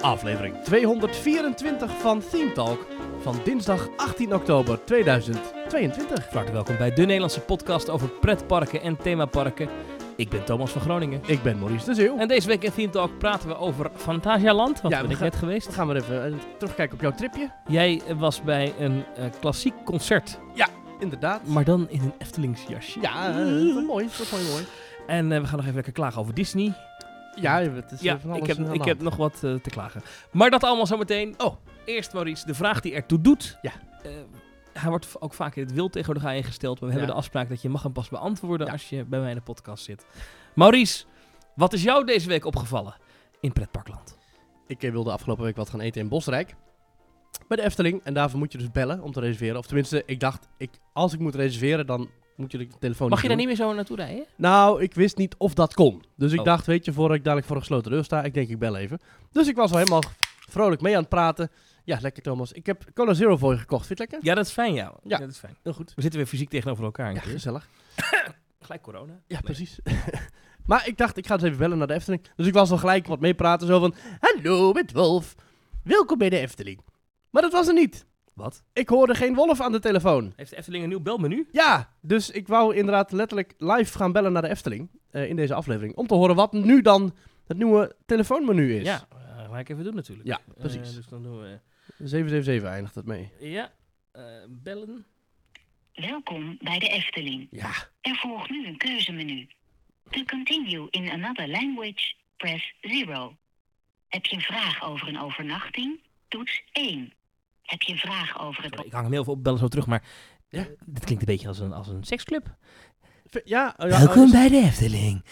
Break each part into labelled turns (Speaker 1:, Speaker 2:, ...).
Speaker 1: aflevering 224 van Theme Talk van dinsdag 18 oktober 2022.
Speaker 2: Hartelijk welkom bij de Nederlandse podcast over pretparken en themaparken. Ik ben Thomas van Groningen.
Speaker 1: Ik ben Maurice de Zeeuw.
Speaker 2: En deze week in Theme Talk praten we over Fantasialand, want ja,
Speaker 1: Ja, we
Speaker 2: ben ik
Speaker 1: gaan-
Speaker 2: net geweest.
Speaker 1: Dan gaan we even eh, terugkijken op jouw tripje.
Speaker 2: Jij was bij een eh, klassiek concert,
Speaker 1: Inderdaad.
Speaker 2: maar dan in een Eftelingsjasje.
Speaker 1: ja, eh, dat is mooi. Dat is mooi, mooi.
Speaker 2: En eh, we gaan nog even lekker klagen over Disney.
Speaker 1: Ja, het is
Speaker 2: ja,
Speaker 1: eh, van alles
Speaker 2: ik heb,
Speaker 1: aan de
Speaker 2: ik
Speaker 1: hand.
Speaker 2: heb nog wat eh, te klagen. Maar dat allemaal zometeen.
Speaker 1: Oh.
Speaker 2: Eerst Maurice, de vraag die ertoe doet.
Speaker 1: Ja.
Speaker 2: Eh, hij wordt v- ook vaak in het wild tegen elkaar ingesteld. Maar we
Speaker 1: Ja.
Speaker 2: hebben de afspraak dat je mag hem pas beantwoorden
Speaker 1: Ja.
Speaker 2: als je bij mij in de podcast zit. Maurice, wat is jou deze week opgevallen in pretparkland?
Speaker 1: Ik eh, wilde afgelopen week wat gaan eten in Bosrijk. Bij de Efteling. En daarvoor moet je dus bellen om te reserveren. Of tenminste, ik dacht, ik, als ik moet reserveren, dan moet je de telefoon
Speaker 2: Mag je daar
Speaker 1: doen.
Speaker 2: niet meer zo naartoe rijden?
Speaker 1: Nou, ik wist niet of dat kon. Dus ik
Speaker 2: Oh.
Speaker 1: dacht, weet je, voordat ik dadelijk voor een gesloten deur sta, ik denk ik bel even. Dus ik was al helemaal vrolijk mee aan het praten. Ja, lekker Thomas. Ik heb Cola Zero voor je gekocht. Vind je het lekker?
Speaker 2: Ja, dat is fijn, ja.
Speaker 1: Ja.
Speaker 2: dat is fijn.
Speaker 1: Heel goed.
Speaker 2: We zitten weer fysiek tegenover elkaar. een
Speaker 1: Ja,
Speaker 2: keer.
Speaker 1: gezellig.
Speaker 2: Gelijk corona.
Speaker 1: Ja,
Speaker 2: Nee.
Speaker 1: precies. maar ik dacht, ik ga eens even bellen naar de Efteling. Dus ik was al gelijk wat meepraten. Zo van, hallo met Wolf. Welkom bij de Efteling. Maar dat was er niet.
Speaker 2: Wat?
Speaker 1: Ik hoorde geen Wolf aan de telefoon.
Speaker 2: Heeft de Efteling een nieuw belmenu?
Speaker 1: Ja, dus ik wou inderdaad letterlijk live gaan bellen naar de Efteling eh, in deze aflevering. Om te horen wat nu dan het nieuwe telefoonmenu is.
Speaker 2: Ja, eh, ga ik even doen natuurlijk.
Speaker 1: Ja,
Speaker 2: Eh,
Speaker 1: precies.
Speaker 2: dus dan doen we...
Speaker 1: 777 eindigt het mee.
Speaker 2: Ja, eh, bellen.
Speaker 3: Welkom bij de Efteling.
Speaker 1: Ja.
Speaker 3: Er volgt nu een keuzemenu. To continue in another language, press 0. Heb je een vraag over een overnachting? Toets 1. Heb je een vraag over het...
Speaker 2: Sorry, Oh, ik hang hem heel veel op bellen zo terug, maar
Speaker 1: Ja.
Speaker 2: eh, dit klinkt een beetje als een, als een seksclub.
Speaker 1: Ja, oh ja,
Speaker 2: Welkom
Speaker 1: oh,
Speaker 2: bij de Efteling.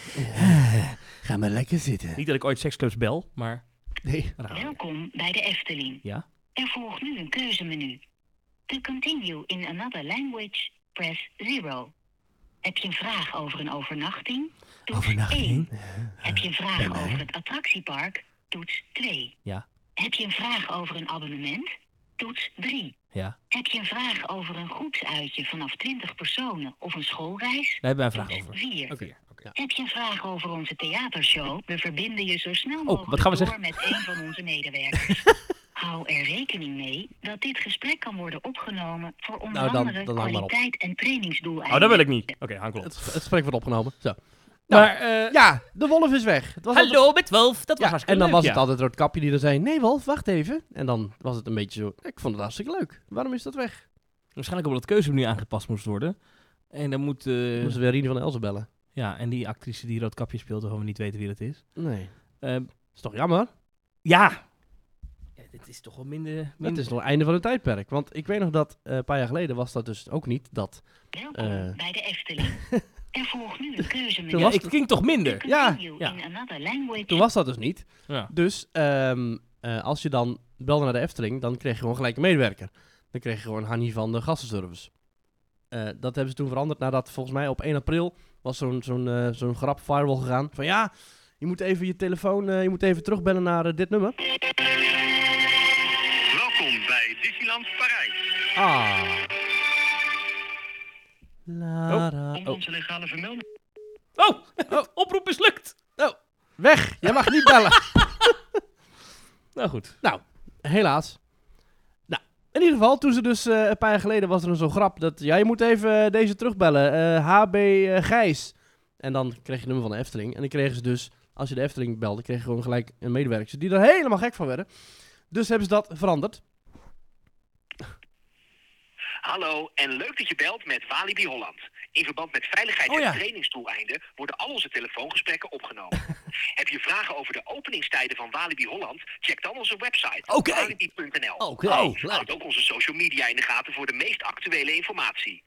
Speaker 1: Ga maar lekker zitten.
Speaker 2: Niet dat ik ooit seksclubs bel, maar...
Speaker 1: Nee.
Speaker 3: Welkom bij de Efteling.
Speaker 2: Ja.
Speaker 3: Er volgt nu een keuzemenu. To continue in another language, press 0. Heb je een vraag over een overnachting? Toets 1. Heb je een vraag over het attractiepark? Toets 2.
Speaker 2: Ja.
Speaker 3: Heb je een vraag over een abonnement? Toets 3.
Speaker 2: Ja,
Speaker 3: Heb je een vraag over een groepsuitje vanaf 20 personen of een schoolreis?
Speaker 2: daar hebben wij een vraag
Speaker 3: Toets
Speaker 2: over.
Speaker 3: 4.
Speaker 2: Oké. Ja.
Speaker 3: Heb je een vraag over onze theatershow? We verbinden je zo snel mogelijk
Speaker 2: wat gaan we
Speaker 3: door
Speaker 2: zeggen?
Speaker 3: met een van onze medewerkers. Hou er rekening mee dat dit gesprek kan worden opgenomen voor onder
Speaker 1: Nou, dan-
Speaker 3: andere
Speaker 1: dan hang maar op.
Speaker 3: kwaliteit en trainingsdoeleinden.
Speaker 2: Oh, dat wil ik niet. Oké, hang klopt.
Speaker 1: Het, het gesprek wordt opgenomen. Zo.
Speaker 2: Maar, eh,
Speaker 1: Ja, de wolf is weg. Het was altijd-
Speaker 2: hallo met Wolf, dat was
Speaker 1: Ja,
Speaker 2: hartstikke
Speaker 1: en dan
Speaker 2: leuk,
Speaker 1: was het
Speaker 2: ja.
Speaker 1: altijd Roodkapje die er zei, nee Wolf, wacht even. En dan was het een beetje zo, ik vond het hartstikke leuk. Waarom is dat weg?
Speaker 2: Waarschijnlijk omdat het keuzemenu aangepast moest worden. En dan moet... eh,
Speaker 1: Moesten we Rien van Elzen bellen?
Speaker 2: ja, en die actrice die Roodkapje speelt, waarvan we niet weten wie dat is.
Speaker 1: Nee.
Speaker 2: Eh,
Speaker 1: Ehm, Is toch jammer?
Speaker 2: ja. ja! Dit is toch wel minder...
Speaker 1: Het
Speaker 2: minder...
Speaker 1: is nog het einde van het tijdperk. Want ik weet nog dat, eh, een paar jaar geleden was dat dus ook niet dat...
Speaker 3: Welkom
Speaker 1: Eh.
Speaker 3: bij de Efteling. Er volgt nu een keuzemenu.
Speaker 1: Toen
Speaker 2: Ja,
Speaker 1: was
Speaker 2: ik
Speaker 1: het-
Speaker 2: klinkt toch minder?
Speaker 1: Ja,
Speaker 3: Continue
Speaker 2: ja.
Speaker 3: in another language.
Speaker 1: Toen was dat dus niet.
Speaker 2: Ja.
Speaker 1: Dus ehm, eh, als je dan belde naar de Efteling, dan kreeg je gewoon gelijk een medewerker. Dan kreeg je gewoon Hanni van de gastenservice. Eh, dat hebben ze toen veranderd nadat volgens mij op 1 april was zo'n zo'n eh, zo'n grap firewall gegaan. Van ja, je moet even je telefoon, eh, je moet even terugbellen naar eh, dit nummer.
Speaker 4: Welkom bij Disneyland Parijs.
Speaker 1: Ah. Lara.
Speaker 4: Om
Speaker 1: Oh.
Speaker 4: onze legale vermelding.
Speaker 2: Oh, oproep mislukt!
Speaker 1: Weg, jij mag niet bellen.
Speaker 2: Nou goed.
Speaker 1: Helaas. Nou, in ieder geval, toen ze dus eh, een paar jaar geleden was er een zo'n grap dat... Ja, je moet even eh, deze terugbellen. eh, HB eh, Gijs. En dan kreeg je het nummer van de Efteling. En dan kregen ze dus, als je de Efteling belde, kreeg je gewoon gelijk een medewerker die er helemaal gek van werden. Dus hebben ze dat veranderd.
Speaker 4: Hallo en leuk dat je belt met Walibi Holland. In verband met veiligheid
Speaker 2: Oh ja.
Speaker 4: en trainingsdoeleinden worden al onze telefoongesprekken opgenomen. Heb je vragen over de openingstijden van Walibi Holland? Check dan onze website
Speaker 2: Oké.
Speaker 4: walibi.nl.
Speaker 2: Oké,
Speaker 4: Oh,
Speaker 2: leuk.
Speaker 4: Houd ook onze social media in de gaten voor de meest actuele informatie.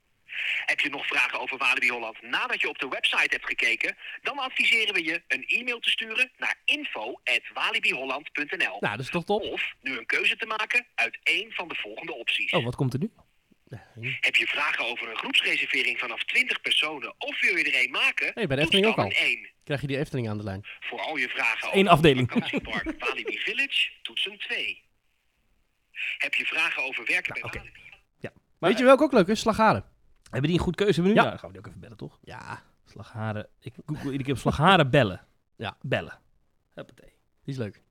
Speaker 4: Heb je nog vragen over Walibi Holland nadat je op de website hebt gekeken? Dan adviseren we je een e-mail te sturen naar info@walibiholland.nl.
Speaker 1: Nou, dat is toch top?
Speaker 4: Of nu een keuze te maken uit één van de volgende opties.
Speaker 2: Oh, wat komt er nu?
Speaker 4: Heb je vragen over een groepsreservering vanaf 20 personen of wil je er een maken?
Speaker 1: Hey, bij de
Speaker 4: Toets
Speaker 1: Efteling ook
Speaker 4: dan
Speaker 1: al.
Speaker 4: een 1.
Speaker 1: Krijg je die Efteling aan de lijn.
Speaker 4: Voor al je vragen
Speaker 2: Eén
Speaker 4: over
Speaker 2: afdeling.
Speaker 4: het vakantiepark Walibi Village, toets een 2. Heb je vragen over werken bij
Speaker 2: oké.
Speaker 4: Walibi?
Speaker 1: Weet je welke ook leuk is? Slagaren.
Speaker 2: Hebben die een goed keuzemenu?
Speaker 1: Ja.
Speaker 2: Nou, dan gaan we die ook even bellen, toch?
Speaker 1: Ja,
Speaker 2: Slagharen. Ik google iedere keer op slagharen bellen.
Speaker 1: Ja.
Speaker 2: Bellen. Huppatee.
Speaker 1: die is leuk.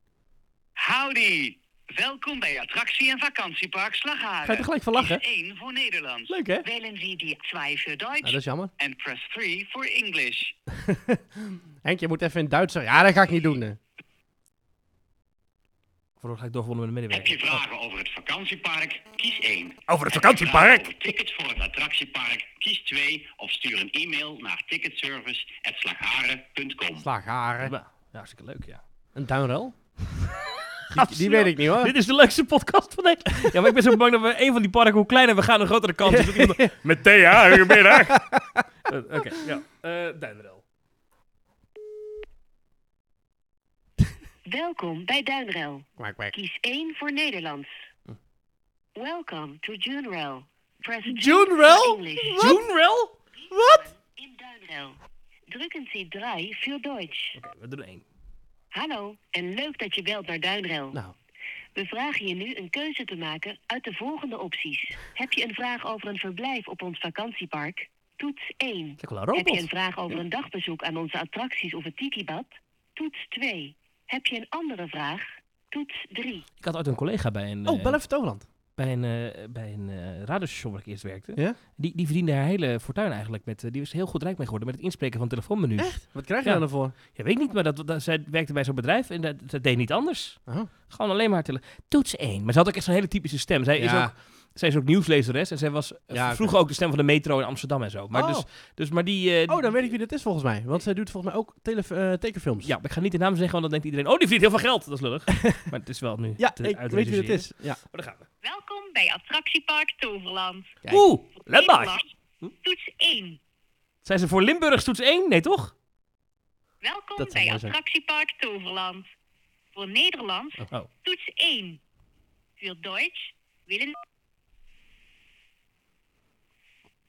Speaker 4: Howdy! Welkom bij attractie- en vakantiepark Slagharen.
Speaker 1: Ga je er gelijk van lachen?
Speaker 4: Kies 1 voor Nederland.
Speaker 1: Leuk, hè?
Speaker 3: Wählen Sie die
Speaker 4: Twee voor
Speaker 1: Nou, dat is
Speaker 4: Duits.
Speaker 1: jammer.
Speaker 4: En press 3 voor English.
Speaker 1: Henk, je moet even in Duits zeggen. Ja, dat ga ik niet doen. hè.
Speaker 2: Of wordt gelijk doorgevonden met de
Speaker 4: Heb je
Speaker 2: medewerker.
Speaker 4: vragen over het vakantiepark? Kies 1.
Speaker 2: Over het
Speaker 4: Heb je
Speaker 2: vakantiepark?
Speaker 4: vragen Over tickets voor het attractiepark? Kies 2. Of stuur een e-mail naar ticketservice.slagharen.com.
Speaker 1: Slagharen.
Speaker 2: Ja, hartstikke leuk, ja.
Speaker 1: Een tuinrel? die, die weet ik niet, hoor.
Speaker 2: Dit is de leukste podcast van Nederland. Ja, maar ik ben zo bang dat we een van die parken, hoe kleiner we gaan, hoe grotere kans. is dat iemand- Met Thea, goedemiddag. Eh, Oké, ja. Eh Duinrel.
Speaker 3: Welkom bij Duinrel.
Speaker 1: Kwak, kwak.
Speaker 3: Kies 1 voor Nederlands. Welcome to Junrel. Press two
Speaker 1: Junrel?
Speaker 3: for English.
Speaker 2: Joenrel?
Speaker 1: Wat?
Speaker 3: In Duinrel. Drukken Sie 3 voor Duits.
Speaker 2: Oké, we doen één.
Speaker 3: Hallo en leuk dat je belt naar Duinrel.
Speaker 1: Nou,
Speaker 3: We vragen je nu een keuze te maken uit de volgende opties. Heb je een vraag over een verblijf op ons vakantiepark? Toets 1.
Speaker 2: Kijk wel een
Speaker 3: Heb je een
Speaker 2: robot.
Speaker 3: vraag over een dagbezoek aan onze attracties of het Tikibad? Toets 2. Heb je een andere vraag? Toets 3.
Speaker 2: Ik had ooit een collega bij een,
Speaker 1: oh,
Speaker 2: eh,
Speaker 1: bel even Toverland.
Speaker 2: bij een, eh, bij een eh, radiostation waar ik eerst werkte.
Speaker 1: Ja?
Speaker 2: Die, die verdiende haar hele fortuin eigenlijk. Met, eh, die was heel goed rijk mee geworden met het inspreken van telefoonmenu's.
Speaker 1: Echt? Wat krijg je
Speaker 2: Ja.
Speaker 1: dan ervoor?
Speaker 2: Ja, weet ik niet, maar dat, dat- zij werkte bij zo'n bedrijf en dat, dat deed niet anders.
Speaker 1: Oh.
Speaker 2: Gewoon alleen maar tele- toets één. Maar ze had ook echt zo'n hele typische stem. Zij, is, ook, zij is ook nieuwslezeres en zij was eh,
Speaker 1: Ja, oké.
Speaker 2: vroeger ook de stem van de metro in Amsterdam en zo. Maar
Speaker 1: Oh.
Speaker 2: dus, dus, maar die... eh,
Speaker 1: Oh, dan weet ik wie dat is volgens mij. Want zij doet volgens mij ook telef- eh, tekenfilms.
Speaker 2: Ja, maar ik ga niet de naam zeggen, want dan denkt iedereen... Oh, die verdient heel veel geld. Dat is lullig. maar het is wel nu
Speaker 1: Ja,
Speaker 2: te
Speaker 1: ik weet wie dat
Speaker 2: uitreduceren.
Speaker 1: is. Ja.
Speaker 2: Oh, daar gaan we.
Speaker 3: Welkom bij Attractiepark Toverland.
Speaker 1: Kijk.
Speaker 2: Oeh, Limburg.
Speaker 3: Toets 1.
Speaker 2: Zijn ze voor Limburgs toets 1? Nee, toch?
Speaker 3: Welkom
Speaker 1: Dat zou
Speaker 3: bij
Speaker 1: mooi zijn.
Speaker 3: Attractiepark Toverland. Voor Nederlands,
Speaker 2: Oh.
Speaker 3: toets 1. Voor Duits, willen...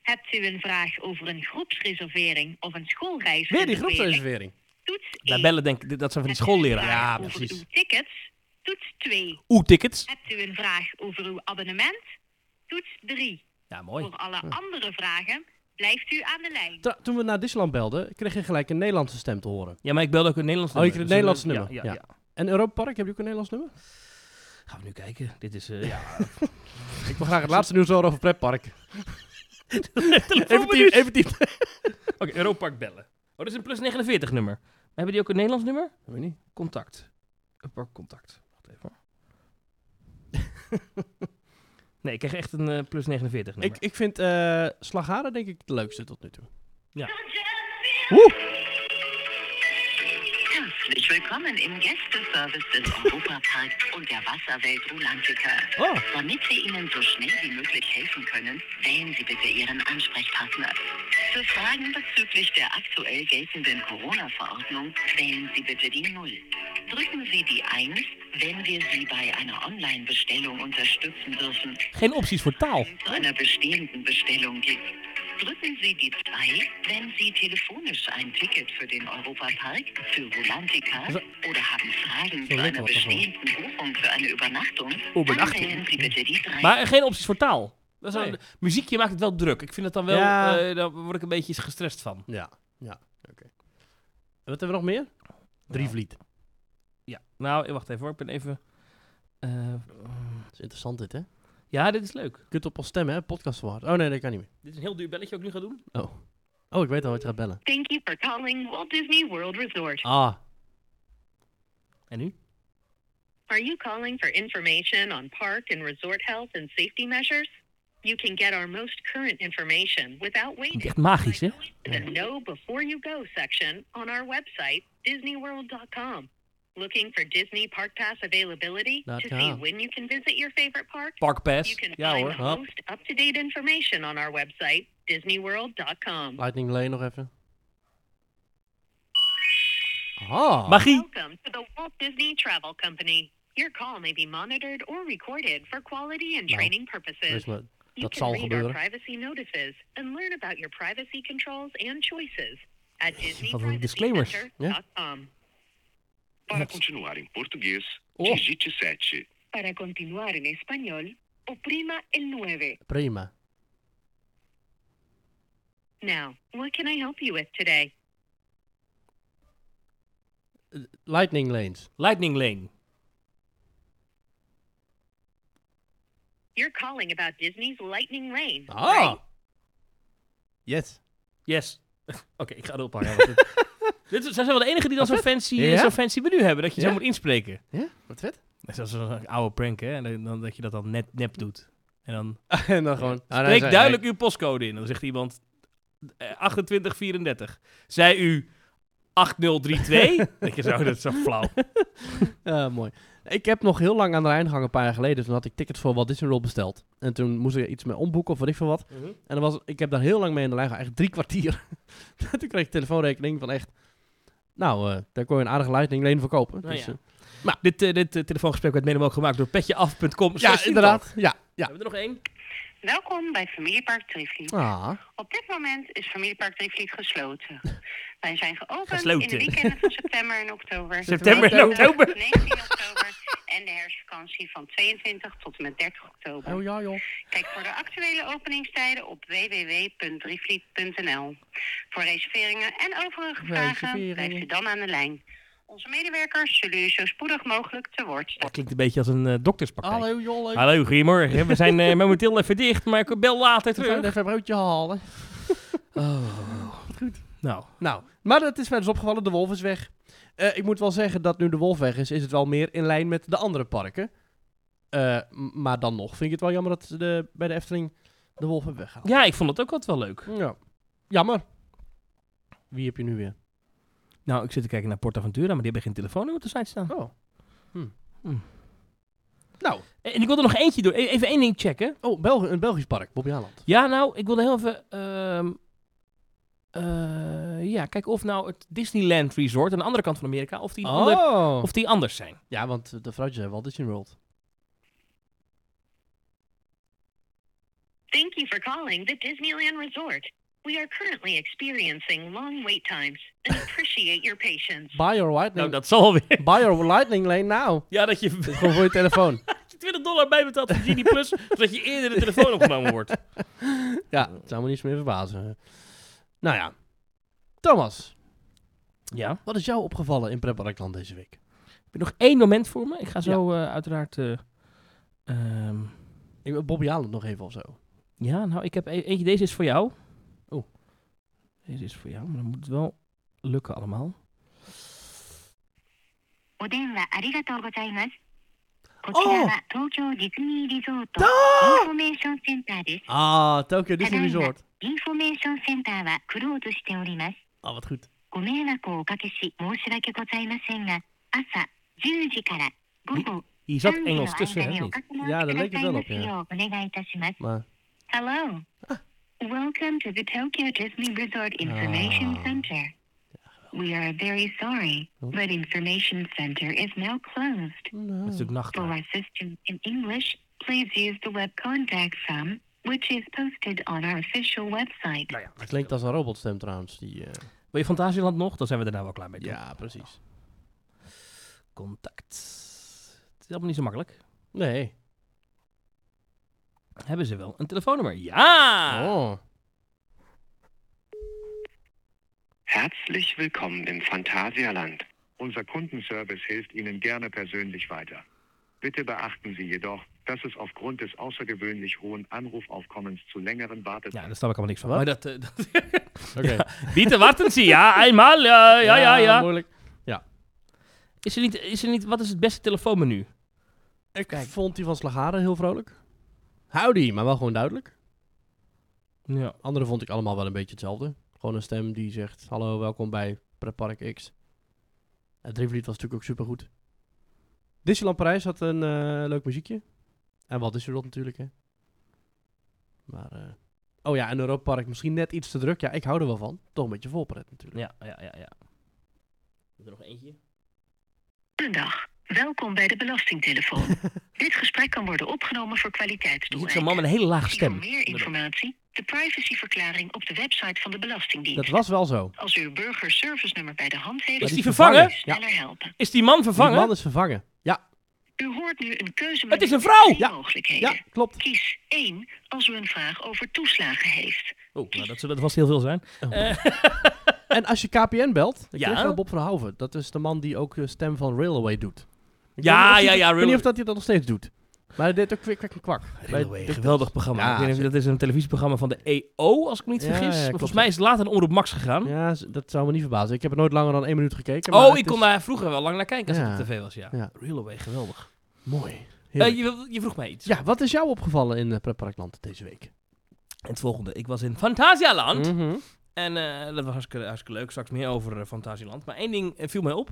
Speaker 3: Hebt u een vraag over een groepsreservering of een schoolreis?
Speaker 1: Weer die groepsreservering.
Speaker 3: Toets 1.
Speaker 2: Daar bellen denk ik... Dat zijn van die schoolleraren.
Speaker 1: Ja,
Speaker 3: over
Speaker 1: precies.
Speaker 3: uw tickets? Toets 2.
Speaker 2: Oeh, tickets.
Speaker 3: Hebt u een vraag over uw abonnement? Toets 3.
Speaker 2: Ja, mooi.
Speaker 3: Voor alle andere vragen blijft u aan de lijn.
Speaker 1: Tra- toen we naar Disneyland belden, kreeg je gelijk een Nederlandse stem te horen.
Speaker 2: Ja, maar ik belde ook een Nederlands
Speaker 1: Oh, je
Speaker 2: nummer.
Speaker 1: kreeg een
Speaker 2: Dus dan-
Speaker 1: Nederlands nummer.
Speaker 2: Ja,
Speaker 1: Ja,
Speaker 2: ja, ja.
Speaker 1: En Europa Park, heb je ook een Nederlands nummer?
Speaker 2: Gaan we nu kijken. Dit is... eh, ja.
Speaker 1: Ik wil graag het laatste nieuws horen over pretpark. Even
Speaker 2: minuut.
Speaker 1: diep, even diep.
Speaker 2: Oké, Europark bellen. Oh, dat is een plus 49 nummer. Maar hebben die ook een Nederlands nummer?
Speaker 1: Weet niet.
Speaker 2: Contact. Europark contact. Wacht even hoor. nee, ik krijg echt een eh, plus 49 nummer.
Speaker 1: Ik, ik vind eh Slagharen denk ik het leukste tot nu toe.
Speaker 3: Herzlich willkommen im Gästeservice des Europaparks und der Wasserwelt Rulantica.
Speaker 1: Oh,
Speaker 3: Damit wir Ihnen so schnell wie möglich helfen können, wählen Sie bitte Ihren Ansprechpartner. Für Fragen bezüglich der aktuell geltenden Corona-Verordnung wählen Sie bitte die Null. Drücken Sie die 1, wenn wir Sie bei einer Online-Bestellung unterstützen dürfen.
Speaker 2: Geen opties voor taal.
Speaker 3: Zu einer bestehenden Bestellung gibt. Drücken Sie die 2, wenn Sie telefonisch ein Ticket für den Europapark, für Volantica oder haben Fragen zu
Speaker 1: lecker
Speaker 3: einer
Speaker 1: was davon.
Speaker 3: bestehenden Buchung für eine Übernachtung.
Speaker 2: Übernachtung.
Speaker 3: Dann wählen Sie bitte die 3.
Speaker 2: Maar eh, geen opties voor taal. Dat is wel-
Speaker 1: Nee.
Speaker 2: Muziekje maakt het wel druk. Ik vind het dan wel...
Speaker 1: Ja.
Speaker 2: eh, daar word ik een beetje gestrest van.
Speaker 1: ja. Ja, oké. En wat hebben we nog meer? Drievliet.
Speaker 2: Ja. Nou, eh, wacht even hoor. Ik ben even... eh,
Speaker 1: Dat is interessant dit, hè? Je
Speaker 2: ja, dit is leuk.
Speaker 1: kunt op ons stemmen, hè? Podcast verwaard. Oh nee, dat kan niet meer.
Speaker 2: Dit is een heel duur belletje ook nu ga doen.
Speaker 1: Oh. Oh, ik weet al wat je gaat bellen.
Speaker 3: Thank you for calling Walt Disney World Resort.
Speaker 1: Ah.
Speaker 2: En nu?
Speaker 3: Are you calling for information on park and resort health and safety measures? You can get our most current information without
Speaker 2: Klinkt
Speaker 3: waiting.
Speaker 2: echt magisch, hè?
Speaker 3: The Know Before You Go section on our website, DisneyWorld.com. Looking for Disney Park Pass availability
Speaker 1: Dot
Speaker 3: to see
Speaker 1: com.
Speaker 3: when you can visit your favorite park? You
Speaker 2: Parkpass.
Speaker 3: can
Speaker 2: Ja
Speaker 3: find
Speaker 2: hoor.
Speaker 3: the
Speaker 1: Hop.
Speaker 3: most up-to-date information on our website, DisneyWorld.com.
Speaker 1: Lightning Lane nog even. Ah.
Speaker 2: Magie.
Speaker 3: Welcome to the Walt Disney Travel Company. Your call may be monitored or recorded for quality and
Speaker 1: Nou,
Speaker 3: training purposes.
Speaker 1: Dus maar,
Speaker 3: You
Speaker 1: dat
Speaker 3: can
Speaker 1: zal
Speaker 3: read our
Speaker 1: gebeuren.
Speaker 3: privacy notices and learn about your privacy controls and choices at
Speaker 2: wat een disclaimer.
Speaker 3: disneyprivacycenter.com.
Speaker 4: Para continuar em português,
Speaker 1: Oh.
Speaker 4: digite 7.
Speaker 3: Para continuar en español, oprima el 9.
Speaker 1: Prima.
Speaker 3: Now, what can I help you with today?
Speaker 1: Lightning Lanes.
Speaker 2: Lightning Lane.
Speaker 3: You're calling about Disney's Lightning Rain.
Speaker 1: Ah. Yes.
Speaker 2: Yes. Oké, ik ga erop hangen. want dit- Dit zijn wel de enigen die dan zo'n fancy,
Speaker 1: Ja?
Speaker 2: zo'n fancy menu hebben, dat je
Speaker 1: Ja?
Speaker 2: zo moet inspreken.
Speaker 1: Ja, wat vet.
Speaker 2: Dat is een oude prank, hè? En dan, dan dat je dat dan net nep doet. En dan
Speaker 1: en dan gewoon... Ah, nee,
Speaker 2: spreek
Speaker 1: zij-
Speaker 2: duidelijk uw postcode in. Dan zegt iemand eh, 2834. Zij u 8032? dat je zo, dat is zo flauw.
Speaker 1: Ja, Ah, mooi. Ik heb nog heel lang aan de Rijn gehangen, een paar jaar geleden. Toen had ik tickets voor Walt Disney World besteld. En toen moest ik iets mee omboeken of wat ik veel wat. En dan was, ik heb daar heel lang mee in de lijn gehangen, echt drie kwartier. toen kreeg ik telefoonrekening van echt... Nou, eh, daar kon je een aardige lightning leen voor kopen.
Speaker 2: Nou
Speaker 1: dus,
Speaker 2: ja.
Speaker 1: eh,
Speaker 2: Maar dit, eh, dit eh, telefoongesprek werd mede mogelijk gemaakt door petjeaf.com.
Speaker 1: ja, inderdaad. Ja, ja.
Speaker 2: Hebben we er nog één?
Speaker 3: Welkom bij Familiepark Drievliet.
Speaker 1: Ah,
Speaker 3: Op dit moment is Familiepark Drievliet gesloten. Wij zijn geopend in
Speaker 2: Gesloten.
Speaker 3: de weekenden van september en oktober.
Speaker 2: September en oktober.
Speaker 3: 19 oktober en de herfstvakantie van 22 tot en met 30 oktober.
Speaker 1: oh ja joh.
Speaker 3: Kijk voor de actuele openingstijden op www.drievliet.nl. Voor reserveringen en overige vragen
Speaker 1: Reserveringen.
Speaker 3: blijft u dan aan de lijn. Onze medewerkers zullen u zo spoedig mogelijk te woord staan.
Speaker 2: Dat klinkt een beetje als een eh, dokterspraktijk.
Speaker 1: Hallo jolle.
Speaker 2: Hallo, goedemorgen. We zijn eh, momenteel even dicht, maar ik bel later
Speaker 1: We gaan
Speaker 2: terug.
Speaker 1: even een broodje halen.
Speaker 2: Nou,
Speaker 1: Nou, maar het is mij dus opgevallen, de wolf is weg. Eh, ik moet wel zeggen dat nu de wolf weg is, is het wel meer in lijn met de andere parken. Eh, m- maar dan nog vind ik het wel jammer dat ze de, bij de Efteling de wolf hebben weggehaald.
Speaker 2: ja, ik vond het ook altijd wel leuk.
Speaker 1: Ja. Jammer. Wie heb je nu weer?
Speaker 2: Nou, ik zit te kijken naar PortAventura, maar die hebben geen telefoonnummer op de site staan.
Speaker 1: Oh. Hm.
Speaker 2: Hm.
Speaker 1: Nou,
Speaker 2: Eh, En en ik wilde nog eentje doen. E- Even één ding checken.
Speaker 1: oh, Belgi- een Belgisch park, Bobby Haaland.
Speaker 2: Ja, nou, ik wilde heel even... ehm, eh, ja, kijk of nou het Disneyland Resort aan de andere kant van Amerika, of die, ander-
Speaker 1: Oh.
Speaker 2: of die anders zijn.
Speaker 1: Ja, want de vrouwtjes hebben Walt Disney World.
Speaker 3: Thank you for calling the Disneyland Resort. We are currently experiencing long wait times and appreciate your patience.
Speaker 1: Buy your
Speaker 2: Nou,
Speaker 1: lightning,
Speaker 2: dat zal weer.
Speaker 1: buy your lightning lane now.
Speaker 2: Ja, dat je
Speaker 1: Dit is gewoon voor je telefoon.
Speaker 2: 20 dollar bijbetaalt voor Genie Plus, zodat je eerder de telefoon opgenomen wordt.
Speaker 1: Ja, het zou me niets meer verbazen. Nou ja. Thomas,
Speaker 2: Ja.
Speaker 1: Wat is jou opgevallen in Pretparkland deze week?
Speaker 2: Heb je nog één moment voor me? Ik ga zo eh, uiteraard... eh, ehm,
Speaker 1: Ik wil Bobby Haaland nog even of zo.
Speaker 2: Ja, nou, ik heb e- eentje. Deze is voor jou.
Speaker 1: Oh.
Speaker 2: Deze is voor jou, maar dan moet het wel lukken allemaal.
Speaker 3: お電話ありがとうございます。こ
Speaker 1: ちらは
Speaker 3: 東京ディズニーリゾート
Speaker 1: Ah!
Speaker 3: フォメーションセンターです。
Speaker 1: Ah, Tokyo Disney Resort.
Speaker 3: インフォメーションセンターはクローズしております。
Speaker 1: Ah, wat goed.
Speaker 3: ご迷惑をおかけし申し訳ございませんが、朝10時から午後
Speaker 2: Hier
Speaker 3: 3
Speaker 2: zat
Speaker 3: 時の
Speaker 2: Engels tussen,
Speaker 3: 間
Speaker 2: hè?
Speaker 3: にお
Speaker 2: Niet?
Speaker 3: かけ直
Speaker 1: Ja, dat
Speaker 3: し
Speaker 1: leek
Speaker 3: く
Speaker 1: het wel
Speaker 3: ださいま
Speaker 1: op,
Speaker 3: すようお願いいたします。
Speaker 1: Maar
Speaker 3: Hello. Welcome to the Tokyo Disney Resort Information
Speaker 1: Ah.
Speaker 3: Center. We are very sorry, but Information Center is now closed.
Speaker 1: nou.
Speaker 2: Dat is natuurlijk
Speaker 3: For
Speaker 2: nachtelijk.
Speaker 3: our system in English, please use the web contact form, which is posted on our official website.
Speaker 2: Nou ja,
Speaker 1: het klinkt als een robotstem trouwens. Die, eh,
Speaker 2: Wil je Fantasieland nog? Dan zijn we daarna wel klaar mee. toch?
Speaker 1: ja, precies.
Speaker 2: Contact. Het is allemaal niet zo makkelijk.
Speaker 1: Nee.
Speaker 2: Hebben ze wel een telefoonnummer? Ja!
Speaker 1: Oh.
Speaker 4: Herzlich willkommen im Phantasialand.
Speaker 5: Unser Kundenservice hilft Ihnen gerne persönlich weiter. Bitte beachten Sie jedoch, dass es aufgrund des außergewöhnlich hohen Anrufaufkommens zu längeren Wartezeiten
Speaker 2: Ja, daar snap ik allemaal niks van.
Speaker 1: Wat?
Speaker 2: Maar dat, eh, dat-
Speaker 1: Oké.
Speaker 2: Bieten wachten ze, ja, eenmaal, ja, ja, ja. ja.
Speaker 1: moeilijk.
Speaker 2: Is er niet, is er niet, wat is het beste telefoonmenu?
Speaker 1: Ik
Speaker 2: Kijk.
Speaker 1: vond die van Slagaren heel vrolijk. Howdy, maar wel gewoon duidelijk.
Speaker 2: Ja.
Speaker 1: Andere vond ik allemaal wel een beetje hetzelfde. Gewoon een stem die zegt, hallo, welkom bij Pretpark X. Het Drievliet was natuurlijk ook supergoed. Disneyland Parijs had een eh, leuk muziekje. En wat is er dat natuurlijk, hè? Maar, eh, oh ja, en Europa Park misschien net iets te druk. Ja, ik hou er wel van. Toch een beetje volpret natuurlijk.
Speaker 2: Ja, ja, ja, ja. Hebben we er nog eentje?
Speaker 3: Goedendag. Welkom bij de belastingtelefoon. Dit gesprek kan worden opgenomen voor
Speaker 2: Je ziet zo'n man
Speaker 3: kwaliteitsdoeleinden.
Speaker 2: met een hele lage
Speaker 3: Voor
Speaker 2: stem.
Speaker 3: meer informatie, de privacyverklaring op de website van de
Speaker 1: Dat
Speaker 3: Belastingdienst.
Speaker 1: was wel zo.
Speaker 3: Als u uw burgerservice-nummer bij de hand heeft,
Speaker 2: Is
Speaker 1: die
Speaker 2: die vervangen?
Speaker 1: vervangen?
Speaker 3: sneller helpen.
Speaker 2: Is die man
Speaker 1: Die
Speaker 2: vervangen?
Speaker 1: man is vervangen. Ja,
Speaker 3: U hoort nu een keuze
Speaker 2: Het is een vrouw!
Speaker 3: met
Speaker 1: Ja.
Speaker 3: twee mogelijkheden.
Speaker 1: ja, klopt.
Speaker 3: Kies 1 als u een vraag over toeslagen heeft.
Speaker 2: Oh, nou, dat zullen er vast heel veel zijn.
Speaker 1: En als je KPN belt, dan
Speaker 2: Ja.
Speaker 1: krijg je wel Bob van Houven. Dat is de man die ook de eh, stem van Railway doet. Ik weet niet
Speaker 2: Ja,
Speaker 1: of hij
Speaker 2: ja,
Speaker 1: dat-
Speaker 2: ja,
Speaker 1: Ik weet niet
Speaker 2: Railway.
Speaker 1: of dat hij dat nog steeds doet. Maar dit ook weer kwik en kwak. Bij
Speaker 2: Railway,
Speaker 1: DuckTales.
Speaker 2: geweldig programma.
Speaker 1: Ja,
Speaker 2: ik weet niet of je-
Speaker 1: zeker.
Speaker 2: dat is een televisieprogramma van de EO, als ik me niet
Speaker 1: Ja,
Speaker 2: vergis.
Speaker 1: ja,
Speaker 2: Maar
Speaker 1: klopt.
Speaker 2: volgens mij is het later een Omroep Max gegaan.
Speaker 1: Ja, z- dat zou me niet verbazen. Ik heb er nooit langer dan één minuut gekeken. maar
Speaker 2: oh,
Speaker 1: het
Speaker 2: ik kon
Speaker 1: is-
Speaker 2: daar vroeger wel lang naar kijken als
Speaker 1: Ja.
Speaker 2: het op tv was, ja.
Speaker 1: Ja.
Speaker 2: Railway, geweldig.
Speaker 1: Mooi.
Speaker 2: Eh,
Speaker 1: Heerlijk.
Speaker 2: je, wil- je vroeg mij iets.
Speaker 1: Ja, wat is jou opgevallen in eh, Pretparkland deze week?
Speaker 2: En het volgende. Ik was in Fantasialand.
Speaker 1: Mhm.
Speaker 2: En eh, dat was hartstikke, hartstikke leuk. Straks meer over eh, Fantasieland. Maar één ding eh, viel mij op.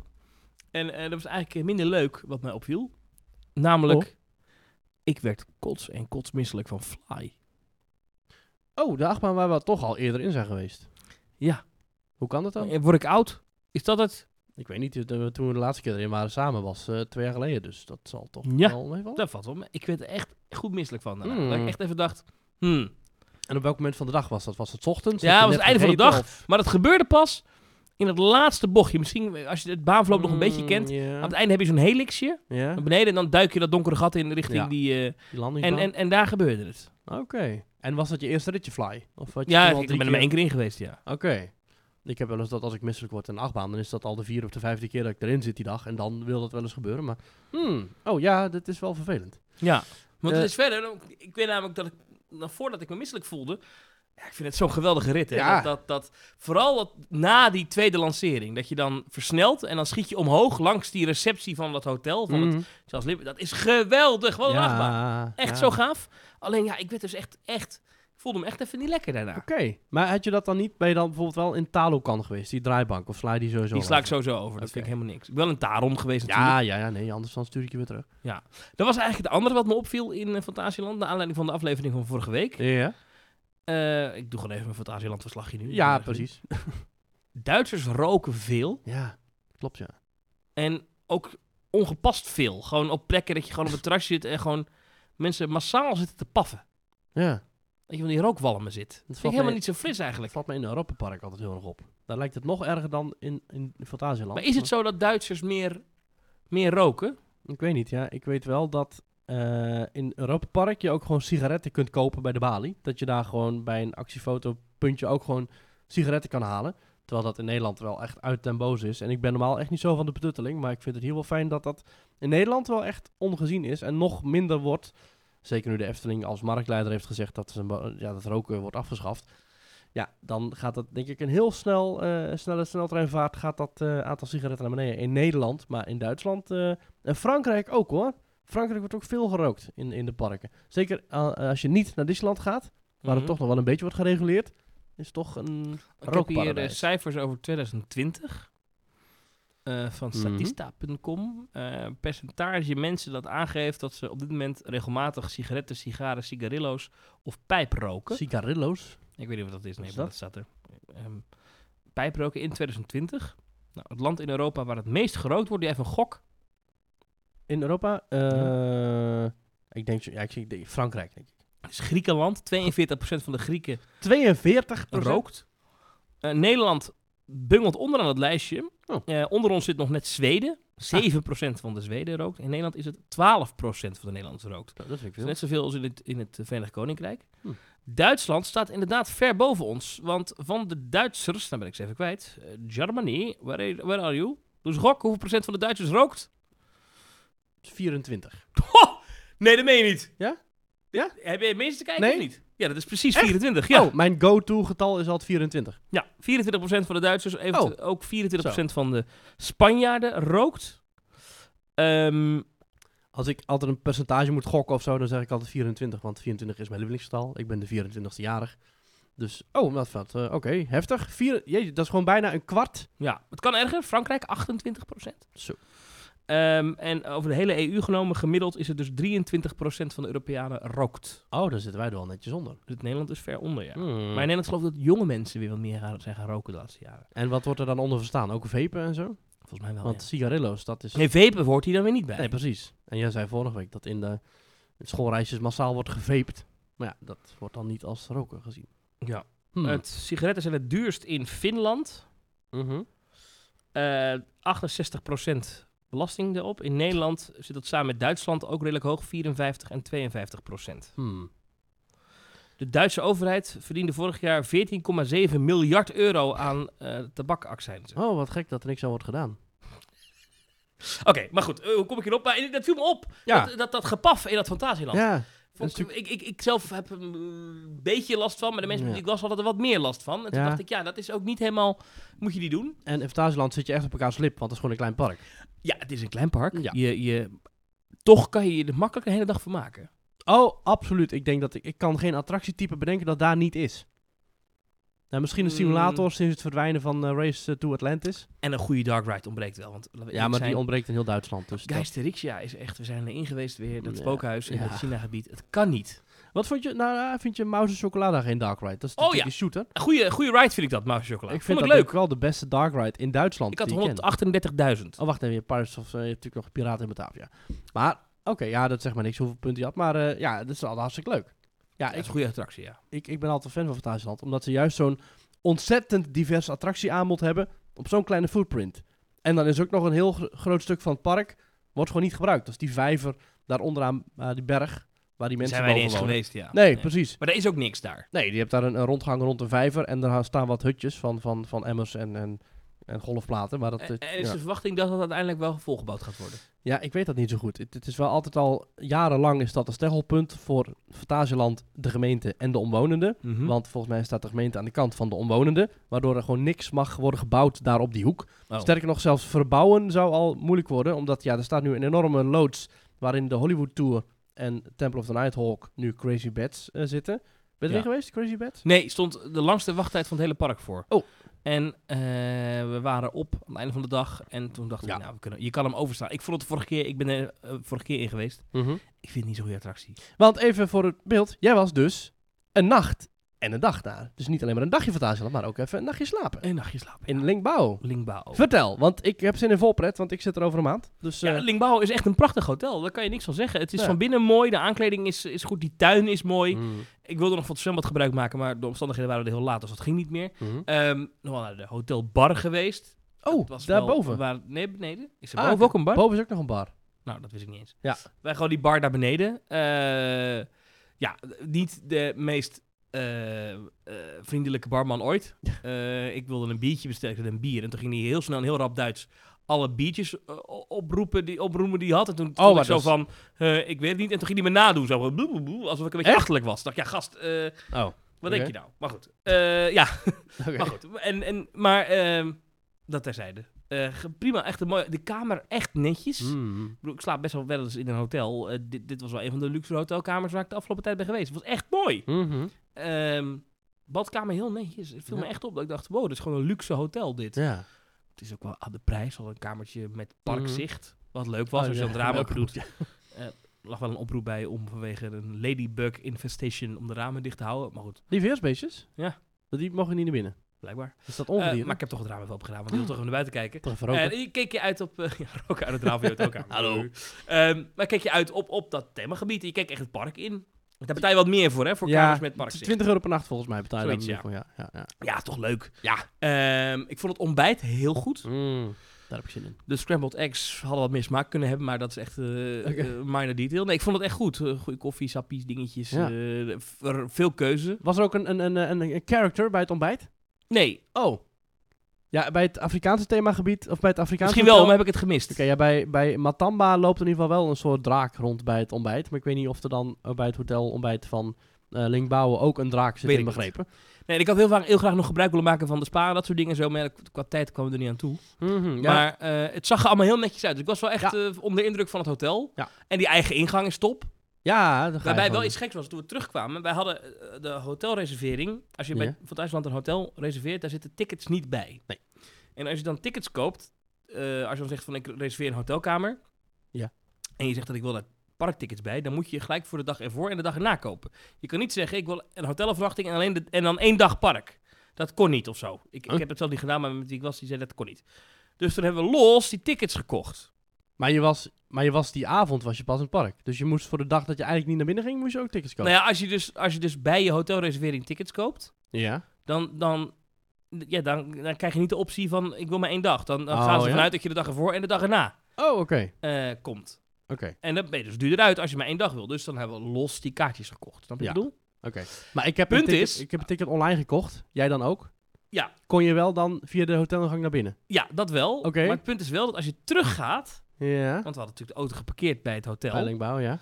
Speaker 2: En eh, dat was eigenlijk eh, minder leuk wat mij opviel. Namelijk,
Speaker 1: Oh.
Speaker 2: ik werd kots en kotsmisselijk van Fly.
Speaker 1: Oh, de achtbaan waar we toch al eerder in zijn geweest.
Speaker 2: Ja.
Speaker 1: Hoe kan dat dan?
Speaker 2: Eh, Word ik oud? Is dat het?
Speaker 1: Ik weet niet, eh, toen we de laatste keer erin waren samen was eh, twee jaar geleden. Dus dat zal toch
Speaker 2: Ja.
Speaker 1: wel meevallen.
Speaker 2: Dat valt wel mee. Ik werd er echt goed misselijk van. daarna.
Speaker 1: Mm.
Speaker 2: Dat ik echt even dacht, hmm.
Speaker 1: En op welk moment van de dag was dat? Was het 's ochtends?
Speaker 2: Ja,
Speaker 1: Heb je
Speaker 2: was
Speaker 1: net
Speaker 2: het einde van de
Speaker 1: gegeten of-
Speaker 2: Maar dat gebeurde pas in het laatste bochtje. Misschien eh, als je het baanverloop nog een beetje
Speaker 1: Mm,
Speaker 2: kent.
Speaker 1: Ja.
Speaker 2: Aan het einde heb je zo'n helixje
Speaker 1: Ja,
Speaker 2: naar beneden. En dan duik je dat donkere gat in richting
Speaker 1: Ja.
Speaker 2: die... eh,
Speaker 1: die landing.
Speaker 2: en, en, en daar gebeurde het.
Speaker 1: Oké. En was dat je eerste ritje fly? Of had je
Speaker 2: Ja,
Speaker 1: toen al
Speaker 2: ik
Speaker 1: drie
Speaker 2: ben er maar
Speaker 1: keer-
Speaker 2: één keer in geweest, ja.
Speaker 1: Oké. Ik heb wel eens dat als ik misselijk word in een achtbaan, dan is dat al de vierde of de vijfde keer dat ik erin zit die dag. En dan wil dat wel eens gebeuren. Maar, hmm, oh ja, dat is wel vervelend.
Speaker 2: Ja. Want
Speaker 1: Eh,
Speaker 2: het is verder, ik weet namelijk dat ik, nog voordat ik me misselijk voelde, ja, ik vind het zo'n geweldige rit. Hè?
Speaker 1: Ja.
Speaker 2: Dat, dat, dat, vooral dat, na die tweede lancering, dat je dan versnelt en dan schiet je omhoog langs die receptie van dat hotel, van het
Speaker 1: Mhm.
Speaker 2: Charles Lippen. Dat is geweldig, wat een achtbaan.
Speaker 1: ja,
Speaker 2: Echt
Speaker 1: ja.
Speaker 2: zo gaaf. Alleen ja, ik werd dus echt, echt, ik voelde me echt even niet lekker daarna.
Speaker 1: Oké, maar had je dat dan niet? Ben je dan bijvoorbeeld wel in Talokan geweest, die draaibank? Of sla je die sowieso
Speaker 2: Die sla ik
Speaker 1: over?
Speaker 2: sowieso over, dat
Speaker 1: Oké.
Speaker 2: vind ik helemaal niks. Ik ben wel een Taron geweest natuurlijk.
Speaker 1: Ja, ja, ja, nee, anders dan stuur ik je weer terug.
Speaker 2: Dat was eigenlijk het andere wat me opviel in eh, Fantasieland, naar aanleiding van de aflevering van vorige week.
Speaker 1: Ja,
Speaker 2: Eh, ik doe gewoon even mijn Fantasieland-verslagje nu.
Speaker 1: ja
Speaker 2: Eh,
Speaker 1: precies.
Speaker 2: Duitsers roken veel
Speaker 1: Ja, klopt ja.
Speaker 2: en ook ongepast veel. Gewoon op plekken dat je gewoon op het terras zit en gewoon mensen massaal zitten te paffen.
Speaker 1: Ja,
Speaker 2: Dat je van die rookwalmen zit. Dat vind
Speaker 1: valt
Speaker 2: ik helemaal
Speaker 1: mij-
Speaker 2: niet zo fris
Speaker 1: dat
Speaker 2: eigenlijk.
Speaker 1: valt me in Europa Park altijd heel erg op. Daar lijkt het nog erger dan in, in Fantasieland.
Speaker 2: Maar is het zo dat Duitsers meer, meer roken?
Speaker 1: Ik weet niet, ja. Ik weet wel dat eh, in Europa Park je ook gewoon sigaretten kunt kopen bij de balie. Dat je daar gewoon bij een actiefotopuntje ook gewoon sigaretten kan halen. Terwijl dat in Nederland wel echt uit ten boze is. En ik ben normaal echt niet zo van de betutteling. Maar ik vind het hier wel fijn dat dat in Nederland wel echt ongezien is. En nog minder wordt. Zeker nu de Efteling als marktleider heeft gezegd dat, zijn bo- ja, dat roken wordt afgeschaft. Ja, dan gaat dat denk ik een heel snel, eh snelle sneltreinvaart. Gaat dat eh, aantal sigaretten naar beneden in Nederland. Maar in Duitsland eh, en Frankrijk ook hoor. Frankrijk wordt ook veel gerookt in, in de parken. Zeker eh, als je niet naar Disneyland gaat, waar het
Speaker 2: Mhm.
Speaker 1: toch nog wel een beetje wordt gereguleerd. Is toch een.
Speaker 2: Ik heb hier eh,
Speaker 1: rookparadijs.
Speaker 2: cijfers over 2020 eh, van
Speaker 1: Mhm.
Speaker 2: Statista.com. Eh, percentage mensen dat aangeeft dat ze op dit moment regelmatig sigaretten, sigaren, sigarillo's of pijp roken.
Speaker 1: Sigarillo's.
Speaker 2: Ik weet niet wat dat is. Nee,
Speaker 1: is
Speaker 2: maar
Speaker 1: dat?
Speaker 2: dat staat er. Ehm, pijproken in 2020. Nou, het land in Europa waar het meest gerookt wordt, die heeft een gok.
Speaker 1: In Europa? Eh, Ik denk, zo- ja, ik zie ik denk Frankrijk, denk ik.
Speaker 2: is Griekenland. 42% van de Grieken
Speaker 1: 42
Speaker 2: rookt. Eh, Nederland bungelt onderaan het lijstje.
Speaker 1: Oh. Ah.
Speaker 2: Eh, onder ons zit nog net Zweden. 7% van de Zweden rookt. In Nederland is het 12% van de Nederlanders rookt.
Speaker 1: Nou, dat
Speaker 2: Dat is
Speaker 1: vind ik veel.
Speaker 2: net zoveel als in het, in het eh, Verenigd Koninkrijk.
Speaker 1: Hm.
Speaker 2: Duitsland staat inderdaad ver boven ons. Want van de Duitsers, nou ben ik ze even kwijt. eh, Germany, where are, where are you? Dus gok, hoeveel procent van de Duitsers rookt?
Speaker 1: 24.
Speaker 2: Ho! Nee, dat meen je niet.
Speaker 1: Ja? Ja?
Speaker 2: Heb je mensen te kijken
Speaker 1: Nee.
Speaker 2: of niet? Ja, dat is precies
Speaker 1: Echt?
Speaker 2: 24. Ja,
Speaker 1: Oh, mijn go-to getal is altijd 24.
Speaker 2: ja 24% van de Duitsers, eventueel
Speaker 1: Oh.
Speaker 2: ook 24% van de Spanjaarden rookt. Ehm,
Speaker 1: Als ik altijd een percentage moet gokken of zo, dan zeg ik altijd 24. Want 24 is mijn lievelingsgetal. Ik ben de 24ste jarig. Dus, oh, wat vet. Eh, Oké, heftig. Vier, jeetje, dat is gewoon bijna een kwart.
Speaker 2: ja, het kan erger. Frankrijk 28%.
Speaker 1: Zo.
Speaker 2: Ehm, en over de hele EU genomen, gemiddeld is het dus 23% van de Europeanen rookt.
Speaker 1: Oh, daar zitten wij er wel netjes onder.
Speaker 2: Dus Nederland is ver onder, ja.
Speaker 1: Hmm.
Speaker 2: Maar in Nederland geloof ik dat jonge mensen weer wat meer gaan, zijn gaan roken de laatste jaren.
Speaker 1: En wat wordt er dan onder verstaan? Ook vapen en zo?
Speaker 2: Volgens mij wel,
Speaker 1: Want sigarillo's, dat is...
Speaker 2: ja. Nee, vapen hoort hier dan weer niet bij.
Speaker 1: Nee, precies. En jij zei vorige week dat in de schoolreisjes massaal wordt gevaped. Maar ja, dat wordt dan niet als roken gezien.
Speaker 2: ja.
Speaker 1: Hmm.
Speaker 2: Het, sigaretten zijn het duurst in Finland.
Speaker 1: Mhm.
Speaker 2: Eh 68% belasting erop. In Nederland zit dat samen met Duitsland ook redelijk hoog, 54 en 52
Speaker 1: Hmm.
Speaker 2: De Duitse overheid verdiende vorig jaar 14,7 miljard euro aan eh tabakaccijnzen.
Speaker 1: Oh, wat gek dat er niks aan wordt gedaan.
Speaker 2: Oké, maar goed, eh, hoe kom ik hierop? Maar eh, dat viel me op.
Speaker 1: Ja.
Speaker 2: Dat, dat, dat gepaf in dat Fantasieland.
Speaker 1: Ja,
Speaker 2: Vond
Speaker 1: dat is
Speaker 2: ik, ik, ik, ik zelf heb er een eh, beetje last van, maar de mensen
Speaker 1: Ja.
Speaker 2: die ik las hadden er wat meer last van. En toen
Speaker 1: Ja.
Speaker 2: dacht ik, ja, dat is ook niet helemaal... Moet je die doen?
Speaker 1: en in Fantasieland zit je echt op elkaars lip, want het is gewoon een klein park.
Speaker 2: Ja, het is een klein park.
Speaker 1: Ja.
Speaker 2: Je, je, toch kan je je er makkelijk een hele dag van maken.
Speaker 1: Oh, absoluut. Ik denk dat ik, ik kan geen attractietype bedenken dat daar niet is. Nou, misschien een
Speaker 2: Mm.
Speaker 1: simulator sinds het verdwijnen van eh, Race eh, to Atlantis.
Speaker 2: En een goede dark ride ontbreekt wel. Want laten we
Speaker 1: Ja, maar
Speaker 2: eerlijk zijn,
Speaker 1: die ontbreekt in heel Duitsland. Dus dat-
Speaker 2: Geisterixia is echt... We zijn erin geweest weer, dat
Speaker 1: Ja.
Speaker 2: spookhuis in
Speaker 1: Ja.
Speaker 2: het China-gebied. Het kan niet.
Speaker 1: Wat vond je? Nou, eh, vind je Mouse Chocolada geen dark ride? Dat is
Speaker 2: Oh,
Speaker 1: natuurlijk
Speaker 2: ja.
Speaker 1: die shooter.
Speaker 2: Een goede, goede ride vind ik dat, Mouse Chocolade.
Speaker 1: ik vind
Speaker 2: Vond
Speaker 1: dat
Speaker 2: ik leuk.
Speaker 1: ook wel de beste dark ride in Duitsland.
Speaker 2: Ik had
Speaker 1: die ken.
Speaker 2: 138.000.
Speaker 1: Oh, wacht even. Je, Pirates of, eh, je hebt natuurlijk nog Piraten in Batavia. Maar, oké, ja, dat zegt maar niks hoeveel punten je had. Maar eh, ja, dat is altijd hartstikke leuk. Ja,
Speaker 2: Dat
Speaker 1: ik,
Speaker 2: is een goede attractie, ja.
Speaker 1: ik, ik ben altijd fan van Fantasieland. Omdat ze juist zo'n ontzettend divers attractieaanbod hebben op zo'n kleine footprint. En dan is ook nog een heel gro- groot stuk van het park, wordt gewoon niet gebruikt. Dat is die vijver daar onderaan, eh, die berg, waar die mensen
Speaker 2: zijn wij niet
Speaker 1: boven
Speaker 2: eens
Speaker 1: wonen.
Speaker 2: geweest, ja.
Speaker 1: Nee, precies.
Speaker 2: Maar er is ook niks daar.
Speaker 1: Nee, die hebt daar een, een rondgang rond een vijver en daar staan wat hutjes van, van, van emmers en, en, en golfplaten. Maar dat,
Speaker 2: En,
Speaker 1: eh,
Speaker 2: en is
Speaker 1: ja.
Speaker 2: de verwachting dat dat uiteindelijk wel volgebouwd gaat worden.
Speaker 1: Ja, ik weet dat niet zo goed. Het, het is wel altijd al jarenlang is dat een steggelpunt voor Fantasieland, de gemeente en de omwonenden. Mhm.
Speaker 2: Mhm. Hm?
Speaker 1: Want volgens mij staat de gemeente aan de kant van de omwonenden, waardoor er gewoon niks mag worden gebouwd daar op die hoek.
Speaker 2: Oh.
Speaker 1: Sterker nog, zelfs verbouwen zou al moeilijk worden, omdat ja, er staat nu een enorme loods waarin de Hollywood Tour en Temple of the Nighthawk nu Crazy Beds eh, zitten. Ben je
Speaker 2: Ja.
Speaker 1: er geweest, Crazy Beds?
Speaker 2: Nee, stond de langste wachttijd van het hele park voor.
Speaker 1: Oh.
Speaker 2: En eh, we waren op aan het einde van de dag. En toen dachten
Speaker 1: Ja.
Speaker 2: we, nou, we kunnen, je kan hem overstaan. Ik vond het de vorige keer, ik ben er eh, vorige keer in geweest. Ik vind het niet zo'n goede attractie.
Speaker 1: Want even voor het beeld, jij was dus een nacht en een dag daar. Dus niet alleen maar een dagje Fantasieland, maar ook even een nachtje slapen.
Speaker 2: Een nachtje slapen.
Speaker 1: In Linkbouw.
Speaker 2: Lingbao.
Speaker 1: Vertel, want ik heb zin in volpret, want ik zit er over een maand. Dus
Speaker 2: Ja,
Speaker 1: eh,
Speaker 2: Lingbao is echt een prachtig hotel. Daar kan je niks van zeggen. Het is
Speaker 1: Ja.
Speaker 2: van binnen mooi. De aankleding is, is goed. Die tuin is mooi.
Speaker 1: mm,
Speaker 2: Ik wilde nog van het zwembad gebruik maken, maar de omstandigheden waren er heel laat, dus dat ging niet meer.
Speaker 1: mhm.
Speaker 2: Ehm nog wel naar de hotelbar geweest.
Speaker 1: Oh,
Speaker 2: Het was wel-
Speaker 1: daarboven.
Speaker 2: Waar, nee, beneden. Is er
Speaker 1: Ah,
Speaker 2: boven ook een bar?
Speaker 1: Boven is ook nog een bar.
Speaker 2: nou, dat wist ik niet eens.
Speaker 1: Ja.
Speaker 2: Wij gewoon die bar daar beneden. Eh, ja, niet de meest eh, eh, vriendelijke barman ooit. Eh, ik wilde een biertje bestellen, ik had een bier. En toen ging hij heel snel en heel rap Duits alle biertjes eh, o- oproepen die, oproepen die hij had. En toen stond
Speaker 1: Oh, maar
Speaker 2: ik zo
Speaker 1: dat is-
Speaker 2: van, eh, ik weet het niet. En toen ging hij me nadoen, zo van, bloe, bloe, bloe, alsof ik een beetje
Speaker 1: Echt?
Speaker 2: achterlijk was. Ik dacht, ja, gast, eh,
Speaker 1: Oh.
Speaker 2: wat
Speaker 1: Oké.
Speaker 2: denk je nou? Maar goed, Eh, ja,
Speaker 1: Oké.
Speaker 2: maar goed, en, en, maar ehm, dat terzijde. Eh, ge- prima, echt een mooie. De kamer echt netjes. Ik
Speaker 1: Mm.
Speaker 2: bedoel, Ik slaap best wel wel eens in een hotel. Eh, dit, dit was wel een van de luxe hotelkamers waar ik de afgelopen tijd ben geweest. Het was echt mooi.
Speaker 1: Mhm.
Speaker 2: Ehm, badkamer heel netjes. Het viel
Speaker 1: Ja.
Speaker 2: me echt op dat ik dacht, wow, dit is gewoon een luxe hotel dit.
Speaker 1: Ja.
Speaker 2: Het is ook wel aan de prijs. Al een kamertje met parkzicht. Wat leuk was
Speaker 1: Oh,
Speaker 2: als je
Speaker 1: ja.
Speaker 2: een drama
Speaker 1: Welke
Speaker 2: doet. Eh lag wel een oproep bij om vanwege een ladybug infestation om de ramen dicht te houden. Maar goed,
Speaker 1: Die weersbeestjes?
Speaker 2: Ja.
Speaker 1: Dat Die mogen niet naar binnen.
Speaker 2: blijkbaar.
Speaker 1: Is dat
Speaker 2: Eh,
Speaker 1: ongedierte?
Speaker 2: maar ik heb toch het raam even opgedaan, want ik wil toch even naar buiten kijken.
Speaker 1: Toch even roken?
Speaker 2: En je keek Eh, je uit op... eh, ja, roken uit het raam van je hotelkamer.
Speaker 1: Hallo.
Speaker 2: Ehm, maar keek je uit op, op dat themagebied. Je keek echt het park in. Want Daar betaal je wat meer voor, hè? Voor
Speaker 1: Ja,
Speaker 2: kamers met parkzicht.
Speaker 1: 20 euro per nacht volgens mij betaal je
Speaker 2: Zoiets,
Speaker 1: daar
Speaker 2: ja.
Speaker 1: voor, ja. ja, ja.
Speaker 2: Ja, toch leuk. Ja. ik vond het ontbijt heel goed.
Speaker 1: Mm, Daar heb ik zin in.
Speaker 2: De scrambled eggs hadden wat meer smaak kunnen hebben, maar dat is echt eh eh, minor detail. Nee, ik vond het echt goed. Eh, goede koffie, sappies, dingetjes.
Speaker 1: Ja.
Speaker 2: eh, v- veel keuze.
Speaker 1: Was er ook een, een, een, een, een character bij het ontbijt?
Speaker 2: Nee,
Speaker 1: Oh. Ja, bij het Afrikaanse themagebied, of bij het Afrikaanse
Speaker 2: misschien wel,
Speaker 1: hotel?
Speaker 2: maar heb ik het gemist.
Speaker 1: Oké, ja, bij, bij Matamba loopt in ieder geval wel een soort draak rond bij het ontbijt. Maar ik weet niet of er dan eh, bij het hotel ontbijt van eh Linkbouwen ook een draak zit
Speaker 2: Weet
Speaker 1: in
Speaker 2: ik niet.
Speaker 1: begrepen.
Speaker 2: Nee, ik had heel, vaak, heel graag nog gebruik willen maken van de spa en dat soort dingen en zo. Maar ja, qua tijd kwamen we er niet aan toe.
Speaker 1: Mhm, ja.
Speaker 2: Maar eh, het zag er allemaal heel netjes uit. Dus ik was wel echt
Speaker 1: Ja.
Speaker 2: eh, onder de indruk van het hotel.
Speaker 1: Ja.
Speaker 2: En die eigen ingang is top.
Speaker 1: ja, dan ga je
Speaker 2: Waarbij
Speaker 1: gewoon-
Speaker 2: wel iets geks was toen we terugkwamen. Wij hadden eh, de hotelreservering. Als je bij
Speaker 1: Ja.
Speaker 2: van Duitsland een hotel reserveert, daar zitten tickets niet bij.
Speaker 1: Nee.
Speaker 2: En als je dan tickets koopt, eh, als je dan zegt van ik reserveer een hotelkamer.
Speaker 1: Ja.
Speaker 2: En je zegt dat ik wil daar parktickets bij, dan moet je gelijk voor de dag ervoor en de dag erna kopen. Je kan niet zeggen ik wil een hotelafwachting en, alleen de, en dan één dag park. Dat kon niet of zo. Ik,
Speaker 1: Oh.
Speaker 2: ik heb het zelf niet gedaan, maar met wie ik was, die zei dat kon niet. Dus toen hebben we los die tickets gekocht.
Speaker 1: Maar je, was, maar je was die avond was je pas in het park. Dus je moest voor de dag dat je eigenlijk niet naar binnen ging, moest je ook tickets kopen.
Speaker 2: Nou ja, als je, dus, als je dus bij je hotelreservering tickets koopt,
Speaker 1: ja.
Speaker 2: dan, dan, ja, dan, dan krijg je niet de optie van ik wil maar één dag. Dan, dan
Speaker 1: Oh,
Speaker 2: gaan ze
Speaker 1: ja?
Speaker 2: vanuit dat je de dag ervoor en de dag erna
Speaker 1: Oh, oké.
Speaker 2: eh, komt.
Speaker 1: Oké.
Speaker 2: En dan ben je dus duurder uit als je maar één dag wil. Dus dan hebben we los die kaartjes gekocht. Snap je
Speaker 1: Ja.
Speaker 2: wat ik bedoel?
Speaker 1: Oké. Maar ik heb,
Speaker 2: Punt
Speaker 1: een ticket,
Speaker 2: is-
Speaker 1: ik heb een ticket online gekocht. Jij dan ook?
Speaker 2: Ja.
Speaker 1: Kon je wel dan via de hotelingang naar binnen?
Speaker 2: Ja, dat wel.
Speaker 1: Oké.
Speaker 2: Maar het punt is wel dat als je teruggaat,
Speaker 1: Ja.
Speaker 2: Want we hadden natuurlijk de auto geparkeerd bij het hotel.
Speaker 1: Peilingbuil, ja.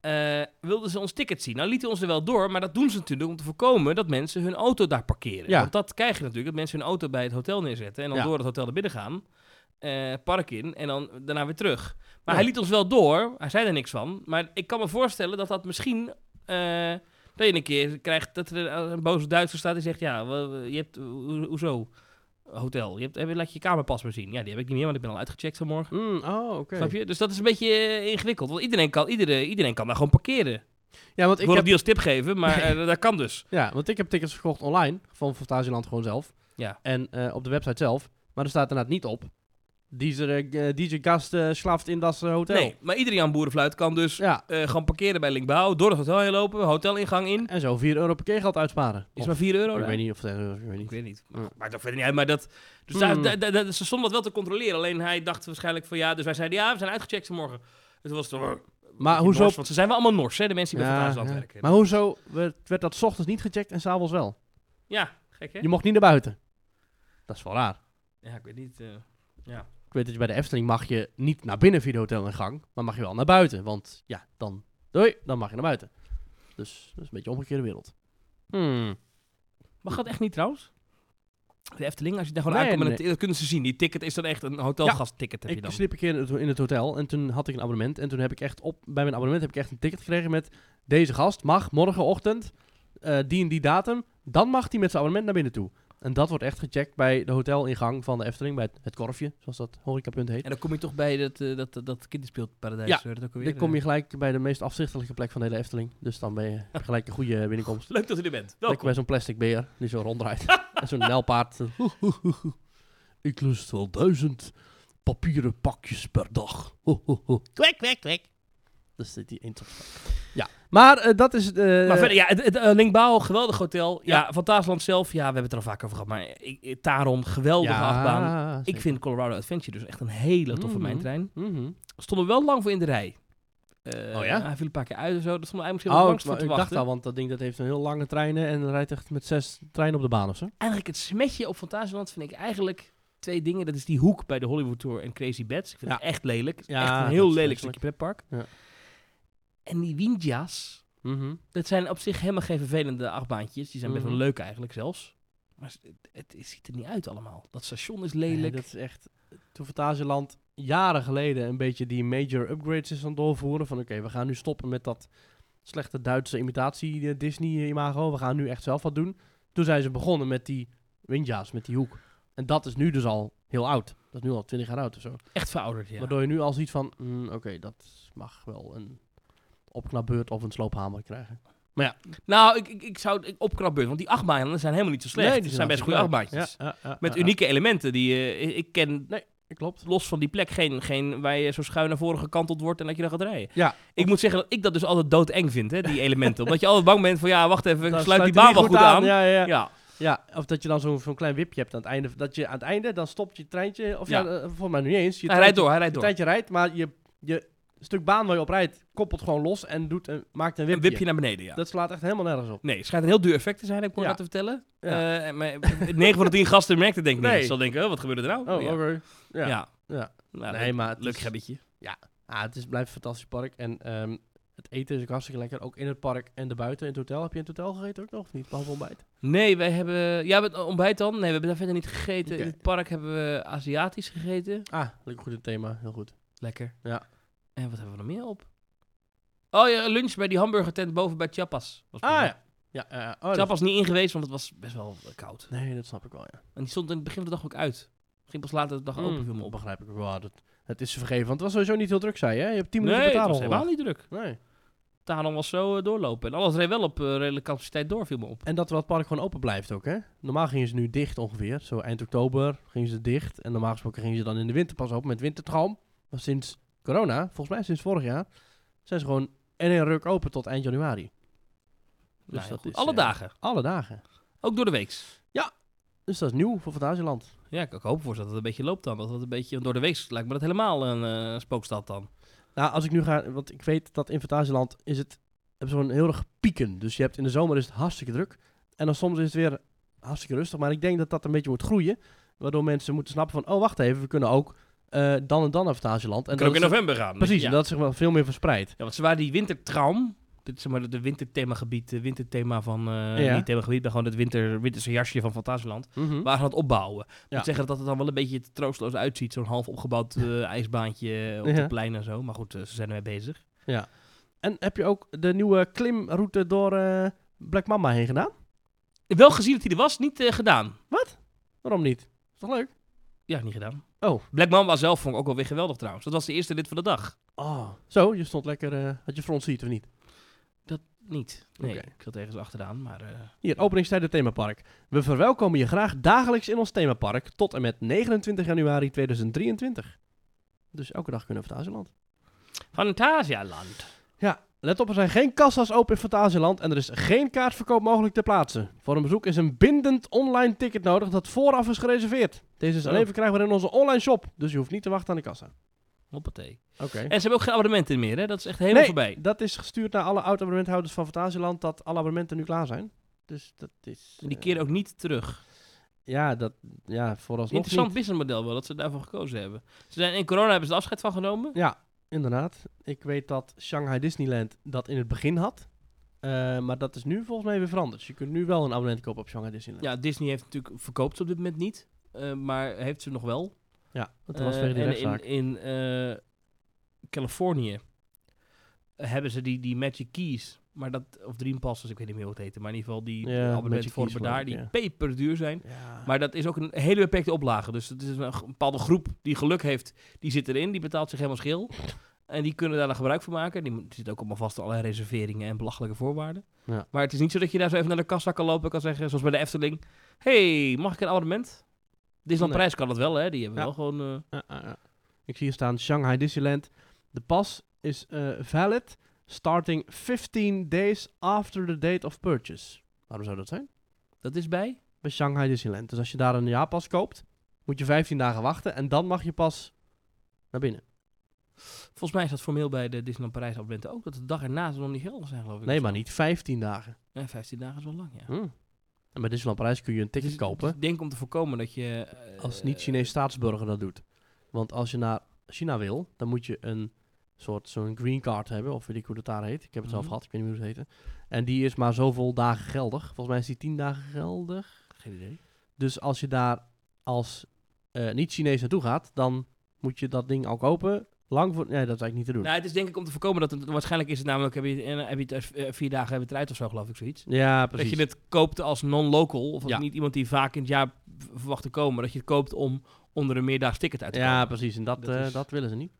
Speaker 2: Eh, wilden ze ons ticket zien. Nou lieten ons er wel door, maar dat doen ze natuurlijk om te voorkomen dat mensen hun auto daar parkeren.
Speaker 1: Ja.
Speaker 2: Want dat krijg je natuurlijk, dat mensen hun auto bij het hotel neerzetten en dan
Speaker 1: Ja.
Speaker 2: door het hotel naar binnen gaan, eh, park in en dan daarna weer terug. Maar hij liet ons wel door, hij zei er niks van, maar ik kan me voorstellen dat dat misschien... eh, dat je een keer krijgt dat er een boze Duitser staat die zegt, ja, wel, je hebt, ho- hoezo, hotel, je hebt, heb je- laat je je kamerpas maar zien. Ja, die heb ik niet meer, want ik ben al uitgecheckt vanmorgen.
Speaker 1: Mm, oh, oké.
Speaker 2: Snap je? Dus dat is een beetje eh, ingewikkeld. Want iedereen kan, iedereen, iedereen kan daar gewoon parkeren.
Speaker 1: Ja, want
Speaker 2: Ik
Speaker 1: ik
Speaker 2: wil
Speaker 1: heb
Speaker 2: het niet als tip geven, maar eh, dat kan dus.
Speaker 1: Ja, want ik heb tickets verkocht online van Fantasieland gewoon zelf.
Speaker 2: Ja.
Speaker 1: En eh, op de website zelf. Maar er staat inderdaad niet op. Deze eh, DJ Gast eh, slaapt in dat eh, hotel.
Speaker 2: Nee, maar iedereen aan boerenfluit kan dus
Speaker 1: Ja.
Speaker 2: eh, gewoon parkeren bij Linkbouw, door het hotel heen lopen, hotelingang in.
Speaker 1: En zo 4 euro parkeergeld uitsparen.
Speaker 2: Is
Speaker 1: Of-
Speaker 2: maar 4 euro.
Speaker 1: ik
Speaker 2: daar.
Speaker 1: weet niet of het, eh, ik weet
Speaker 2: Ik
Speaker 1: niet.
Speaker 2: weet niet.
Speaker 1: Ja.
Speaker 2: Maakt toch verder niet uit, maar dat... Dus
Speaker 1: Hmm.
Speaker 2: daar, daar- daar- ze stonden dat wel te controleren. Alleen hij dacht waarschijnlijk van ja, dus wij zeiden ja, we zijn uitgecheckt vanmorgen. En toen was het toch...
Speaker 1: Maar
Speaker 2: die
Speaker 1: Ah, hoezo?
Speaker 2: Nors, want ze zijn wel allemaal Nors, hè, de mensen die bij
Speaker 1: Ja,
Speaker 2: Fantasieland
Speaker 1: ja.
Speaker 2: werken.
Speaker 1: Maar hoezo werd, werd dat 's ochtends niet gecheckt en s'avonds wel?
Speaker 2: Ja, gek hè?
Speaker 1: Je mocht niet naar buiten. Dat is wel raar.
Speaker 2: Ja, ik weet niet. eh,
Speaker 1: Ik weet dat je bij de Efteling mag je niet naar binnen via de hotelingang, maar mag je wel naar buiten. Want ja, dan doei, dan mag je naar buiten. Dus dat is een beetje een omgekeerde wereld. Hmm.
Speaker 2: Mag dat echt niet trouwens? De Efteling, als je daar gewoon
Speaker 1: Nee,
Speaker 2: uitkomt, en
Speaker 1: nee.
Speaker 2: dat- dat kunnen ze zien. Die ticket is dan echt een hotelgastticket heb je
Speaker 1: Ik
Speaker 2: dan.
Speaker 1: sliep een keer in het, in het hotel en toen had ik een abonnement. En toen heb ik echt op, bij mijn abonnement heb ik echt een ticket gekregen met deze gast mag morgenochtend, eh, die en die datum, dan mag hij met zijn abonnement naar binnen toe. En dat wordt echt gecheckt bij de hotelingang van de Efteling, bij het, het korfje, zoals dat horecapunt heet.
Speaker 2: En dan kom je toch bij dat, eh, dat, dat, dat kinderspeelparadijs.
Speaker 1: Ja,
Speaker 2: eh, dat ook alweer,
Speaker 1: Dan kom
Speaker 2: eh.
Speaker 1: je gelijk bij de meest afzichtelijke plek van de hele Efteling. Dus dan ben je heb je gelijk een goede binnenkomst.
Speaker 2: Leuk dat u er bent.
Speaker 1: Lekker
Speaker 2: Welkom.
Speaker 1: bij zo'n plastic beer die zo ronddraait. en zo'n nelpaard. Ik lust wel duizend papieren pakjes per dag.
Speaker 2: Kwek, kwek, kwek.
Speaker 1: Dus die eentopspraak. Ja, maar eh, dat is... eh,
Speaker 2: maar verder, ja, het, het eh, Linkbouw, geweldig hotel. Ja, van Fantasyland zelf, ja, we hebben het er al vaak over gehad. Maar ik, ik- Taron, geweldige
Speaker 1: ja,
Speaker 2: achtbaan. Ik
Speaker 1: zeker.
Speaker 2: vind Colorado Adventure dus echt een hele toffe
Speaker 1: Mhm.
Speaker 2: mijntrein.
Speaker 1: Mhm.
Speaker 2: Stonden we wel lang voor in de rij. Eh,
Speaker 1: Oh ja?
Speaker 2: Hij viel een paar keer uit en zo. Dat stond eigenlijk misschien wel
Speaker 1: Oh,
Speaker 2: langs
Speaker 1: ik,
Speaker 2: voor te
Speaker 1: ik dacht
Speaker 2: wachten.
Speaker 1: al, want dat ding dat heeft een heel lange treinen en rijdt echt met zes treinen op de baan of zo.
Speaker 2: eigenlijk het smetje op Fantasieland vind ik eigenlijk twee dingen. Dat is die hoek bij de Hollywood Tour en Crazy Bats. Ik vind
Speaker 1: Ja.
Speaker 2: het echt lelijk. Het is
Speaker 1: Ja,
Speaker 2: echt
Speaker 1: dat
Speaker 2: een
Speaker 1: is
Speaker 2: heel lelijk
Speaker 1: vreselijk.
Speaker 2: stukje pretpark.
Speaker 1: Ja.
Speaker 2: En die windjas, dat zijn op zich helemaal geen vervelende achtbaantjes. Die zijn best wel
Speaker 1: Mhm.
Speaker 2: leuk eigenlijk zelfs. Maar het, het- het ziet er niet uit allemaal. Dat station is
Speaker 1: Nee,
Speaker 2: lelijk.
Speaker 1: dat is echt... Toen Fantasieland jaren geleden een beetje die major upgrades is aan het doorvoeren. Van oké, we gaan nu stoppen met dat slechte Duitse imitatie eh, Disney-imago. We gaan nu echt zelf wat doen. Toen zijn ze begonnen met die windja's, met die hoek. En dat is nu dus al heel oud. Dat is nu al 20 jaar oud of zo.
Speaker 2: Echt verouderd, ja.
Speaker 1: Waardoor je nu al ziet van, mm, oké, dat mag wel een opknapbeurt of een sloophamer krijgen.
Speaker 2: Nou, ik, ik, ik zou ik opkrabben, want die achtbanen zijn helemaal niet zo slecht. het zijn best goede achtbaantjes. Met unieke elementen. Die, eh, ik- ik ken
Speaker 1: klopt.
Speaker 2: los van die plek geen, geen waar je zo schuin naar voren gekanteld wordt en dat je dan gaat rijden.
Speaker 1: Ja.
Speaker 2: Ik moet zeggen dat ik dat dus altijd doodeng vind, hè, die elementen. Omdat je altijd bang bent van, ja, wacht even, ik
Speaker 1: Dan
Speaker 2: sluit die
Speaker 1: er
Speaker 2: baan
Speaker 1: niet
Speaker 2: wel goed aan. Ja,
Speaker 1: Ja, ja, ja.
Speaker 2: ja.
Speaker 1: Ja, of dat je dan zo'n zo'n klein wipje hebt aan het einde. Dat je aan het einde, dan stopt je treintje. Of ja,
Speaker 2: Ja.
Speaker 1: eh, volgens mij nu niet eens. Je
Speaker 2: hij
Speaker 1: treintje-
Speaker 2: rijdt door, hij
Speaker 1: Je
Speaker 2: rijdt door.
Speaker 1: treintje rijdt, maar je, je stuk baan waar je op rijdt, koppelt gewoon los en doet een, maakt een
Speaker 2: Een
Speaker 1: wipje.
Speaker 2: wipje naar beneden, ja.
Speaker 1: Dat slaat echt helemaal nergens op.
Speaker 2: Nee, het schijnt een heel duur effect te zijn, heb ik me
Speaker 1: Ja.
Speaker 2: laten vertellen.
Speaker 1: Ja.
Speaker 2: Eh, maar 9 van de 10 gasten merkte het denk ik
Speaker 1: Nee.
Speaker 2: niet. Ze zal denken, oh, wat gebeurde er nou?
Speaker 1: Oh,
Speaker 2: ja.
Speaker 1: oké.
Speaker 2: Ja.
Speaker 1: Ja. Ja.
Speaker 2: Nou,
Speaker 1: Nee,
Speaker 2: leuk-
Speaker 1: maar het
Speaker 2: Leuk
Speaker 1: is-
Speaker 2: gebbetje.
Speaker 1: Ah, het is, blijft een fantastisch park. En ehm, het eten is ook hartstikke lekker. Ook in het park en erbuiten. In het hotel. Heb je in het hotel gegeten ook nog of niet? Behalve ontbijt.
Speaker 2: Nee, wij hebben... Ja, het ontbijt dan? Nee, we hebben daar verder niet gegeten.
Speaker 1: Oké.
Speaker 2: In het park hebben we Aziatisch gegeten.
Speaker 1: Ah, lekker goed het thema. Heel goed.
Speaker 2: Lekker.
Speaker 1: Ja.
Speaker 2: En wat hebben we nog meer op? Oh ja, lunch bij die hamburgertent boven bij Chiapas. Was
Speaker 1: Ah, ja. Ja, eh, oh, dat-
Speaker 2: Chiapas niet in geweest, want het was best wel eh, koud.
Speaker 1: Nee, dat snap ik wel, ja.
Speaker 2: En die stond in het begin van de dag ook uit. Ging pas later de dag open, viel me
Speaker 1: dat
Speaker 2: op.
Speaker 1: begrijp ik wel. Dat, het is te vergeven, want het was sowieso niet heel druk, zei je. hè? Je hebt 10
Speaker 2: Nee,
Speaker 1: minuten
Speaker 2: het was
Speaker 1: betalen.
Speaker 2: helemaal niet druk.
Speaker 1: Nee.
Speaker 2: Taron was zo eh, doorlopen. En alles reed wel op eh, redelijke capaciteit door, viel me op. Dus
Speaker 1: En dat wel het park gewoon open blijft ook, hè? Normaal gingen ze nu dicht ongeveer. Zo eind oktober gingen ze dicht. En normaal gesproken gingen ze dan in de winter pas open met wintertraum. Maar sinds corona, volgens mij sinds vorig jaar, zijn ze gewoon in een ruk open tot eind januari.
Speaker 2: Nou, heel
Speaker 1: dat
Speaker 2: goed.
Speaker 1: is,
Speaker 2: Alle
Speaker 1: eh,
Speaker 2: dagen.
Speaker 1: Alle dagen.
Speaker 2: Ook door de weeks.
Speaker 1: Dus dat is nieuw voor Fantasieland.
Speaker 2: Ja, ik ik hoop voor ze dat het een beetje loopt dan. Dat het een beetje door de weeks lijkt me dat helemaal een eh, spookstad dan.
Speaker 1: Nou, als ik nu ga... Want ik weet dat in Fantasieland is het... Hebben ze gewoon heel erg pieken. Dus je hebt in de zomer is het hartstikke druk. En dan soms is het weer hartstikke rustig. Maar ik denk dat dat een beetje moet groeien. Waardoor mensen moeten snappen van... Oh, wacht even. We kunnen ook eh, dan en dan naar Fantasieland. En
Speaker 2: kan ook
Speaker 1: is
Speaker 2: in
Speaker 1: dat-
Speaker 2: november gaan.
Speaker 1: Precies,
Speaker 2: Ja.
Speaker 1: en dat is zeg maar veel meer verspreid.
Speaker 2: Ja, want ze waren die wintertraum. Dit is zeg maar de winterthemagebied, de winterthema van... eh
Speaker 1: Ja.
Speaker 2: Niet themagebied, maar gewoon het winter, winterse jasje van Fantasieland.
Speaker 1: Mhm.
Speaker 2: Waren aan het opbouwen. Ik
Speaker 1: Ja.
Speaker 2: moet zeggen dat het dan wel een beetje troosteloos uitziet. Zo'n half opgebouwd eh, ijsbaantje op
Speaker 1: Ja.
Speaker 2: het plein en zo. Maar goed, eh, ze zijn ermee bezig.
Speaker 1: En heb je ook de nieuwe klimroute door eh, Black Mama heen gedaan?
Speaker 2: Wel gezien dat hij er was, niet eh, gedaan.
Speaker 1: Waarom niet? Is toch leuk?
Speaker 2: Ja, niet gedaan.
Speaker 1: Oh.
Speaker 2: Black Mamba zelf vond ik ook wel weer geweldig trouwens. Dat was de eerste lid van de dag.
Speaker 1: Oh. Zo, je stond lekker, eh, had je front seat of niet?
Speaker 2: Niet. Nee,
Speaker 1: Oké.
Speaker 2: ik zat ergens achteraan, maar... eh,
Speaker 1: Hier, openingstijden themapark. We verwelkomen je graag dagelijks in ons themapark tot en met 29 januari 2023. Dus elke dag kunnen we Fantasieland.
Speaker 2: Fantasialand.
Speaker 1: Ja, let op, er zijn geen kassa's open in Fantasieland en er is geen kaartverkoop mogelijk ter plaatse. Voor een bezoek is een bindend online ticket nodig dat vooraf is gereserveerd. Deze is alleen
Speaker 2: Oh.
Speaker 1: verkrijgbaar in onze online shop, dus je hoeft niet te wachten aan de kassa.
Speaker 2: Hoppatee.
Speaker 1: Oké.
Speaker 2: En ze hebben ook geen abonnementen meer, hè? Dat is echt helemaal voorbij.
Speaker 1: dat is gestuurd naar alle oud-abonnementhouders van Fantasieland dat alle abonnementen nu klaar zijn. Dus dat is...
Speaker 2: En die
Speaker 1: eh,
Speaker 2: keren ook niet terug.
Speaker 1: Ja, dat, ja vooralsnog
Speaker 2: Interessant
Speaker 1: niet.
Speaker 2: businessmodel wel, dat ze daarvoor gekozen hebben. Ze zijn, in corona hebben ze er afscheid van genomen.
Speaker 1: Ja, inderdaad. Ik weet dat Shanghai Disneyland dat in het begin had. Eh, maar dat is nu volgens mij weer veranderd. Dus je kunt nu wel een abonnement kopen op Shanghai Disneyland.
Speaker 2: Ja, Disney heeft natuurlijk verkoopt ze op dit moment niet. eh, maar heeft ze nog wel.
Speaker 1: Ja, dat was
Speaker 2: Eh,
Speaker 1: vanwege die
Speaker 2: en
Speaker 1: rechtszaak.
Speaker 2: In, in eh, Californië hebben ze die, die Magic Keys. Maar dat, of Dream Passes, ik weet niet meer hoe het heette. Maar in ieder geval die
Speaker 1: Ja, Magic Keys
Speaker 2: abonnementvormen
Speaker 1: geloof
Speaker 2: daar,
Speaker 1: ik,
Speaker 2: die
Speaker 1: ja.
Speaker 2: peperduur zijn.
Speaker 1: Ja.
Speaker 2: Maar dat is ook een hele beperkte oplage. Dus het is een g- bepaalde groep die geluk heeft, die zit erin, die betaalt zich helemaal schil. En die kunnen daar dan gebruik van maken. Die mo- zit ook allemaal vast aan allerlei reserveringen en belachelijke voorwaarden.
Speaker 1: Ja.
Speaker 2: Maar het is niet zo dat je daar zo even naar de kassa kan lopen en kan zeggen, zoals bij de Efteling. hey, mag ik een abonnement? Disneyland
Speaker 1: Nee.
Speaker 2: Prijs kan dat wel, hè? Die hebben
Speaker 1: Ja.
Speaker 2: wel gewoon... eh,
Speaker 1: Ah, ah, ah. Ik zie hier staan Shanghai Disneyland. De pas is eh, valid starting 15 days after the date of purchase. Waarom zou dat zijn?
Speaker 2: dat is bij?
Speaker 1: Bij Shanghai Disneyland. Dus als je daar een jaarpas koopt, moet je 15 dagen wachten en dan mag je pas naar binnen.
Speaker 2: Volgens mij is dat formeel bij de Disneyland Parijs abonnementen ook. Dat de dag erna ze nog niet geldig zijn, geloof ik.
Speaker 1: Nee,
Speaker 2: of
Speaker 1: maar
Speaker 2: zo.
Speaker 1: niet 15 dagen.
Speaker 2: Ja, 15 dagen is wel lang, ja.
Speaker 1: Hm. En bij Disneyland Parijs kun je een ticket
Speaker 2: Dus- dus
Speaker 1: kopen
Speaker 2: ik denk om te voorkomen dat je... eh,
Speaker 1: als niet-Chinees staatsburger dat doet. Want als je naar China wil, dan moet je een soort zo'n green card hebben, of weet ik hoe dat daar heet. Ik heb het zelf
Speaker 2: Mhm.
Speaker 1: gehad, ik weet niet meer hoe het heette. En die is maar zoveel dagen geldig. Volgens mij is die 10 dagen geldig.
Speaker 2: Geen idee.
Speaker 1: Dus als je daar als eh, niet-Chinees naartoe gaat, dan moet je dat ding al kopen. Lang voor... Nee, dat is eigenlijk niet te doen.
Speaker 2: Nou, het is denk ik om te voorkomen dat het, waarschijnlijk is het namelijk, heb je, eh, heb je het eh, vier dagen hebben het eruit of zo, geloof ik, zoiets.
Speaker 1: Ja, precies.
Speaker 2: Dat je het koopt als non-local, of als
Speaker 1: Ja.
Speaker 2: niet iemand die vaak in het jaar v- verwacht te komen, dat je het koopt om onder een meerdaags ticket uit te
Speaker 1: ja,
Speaker 2: komen.
Speaker 1: precies. En dat,
Speaker 2: Dat
Speaker 1: eh,
Speaker 2: is-
Speaker 1: dat willen ze niet.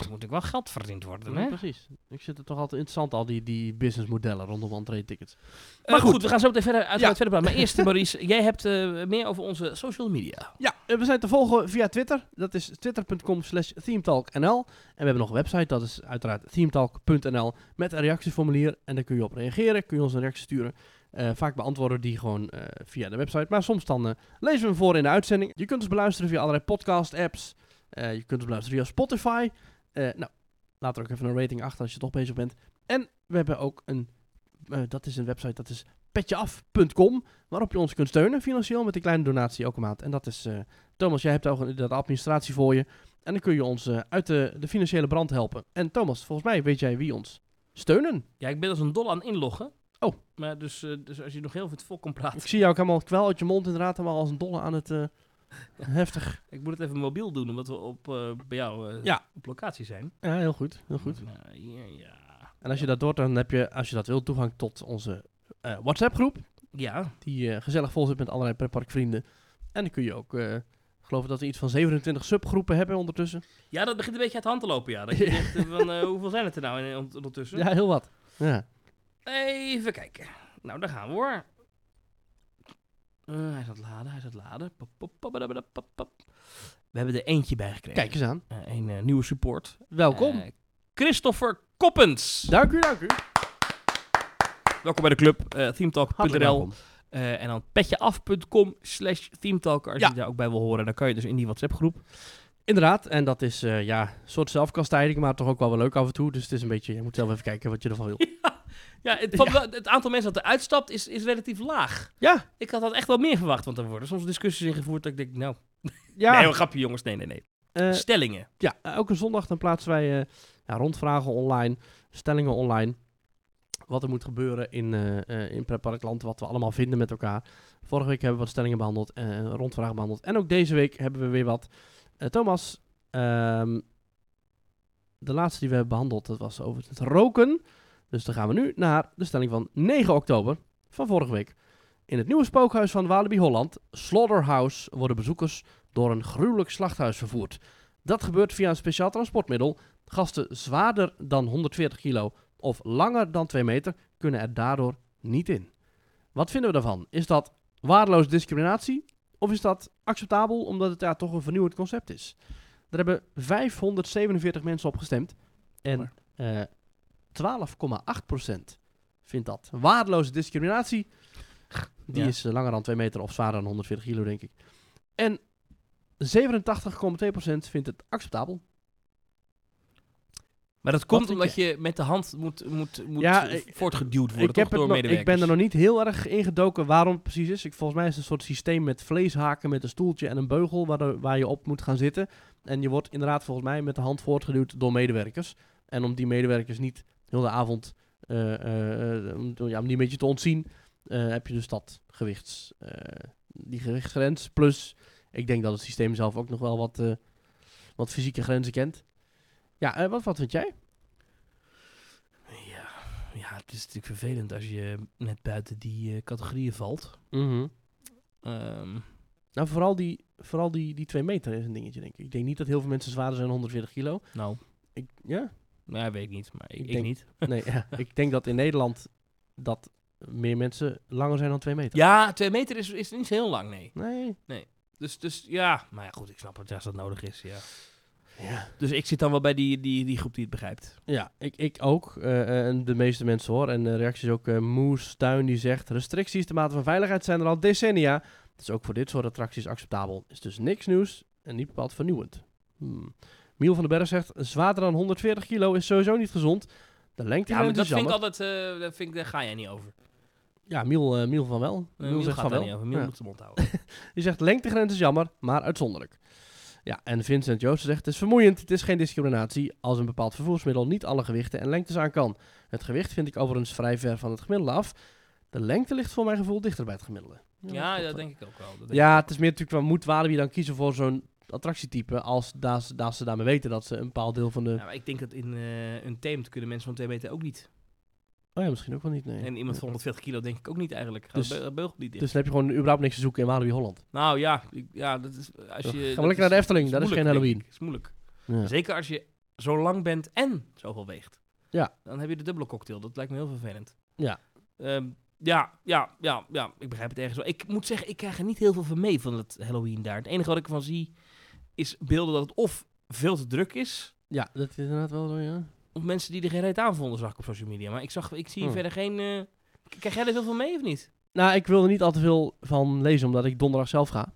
Speaker 2: Dan moet ik wel geld verdiend worden,
Speaker 1: Ja,
Speaker 2: hè?
Speaker 1: precies. Ik zit het toch altijd interessant, al die, die businessmodellen rondom entree-tickets.
Speaker 2: Eh, goed. we gaan zo meteen verder, uiteraard
Speaker 1: Ja.
Speaker 2: verder praten. Maar eerst, Maurice, jij hebt eh, meer over onze social media.
Speaker 1: Ja, eh, we zijn te volgen via Twitter. Dat is twitter.com slash themetalknl. En we hebben nog een website, dat is uiteraard themetalk.nl met een reactieformulier. En daar kun je op reageren, kun je ons een reactie sturen. Eh, vaak beantwoorden we die gewoon eh, via de website. Maar soms dan eh, lezen we hem voor in de uitzending. Je kunt ons beluisteren via allerlei podcast-apps. Eh, je kunt ons beluisteren via Spotify. Eh, nou, laat er ook even een rating achter als je toch bezig bent. En we hebben ook een, eh, dat is een website, dat is petjeaf.com. Waarop je ons kunt steunen financieel met een kleine donatie elke maand. En dat is... eh, Thomas, jij hebt ook de administratie voor je. En dan kun je ons eh, uit de, de financiële brand helpen. En Thomas, volgens mij weet jij wie ons steunen.
Speaker 2: Ja, ik ben als een dol aan inloggen.
Speaker 1: Oh.
Speaker 2: Maar dus, eh, dus als je nog heel veel vol kan praten,
Speaker 1: Ik zie jou ook helemaal kwel uit je mond inderdaad. Helemaal als een dolle aan het eh, heftig.
Speaker 2: ik moet het even mobiel doen, omdat we op, eh, bij jou eh,
Speaker 1: Ja.
Speaker 2: op locatie zijn.
Speaker 1: Ja, heel goed. Heel goed.
Speaker 2: Nou, hier, ja.
Speaker 1: En als je dat doet, dan heb je, als je dat wilt, toegang tot onze eh, WhatsApp-groep.
Speaker 2: Ja,
Speaker 1: Die eh, gezellig vol zit met allerlei pretparkvrienden. En dan kun je ook... eh, ik geloof dat we iets van 27 subgroepen hebben ondertussen.
Speaker 2: Ja, dat begint een beetje uit de hand te lopen, ja. Dat je denkt, eh, van, eh, hoeveel zijn het er nou in- on- ondertussen?
Speaker 1: Ja, heel wat. Ja.
Speaker 2: Even kijken. Nou, daar gaan we hoor. Eh, hij is aan het laden, hij is aan het laden. Pop, pop, pop, badabada, pop, pop. We hebben er eentje bij gekregen.
Speaker 1: Kijk eens aan.
Speaker 2: Eh, een eh, nieuwe support.
Speaker 1: Welkom.
Speaker 2: Eh, Christopher Koppens.
Speaker 1: dank u, dank u.
Speaker 2: welkom bij de club. eh
Speaker 1: Hartelijk
Speaker 2: themetalk.nl
Speaker 1: welkom.
Speaker 2: Eh, en dan petjeaf.com slash themetalk. Als
Speaker 1: Ja.
Speaker 2: je daar ook bij wil horen, dan kan je dus in die WhatsApp groep.
Speaker 1: Inderdaad, en dat is eh, ja, een soort zelfkastijding, maar toch ook wel weer leuk af en toe. Dus het is een beetje, je moet zelf even kijken wat je ervan wil.
Speaker 2: Ja, het, valt wel- het aantal mensen dat er uitstapt is, is relatief laag.
Speaker 1: Ja,
Speaker 2: Ik had dat echt wel meer verwacht, want er worden soms discussies ingevoerd dat ik denk, nou...
Speaker 1: ja.
Speaker 2: Nee, een grapje jongens, nee, nee, nee.
Speaker 1: Eh,
Speaker 2: Stellingen.
Speaker 1: ja, elke zondag dan plaatsen wij eh, ja, rondvragen online, stellingen online. Wat er moet gebeuren in, eh eh in pretparkland, wat we allemaal vinden met elkaar. Vorige week hebben we wat stellingen behandeld, eh rondvragen behandeld. En ook deze week hebben we weer wat. Eh, Thomas, ehm, de laatste die we hebben behandeld, dat was over het roken. Dus dan gaan we nu naar de stelling van 9 oktober van vorige week. In het nieuwe spookhuis van Walibi Holland, Slaughterhouse, worden bezoekers door een gruwelijk slachthuis vervoerd. Dat gebeurt via een speciaal transportmiddel. Gasten zwaarder dan 140 kilo of langer dan 2 meter kunnen er daardoor niet in. Wat vinden we daarvan? Is dat waardeloos discriminatie? Of is dat acceptabel omdat het ja, toch een vernieuwend concept is? Er hebben 547 mensen op gestemd. En eh 12,8% vindt dat waardeloze discriminatie. Die
Speaker 2: Ja.
Speaker 1: is eh, langer dan 2 meter of zwaarder dan 140 kilo, denk ik. En 87,2% vindt het acceptabel.
Speaker 2: Maar dat komt
Speaker 1: vind
Speaker 2: omdat je met de hand moet, moet, moet
Speaker 1: Ja,
Speaker 2: eh,
Speaker 1: ik-
Speaker 2: voortgeduwd worden
Speaker 1: Ik,
Speaker 2: toch,
Speaker 1: heb het
Speaker 2: door
Speaker 1: nog- ik
Speaker 2: medewerkers.
Speaker 1: ben er nog niet heel erg ingedoken waarom het precies is. Ik, volgens mij is het een soort systeem met vleeshaken, met een stoeltje en een beugel waar, de- waar je op moet gaan zitten. En je wordt inderdaad volgens mij met de hand voortgeduwd door medewerkers. En om die medewerkers niet heel de avond, eh, eh, eh, om, ja, om die een beetje te ontzien, eh, heb je dus dat gewichts, eh, die gewichtsgrens. Plus, ik denk dat het systeem zelf ook nog wel wat, eh, wat fysieke grenzen kent. Ja, eh, wat, wat vind jij?
Speaker 2: Ja, ja, het is natuurlijk vervelend als je net buiten die eh, categorieën valt. Ehm,
Speaker 1: Nou, vooral die, vooral die, die twee meter is een dingetje, denk ik. Ik denk niet dat heel veel mensen zwaarder zijn dan 140 kilo.
Speaker 2: nou,
Speaker 1: Ik, ja?
Speaker 2: nou, ja, weet ik niet, maar ik,
Speaker 1: Ik
Speaker 2: ik
Speaker 1: denk-
Speaker 2: niet.
Speaker 1: Nee, ja. ik denk dat in Nederland dat meer mensen langer zijn dan twee meter.
Speaker 2: Ja, twee meter is, is niet heel lang, nee.
Speaker 1: Nee.
Speaker 2: Dus, dus ja, maar ja, goed, ik snap het als dat nodig is, ja.
Speaker 1: Ja,
Speaker 2: Dus ik zit dan wel bij die, die, die groep die het begrijpt.
Speaker 1: ja ik, ik ook. eh, en de meeste mensen hoor. En de reacties ook eh Moes Tuin die zegt... Restricties de mate van veiligheid zijn er al decennia. Dus ook voor dit soort attracties acceptabel. Is dus niks nieuws en niet bepaald vernieuwend. Hmm. Miel van den Berg zegt... Zwaarder dan 140 kilo is sowieso niet gezond. De lengte
Speaker 2: Ja, maar dat
Speaker 1: is
Speaker 2: vind ik
Speaker 1: jammer.
Speaker 2: altijd, eh, dat vind ik, daar ga jij niet over.
Speaker 1: Ja, Miel, eh, Miel van wel.
Speaker 2: Uh, Miel
Speaker 1: zegt
Speaker 2: gaat
Speaker 1: van
Speaker 2: daar
Speaker 1: wel.
Speaker 2: niet over, Miel
Speaker 1: Ja.
Speaker 2: moet zijn mond houden.
Speaker 1: Die zegt lengtegrens is jammer, maar uitzonderlijk. Ja, en Vincent Joosten zegt, het is vermoeiend, het is geen discriminatie als een bepaald vervoersmiddel niet alle gewichten en lengtes aan kan. Het gewicht vind ik overigens vrij ver van het gemiddelde af. De lengte ligt voor mijn gevoel dichter bij het gemiddelde.
Speaker 2: ja,
Speaker 1: klopt
Speaker 2: dat
Speaker 1: wel.
Speaker 2: denk ik ook wel. dat denk
Speaker 1: Ja, het is meer natuurlijk, waar moet Walibi dan kiezen voor zo'n attractietype als daar, ze- daar ze daarmee weten dat ze een bepaald deel van de...
Speaker 2: Ja, maar ik denk dat in eh, een teemt kunnen mensen van twee meter ook niet.
Speaker 1: Oh ja, misschien ook wel niet, nee.
Speaker 2: En iemand van 140 kilo denk ik ook niet eigenlijk. Gaat
Speaker 1: Dus-
Speaker 2: de be- beugel niet in.
Speaker 1: Dus dan heb je gewoon überhaupt niks te zoeken in Walibi Holland.
Speaker 2: nou ja, ik- ja, dat is als je.
Speaker 1: Gaan we
Speaker 2: dat
Speaker 1: lekker naar de
Speaker 2: is-
Speaker 1: Efteling, daar
Speaker 2: moeilijk,
Speaker 1: is geen
Speaker 2: denk
Speaker 1: Halloween.
Speaker 2: ik. Is moeilijk.
Speaker 1: Ja.
Speaker 2: Zeker als je zo lang bent en zoveel weegt.
Speaker 1: Ja.
Speaker 2: Dan heb je de dubbele cocktail. Dat lijkt me heel vervelend.
Speaker 1: Ja.
Speaker 2: Ehm, ja, ja, ja, ja. Ik begrijp het ergens wel. Ik moet zeggen, ik krijg er niet heel veel van mee van het Halloween daar. Het enige wat ik ervan zie is beelden dat het of veel te druk is.
Speaker 1: Ja, dat is inderdaad wel zo, ja.
Speaker 2: Of mensen die er geen reet aan vonden, zag ik op social media. Maar ik, zag, ik zie
Speaker 1: Hmm.
Speaker 2: verder geen... eh, k- krijg jij er veel van mee of niet?
Speaker 1: Nou, ik wil er niet al te veel van lezen, omdat ik donderdag zelf ga.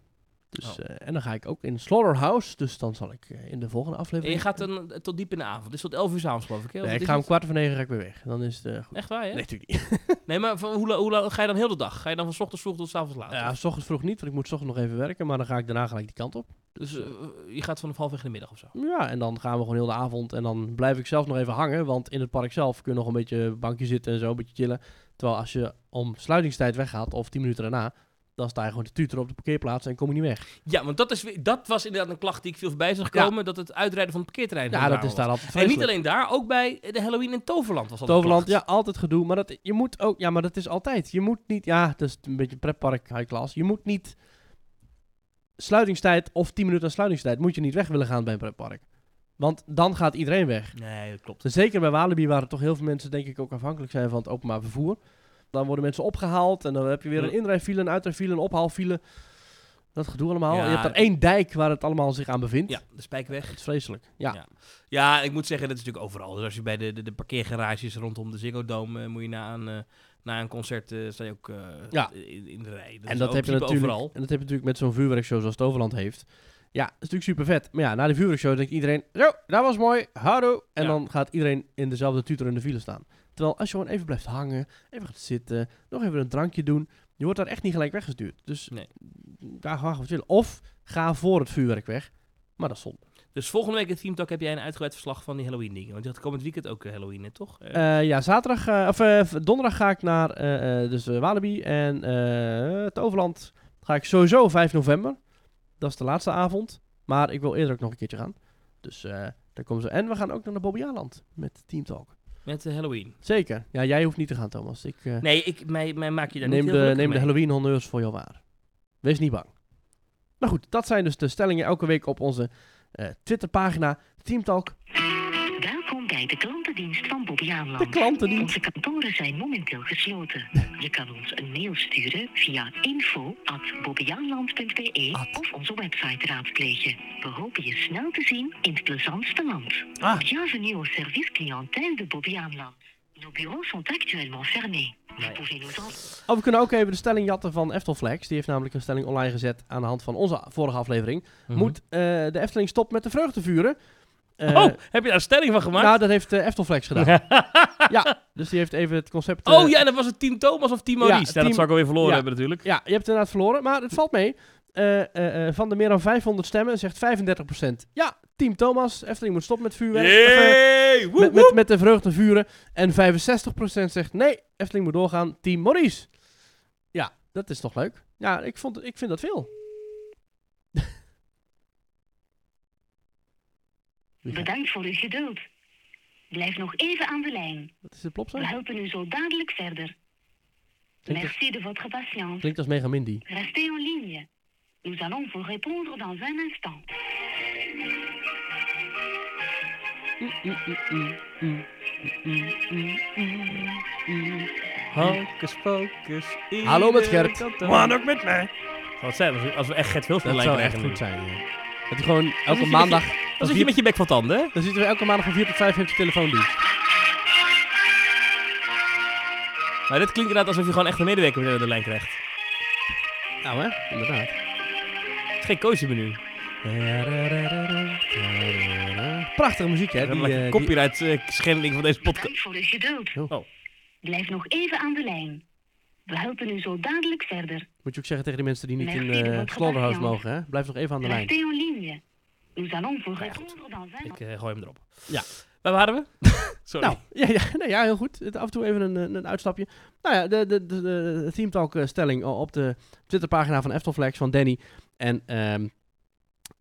Speaker 1: Dus,
Speaker 2: Oh.
Speaker 1: eh, en dan ga ik ook in Slaughterhouse. Dus dan zal ik eh, in de volgende
Speaker 2: En
Speaker 1: aflevering...
Speaker 2: je gaat dan eh, tot diep in de avond. Het is tot 11 uur s'avonds, geloof ik. Hè? Of
Speaker 1: Nee,
Speaker 2: wat
Speaker 1: ik
Speaker 2: is
Speaker 1: ga om
Speaker 2: het?
Speaker 1: kwart voor negen ga ik weer weg. Dan is het eh, goed.
Speaker 2: Echt waar, hè?
Speaker 1: Nee, natuurlijk niet.
Speaker 2: Nee, maar van, hoe, la- hoe la- ga je dan heel de dag? Ga je dan van 's ochtends vroeg tot 's avonds laat?
Speaker 1: Ja,
Speaker 2: Of-
Speaker 1: s ochtends vroeg niet, want ik moet 's ochtends nog even werken. Maar dan ga ik daarna gelijk die kant op.
Speaker 2: Dus eh, eh, je gaat vanaf half in de middag of zo?
Speaker 1: Ja, en dan gaan we gewoon heel de avond. En dan blijf ik zelf nog even hangen. Want in het park zelf kun je nog een beetje bankje zitten en zo, een beetje chillen. Terwijl als je om sluitingstijd weggaat, of tien minuten daarna... Dan sta je gewoon te tuteren op de parkeerplaats en kom je niet weg.
Speaker 2: Ja, want dat, is, weer- dat was inderdaad een klacht die ik veel voorbij zag
Speaker 1: Ja.
Speaker 2: komen. Dat het uitrijden van het parkeerterrein.
Speaker 1: Ja,
Speaker 2: heel
Speaker 1: dat
Speaker 2: raar
Speaker 1: is daar altijd
Speaker 2: was. En
Speaker 1: vreselijk.
Speaker 2: niet alleen daar, ook bij eh, de Halloween in Toverland was dat een
Speaker 1: Toverland, ja,
Speaker 2: klacht.
Speaker 1: altijd gedoe. Maar dat, je moet ook, ja, maar dat is altijd. Je moet niet, ja, dat is een beetje pretpark high class. Je moet niet sluitingstijd of 10 minuten aan sluitingstijd moet je niet weg willen gaan bij een pretpark. Want dan gaat iedereen weg.
Speaker 2: Nee, dat klopt.
Speaker 1: Dus zeker bij Walibi waren toch heel veel mensen denk ik ook afhankelijk zijn van het openbaar vervoer. Dan worden mensen opgehaald en dan heb je weer
Speaker 2: Ja.
Speaker 1: een inrijfile, een uitrijfile, een ophaalfile. Dat gedoe allemaal.
Speaker 2: Ja,
Speaker 1: je hebt daar
Speaker 2: dat-
Speaker 1: één dijk waar het allemaal zich aan bevindt.
Speaker 2: Ja, de Spijkweg.
Speaker 1: Het is vreselijk. Ja.
Speaker 2: Ja. Ja, ik moet zeggen, dat is natuurlijk overal. Dus als je bij de, de, de parkeergarages rondom de Ziggo Dome eh, moet je na een, eh, na een concert, eh, sta je ook eh,
Speaker 1: Ja.
Speaker 2: in, in de rij.
Speaker 1: en
Speaker 2: is
Speaker 1: dat
Speaker 2: ook
Speaker 1: heb, je
Speaker 2: in
Speaker 1: natuurlijk,
Speaker 2: principe
Speaker 1: en dat heb je natuurlijk met zo'n vuurwerkshow zoals Toverland heeft. Ja, dat is natuurlijk super vet. Maar ja, na de vuurwerkshow denkt iedereen... Zo, dat was mooi. Houdoe. En
Speaker 2: Ja.
Speaker 1: dan gaat iedereen in dezelfde tutor in de file staan. Terwijl als je gewoon even blijft hangen, even gaat zitten, nog even een drankje doen... Je wordt daar echt niet gelijk weggestuurd. Dus
Speaker 2: Nee.
Speaker 1: daar gaan we chillen. Of ga voor het vuurwerk weg. Maar dat is zonde.
Speaker 2: Dus volgende week in Team Talk heb jij een uitgebreid verslag van die Halloween dingen. Want je had komend weekend ook eh, Halloween, hè, toch? Eh,
Speaker 1: Eh, ja, zaterdag, eh, of eh, v- donderdag ga ik naar eh, eh, dus, eh, Walibi en eh het Overland ga ik sowieso 5 november. Dat is de laatste avond. Maar ik wil eerder ook nog een keertje gaan. Dus eh, daar komen ze. En we gaan ook naar de Bobbejaanland met Team Talk.
Speaker 2: met eh, Halloween.
Speaker 1: Zeker. Ja, jij hoeft niet te gaan, Thomas. Ik eh,
Speaker 2: Nee, ik, mij, mij maak je daar
Speaker 1: neem,
Speaker 2: niet
Speaker 1: de,
Speaker 2: heel
Speaker 1: neem de
Speaker 2: gelukkig
Speaker 1: Halloween honneurs voor jou waar. Wees niet bang. Nou goed, dat zijn dus de stellingen elke week op onze eh, Twitterpagina Team Talk.
Speaker 3: Welkom bij de klantendienst van Bobby Aanland.
Speaker 1: De klantendienst.
Speaker 3: Onze kantoren zijn momenteel gesloten. Je kan ons een mail sturen via info.bobbejaanland.be of onze website raadplegen. We hopen je snel te zien in het plezantste land.
Speaker 1: Ah.
Speaker 3: Bienvenue au service clientèle de Bobby Aanland. Nos bureaux sont actuellement fermés.
Speaker 1: Nou
Speaker 3: Vous pouvez nous en...
Speaker 1: Oh, we kunnen ook even de stelling jatten van Eftelflex. Die heeft namelijk een stelling online gezet aan de hand van onze vorige aflevering.
Speaker 2: mee.
Speaker 1: Moet eh, de Efteling stoppen met de vreugdevuren? Eh,
Speaker 2: Mhm. Oh, heb je daar een stelling van gemaakt?
Speaker 1: Nou, dat heeft eh, Eftelflex gedaan. ja, dus die heeft even het concept... eh,
Speaker 2: oh ja, dat was het Team Thomas of Team Maurice.
Speaker 1: ja,
Speaker 2: Ja,
Speaker 1: team-
Speaker 2: dat zou ik alweer verloren
Speaker 1: ja.
Speaker 2: hebben natuurlijk.
Speaker 1: Ja, je hebt het inderdaad verloren, maar het valt mee. Eh, eh, eh, van de meer dan 500 stemmen zegt 35% ja, Team Thomas, Efteling moet stoppen met vuurwerk. Of, eh,
Speaker 2: Hey, woep,
Speaker 1: met,
Speaker 2: woep.
Speaker 1: met, met de vreugdevuren. En 65% zegt nee, Efteling moet doorgaan, Team Maurice. Ja, dat is toch leuk? Ja, ik, vond, ik vind dat veel. Ja.
Speaker 3: Bedankt voor uw geduld. Blijf nog even aan de lijn.
Speaker 1: Wat is de
Speaker 3: We
Speaker 1: plopsa?
Speaker 3: helpen u zo dadelijk verder.
Speaker 1: Klinkt-
Speaker 3: Merci de votre patience.
Speaker 1: Klinkt als Mega Mindy.
Speaker 3: Restez en ligne. Nous allons vous répondre dans un instant.
Speaker 2: Hocus pocus.
Speaker 1: Hallo met
Speaker 2: iedereen
Speaker 1: Gert.
Speaker 2: kan dan-
Speaker 1: Maar ook met mij.
Speaker 2: Wat zijn we als we echt Gert Wilson
Speaker 1: Dat
Speaker 2: lijken
Speaker 1: zou echt
Speaker 2: eigenlijk.
Speaker 1: goed zijn. ja. Dat hij gewoon elke
Speaker 2: je-
Speaker 1: maandag...
Speaker 2: Dan zit
Speaker 1: als
Speaker 2: je
Speaker 1: vier-
Speaker 2: met je bek van tanden, hè?
Speaker 1: Dan zitten we elke maandag van 4 tot 5 heeft de telefoon dienst.
Speaker 2: Maar dit klinkt inderdaad alsof je gewoon echt een medewerker weer aan de lijn krijgt.
Speaker 1: Nou hè, inderdaad.
Speaker 2: Het is geen keuzemenu.
Speaker 1: Prachtige muziek hè.
Speaker 2: Dat
Speaker 1: Die,
Speaker 2: lijkt een
Speaker 1: eh, die-
Speaker 2: copyright eh, schending van deze podcast.
Speaker 3: Bedankt voor uw geduld.
Speaker 2: Oh.
Speaker 3: Blijf nog even aan de lijn. We helpen u zo dadelijk verder.
Speaker 1: Moet je ook zeggen tegen de mensen die niet in
Speaker 3: Merci, dat
Speaker 1: eh
Speaker 3: wordt
Speaker 1: Slaughterhouse
Speaker 3: gedaan,
Speaker 1: mogen hè. Blijf nog even aan de lijn.
Speaker 3: Restez en ligne. Nous allons vous
Speaker 2: ja,
Speaker 3: répondre dans un
Speaker 2: Ik eh, gooi hem erop.
Speaker 1: Ja.
Speaker 2: Waar waren we? Sorry.
Speaker 1: Nou, ja, ja, nee, ja, heel goed. Het- Af en toe even een, een, een uitstapje. Nou ja, de, de, de, de Theme Talk eh, stelling o- op de Twitterpagina van Eftelflex van Danny. En ehm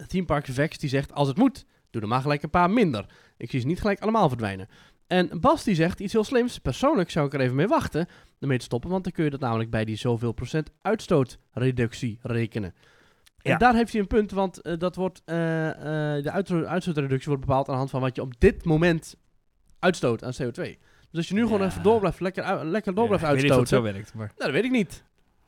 Speaker 1: Theme Park Vex die zegt, als het moet, doe er maar gelijk een paar minder. Ik zie ze niet gelijk allemaal verdwijnen. En Bas die zegt iets heel slims. Persoonlijk zou ik er even mee wachten ermee te stoppen. Want dan kun je dat namelijk bij die zoveel procent uitstootreductie rekenen. En
Speaker 2: Ja.
Speaker 1: daar heeft hij een punt, want eh, dat wordt, eh, eh, de uitro- uitstootreductie wordt bepaald aan de hand van wat je op dit moment uitstoot aan CO2. Dus als je nu gewoon
Speaker 2: Ja.
Speaker 1: even door blijft, lekker, ui- lekker door
Speaker 2: Ja,
Speaker 1: blijft
Speaker 2: ik weet niet of het
Speaker 1: uitstoten.
Speaker 2: zo
Speaker 1: Nou,
Speaker 2: werkt, maar...
Speaker 1: dat weet ik niet.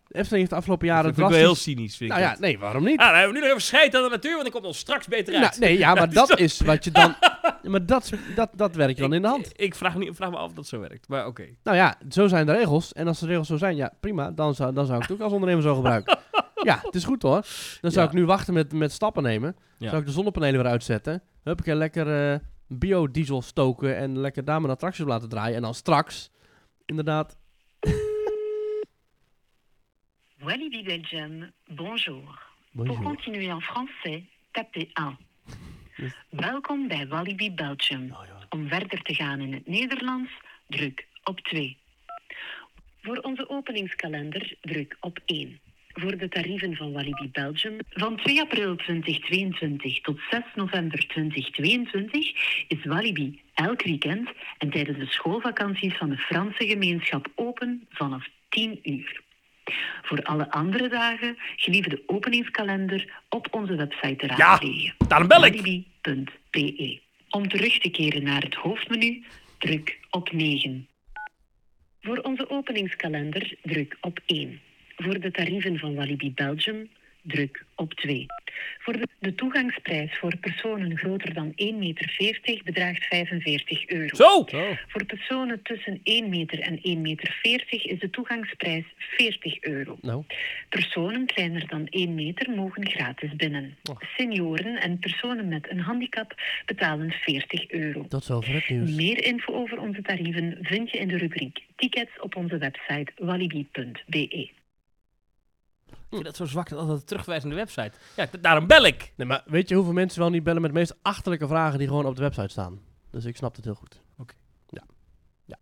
Speaker 1: De Efteling heeft de afgelopen jaren
Speaker 2: dat vind ik wel heel
Speaker 1: drastisch...
Speaker 2: cynisch, vind
Speaker 1: Nou
Speaker 2: ik
Speaker 1: ja,
Speaker 2: dat.
Speaker 1: nee, waarom niet?
Speaker 2: Ah, dan hebben we nu nog even scheid aan de natuur, want ik kom ons straks beter uit.
Speaker 1: Nou, nee, ja, maar dat is wat je dan... Maar dat, dat, dat werkt dan
Speaker 2: Ik-
Speaker 1: in de hand.
Speaker 2: Ik, vraag, niet, vraag me af of dat zo werkt, maar oké.
Speaker 1: Nou ja, zo zijn de regels. En als de regels zo zijn, ja, prima. Dan zou, dan zou ik het ook als ondernemer zo gebruiken. ja, het is goed hoor. Dan zou
Speaker 2: Ja.
Speaker 1: ik nu wachten met, met stappen nemen.
Speaker 2: Ja.
Speaker 1: Zou ik de zonnepanelen weer uitzetten. Huppakee, lekker eh, biodiesel stoken. En lekker daar mijn attracties op laten draaien. En dan straks, inderdaad...
Speaker 3: Walibi Belgium, bonjour. Pour
Speaker 1: Bonjour.
Speaker 3: continuer en français, tapez 1. Welkom bij Walibi Belgium. Om verder te gaan in het Nederlands, druk op 2. Voor onze openingskalender, druk op 1. Voor de tarieven van Walibi Belgium, van 2 april 2022 tot 6 november 2022 is Walibi elk weekend en tijdens de schoolvakanties van de Franse gemeenschap open vanaf 10 uur. Voor alle andere dagen gelieve de openingskalender op onze website te raadplegen.
Speaker 2: daarom bel ik.
Speaker 3: walibi.be. Om terug te keren naar het hoofdmenu, druk op 9. Voor onze openingskalender druk op 1. Voor de tarieven van Walibi Belgium druk op 2. Voor de, de toegangsprijs voor personen groter dan 1,40 meter bedraagt 45 euro.
Speaker 2: Zo!
Speaker 1: Oh,
Speaker 3: Voor personen tussen 1 meter en 1,40 meter is de toegangsprijs 40 euro.
Speaker 1: Nou,
Speaker 3: Personen kleiner dan 1 meter mogen gratis binnen. Senioren en personen met een handicap betalen 40 euro.
Speaker 1: dat is over het nieuws.
Speaker 3: Meer info over onze tarieven vind je in de rubriek tickets op onze website walibi.be.
Speaker 1: Hm,
Speaker 2: vind dat zo zwak, dat altijd terugwijzende website. Ja, d- daarom bel ik.
Speaker 1: Nee, maar weet je hoeveel mensen wel niet bellen met de meest achterlijke vragen die gewoon op de website staan? Dus ik snap het heel goed.
Speaker 2: Oké.
Speaker 1: Ja. ja.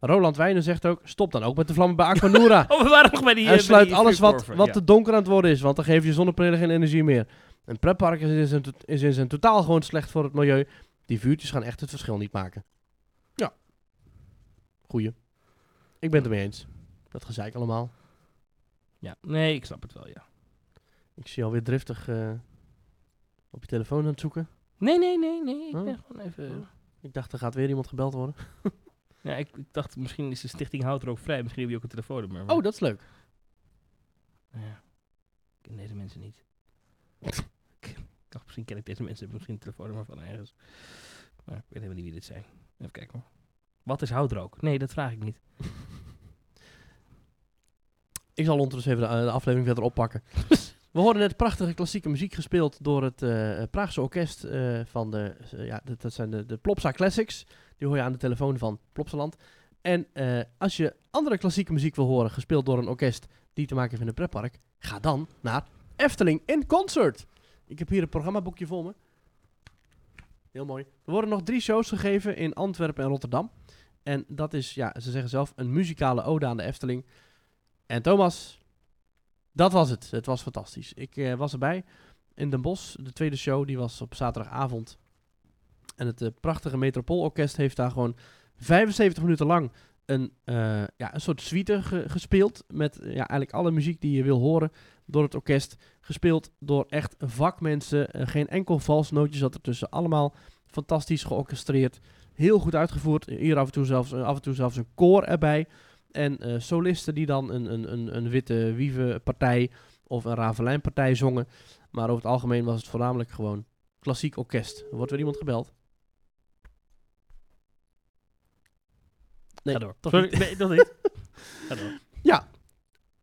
Speaker 1: Roland Wijnen zegt ook, stop dan ook met de vlammen bij Aquanura.
Speaker 2: Oh, we waren nog bij die... eh,
Speaker 1: Hij
Speaker 2: bij
Speaker 1: sluit
Speaker 2: die
Speaker 1: alles wat,
Speaker 2: vuurkorven.
Speaker 1: wat
Speaker 2: Ja.
Speaker 1: te donker aan het worden is, want dan geef je zonnepanelen geen energie meer. Een pretpark is in, zijn, to- is in zijn totaal gewoon slecht voor het milieu. Die vuurtjes gaan echt het verschil niet maken. Ja. Goeie. Ik ben het ermee eens. Dat gezeik allemaal.
Speaker 2: Ja, nee, ik snap het wel, ja.
Speaker 1: Ik zie je alweer driftig eh, op je telefoon aan het zoeken.
Speaker 2: Nee, nee, nee, nee. Ik
Speaker 1: Oh.
Speaker 2: ben gewoon even...
Speaker 1: Ik dacht, er gaat weer iemand gebeld worden.
Speaker 2: Ja, ik, ik dacht, misschien is de stichting Hout er ook vrij. Misschien heb je ook een telefoonnummer. maar-
Speaker 1: Oh, dat is leuk.
Speaker 2: Nou Ja. Ik ken deze mensen niet. ik dacht, misschien ken ik deze mensen. heb ik Misschien een telefoonnummer van ergens. Maar ik weet helemaal niet wie dit zijn. Even kijken hoor. Wat is houtrook? Nee, dat vraag ik niet.
Speaker 1: Ik zal ondertussen even de, eh, de aflevering verder oppakken. We hoorden net prachtige klassieke muziek gespeeld door het eh, Praagse orkest eh, van de... eh, ja, dat, dat zijn de, de Plopsa Classics. Die hoor je aan de telefoon van Plopsaland. En eh, als je andere klassieke muziek wil horen, gespeeld door een orkest die te maken heeft met een pretpark, ga dan naar Efteling in Concert. Ik heb hier een programmaboekje voor me. Heel mooi. Er worden nog drie shows gegeven in Antwerpen en Rotterdam. En dat is, ja, ze zeggen zelf, een muzikale ode aan de Efteling. En Thomas, dat was het. Het was fantastisch. Ik eh, was erbij in Den Bosch. De tweede show, die was op zaterdagavond. En het eh, prachtige Metropoolorkest heeft daar gewoon 75 minuten lang een, eh, ja, een soort suite ge- gespeeld. Met eh, ja, eigenlijk alle muziek die je wil horen door het orkest. Gespeeld door echt vakmensen. Eh, geen enkel vals nootje zat ertussen. Allemaal fantastisch georchestreerd. Heel goed uitgevoerd. Hier af en toe zelfs, eh, af en toe zelfs een koor erbij. En eh, solisten die dan een, een, een, een witte wievenpartij of een Ravelijnpartij zongen. Maar over het algemeen was het voornamelijk gewoon klassiek orkest. Wordt weer iemand gebeld? Nee,
Speaker 2: Ga door.
Speaker 1: toch
Speaker 2: Sorry, nee, dat niet. Ga door.